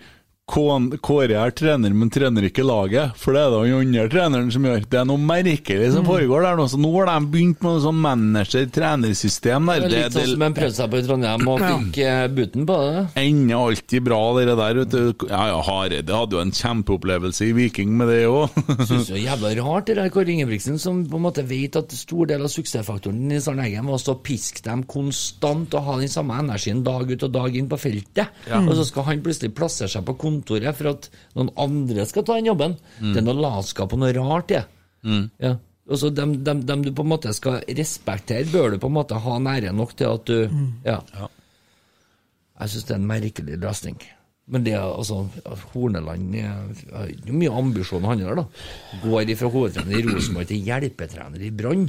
"Kån- Kåre er trener, men trener ikke laget, for det er det han andre treneren som gjør. Det er noe merkelig Mm. som foregår der nå. Så nå har de begynt med noe sånn manager-trenersystem der. Det er Det, litt det, sånn som en prøvde seg på i Trondheim og fikk eh, buten på det. ender alltid bra, det der. Vet du. Ja, ja, Hareide hadde jo en kjempeopplevelse i Viking med det òg. synes det er jævla rart det der Kåre Ingebrigtsen, som på en måte vet at stor del av suksessfaktoren i Sarneggen var å stå og piske dem konstant og ha den samme energien dag ut og dag inn på feltet. Og så skal han plutselig plassere seg på kontoret for at noen andre skal ta den jobben. Det er noe latskap og noe rart, det. Ja. Og så dem, dem, dem du på en måte skal respektere, bør du på en måte ha nære nok til at du ja. Jeg syns det er en merkelig løsning. Men det er altså Horneland eh, har ikke mye ambisjon han har, da. Går ifra hovedtrener i Rosenborg til hjelpetrener i Brann.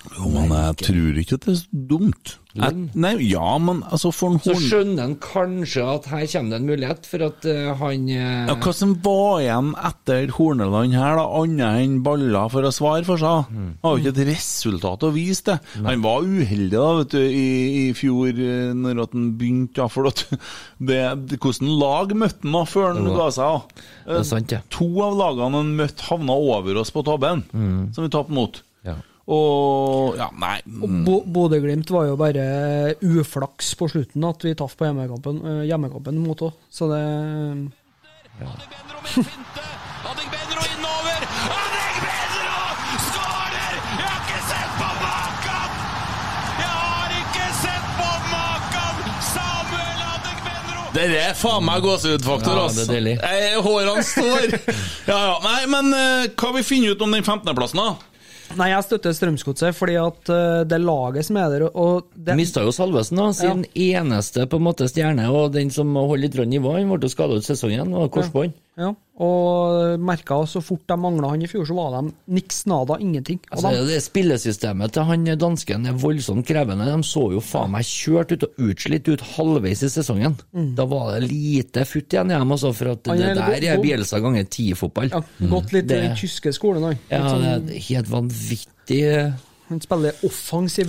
Jo, men jeg tror ikke at det er så dumt. Jeg, nei, ja, men altså for en Så horn... skjønner han kanskje at her kommer det en mulighet for at eh, han eh, Ja, hva som var igjen etter Horneland her, da, annet enn baller for å svare for seg? Mm. Han har jo ikke et resultat å vise til. Han var uheldig da, vet du, i, i fjor, eh, når at han begynte, da, for at det, det, hvordan lag møtte han da, før han Jo da. ga seg? da? Det er sant, det. To av lagene han møtte, havna over oss på tabben, som vi tapte mot. Mm. Ja. Og ja, nei Bo- Bodø-Glimt var jo bare uflaks på slutten, at vi tapte på hjemmekampen, eh, hjemmekampen mot òg. Så det Adek Benro med en finte. Adek Benro innover. Adek Benro skårer! Jeg har ikke sett på maken! Jeg har ikke sett på maken! Samuel Adek Benro! Det er faen meg gåsehudfaktor, Ja, ass. det er deilig. Eh, Hårene står. ja, ja. Nei, men eh, hva vi finner ut om den 15.-plassen, da? Nei, jeg støtter Strømsgodset, fordi at eh, det er laget som er der, og det Mista jo Salvesen, da. Sin eneste på en måte stjerne, og den som holder litt rønn nivå. Han ble jo skada ut sesongen, og korsbånd. Ja, og merka så fort de mangla han i fjor, så var de niks nada, ingenting. Og Altså, de, det spillesystemet til han dansken er voldsomt krevende. De så jo faen meg kjørt ut og utslitt ut halvveis i sesongen. Da var det lite futt igjen i dem, altså, for at Han det er der god- Mm. er god. Bielsa ganger ti-fotball. ja, Mm. gått litt i Det- den tyske skolen, han. Ja, Litt sånn- det er helt vanvittig Han spiller offensiv.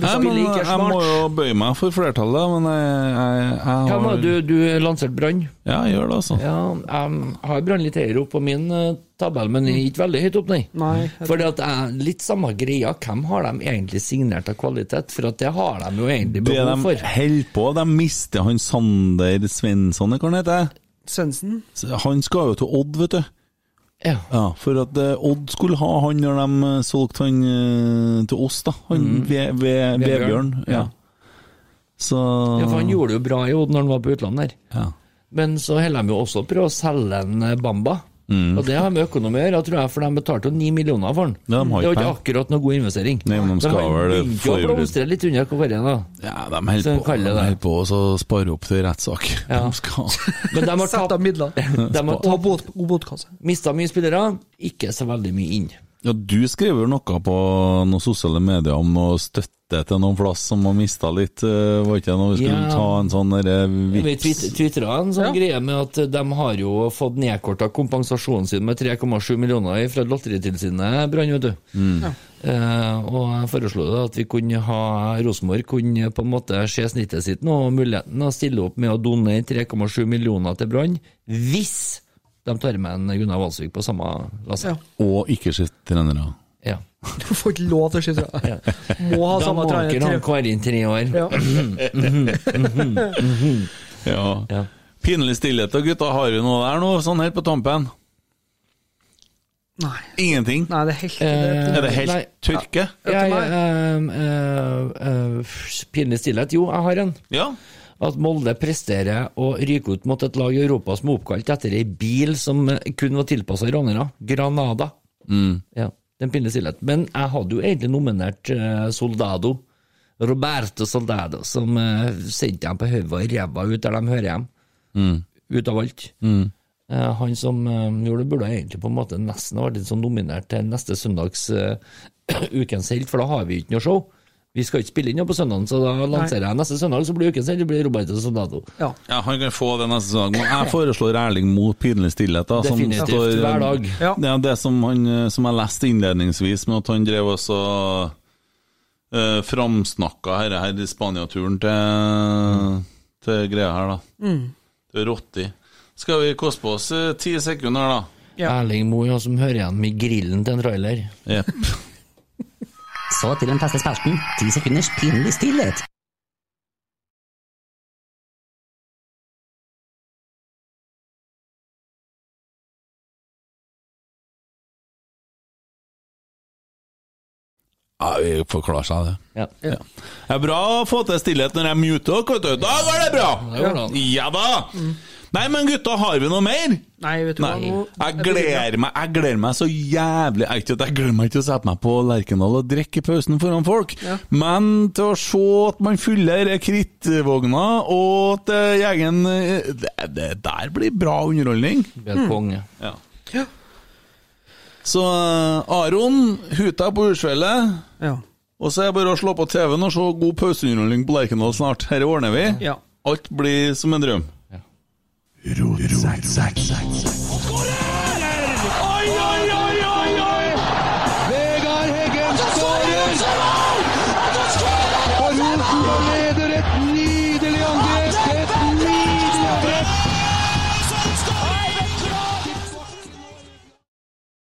Jeg må, Spiller ikke eh, jeg må smart. jo bøye meg for flertallet, men jeg, jeg, jeg har Ja, men du, du lanserte Brann. Ja, jeg gjør det, altså. Ja, jeg har Brann litt høyere opp på min eh, tabell, men ikke veldig høyt opp, nei. Nei, jeg- Fordi at jeg, Litt samme greia, hvem har de egentlig signert av kvalitet? For at det har de jo egentlig Det behov de for. holder på, de mister han Sander Svensson, hva han heter Svendsen. Han skal jo til Odd, vet du. Ja. Ja, For at eh, Odd skulle ha han når de eh, solgte han eh, til oss, da. Han ved, ved, Vebjørn. Mm. Vebjørn, Ja. ja. Så Ja, for han gjorde det jo bra i Odd når han var på utlandet. her. ja. Men så holder de jo også på å selge en eh, Bamba. Mm. Og det har med økonomi å gjøre, tror jeg, for de betalte jo 9 millioner for den. Ja, de har det er jo ikke ikke akkurat noe god investering. Nei, men de skal han vel begynte jo å forberede- blomstre litt under Korea, da. Ja, de Så holder på, de kaller det. holder på å så spare opp til rettssak. Ja. De skal Men de har, Sett tapt, av midler. de har Og tapt, bot, og botkasse. mista mye spillere, ikke så veldig mye inn. Ja, du skriver noe på noen sosiale medier om noe støtte til noen plass som har mista litt. eh, Var ikke det når vi skulle Ja. ta en sånn derre Vi vips? twit- twitra en sånn Ja. greie med at de har jo fått nedkorta kompensasjonen sin med 3,7 millioner fra Lotteritilsynet, Brann, vet du. Mm. Eh, og jeg foreslo da at vi kunne ha Rosenborg kunne på en måte se snittet sitt nå, og muligheten å stille opp med å donere 3,7 millioner til Brann hvis De tar med en Gunnar Valsvik på samme lasset. Og ikke skift trenere. Ja. Du får ikke lov til å skifte. Ja. Må ha Da samme må trener. ikke han tre- Karin tre år. Ja. Ja. Ja. Pinlig stillhet. Og gutta, har vi noe der nå, sånn helt på tampen? Nei. Ingenting? Nei, det er helt Eh, Er det helt Nei. tørke? Jeg, meg. ehm, eh, eh, f- pinlig stillhet. Jo, jeg har en. Ja. At Molde presterer å ryke ut mot et lag i Europa som er oppkalt etter ei bil som eh, kun var tilpassa ranere. Granada. Ja, det er en pinlig stillhet. Men jeg hadde jo egentlig nominert eh, Soldado. Roberto Soldado, som eh, sendte dem på hodet og ræva ut der de hører hjem. Ut av alt. Eh, han som eh, gjorde det, burde egentlig på en måte nesten ha vært litt sånn nominert til neste søndags eh, Ukens helt, for da har vi ikke noe show. Vi skal ikke spille inn noe på søndagen, så da lanserer jeg neste søndag, så blir Ukens helt det blir Roberto Soldado. Ja. ja, han kan få det neste dag. Men jeg foreslår Erling mot pinlig stillhet. Da, som Definitivt, står- hver dag. Ja. Det er det som, han, eh, som jeg leste innledningsvis, med at han drev også uh, framsnakka her, her i Spania-turen til, til greia her, da. Mm. Til Rotti. Skal vi koste på oss eh, ti sekunder, da? Ja. Erling Moe, ja, som hører igjen med grillen til en trailer. Jepp. Så til den faste spalten, ti sekunders pinlig stillhet. Ja, vi forklarer seg det. Ja. Ja. Det er bra å få til stillhet når jeg muter dere, vet du. Da går det Ja, det bra! går det. Ja da! Nei, men gutta, har vi noe mer? Nei, vet du Nei. hva. nå- Jeg gleder meg jeg gleder meg så jævlig Jeg, ikke, at jeg gleder meg ikke til å sette meg på Lerkendal og drikke i pausen foran folk, men til å se at man fyller krittvogna, og at eh, jegeren eh, det, det der blir bra underholdning. Helt konge. Ja. Så eh, Aron, huta på Ursfjellet. Ja. Og så er det bare å slå på TV-en og se god pauseunderholdning på Lerkendal snart. Dette ordner vi. Ja. Alt blir som en drøm. Ja. Rot, rot, rot, rot, rot, rot.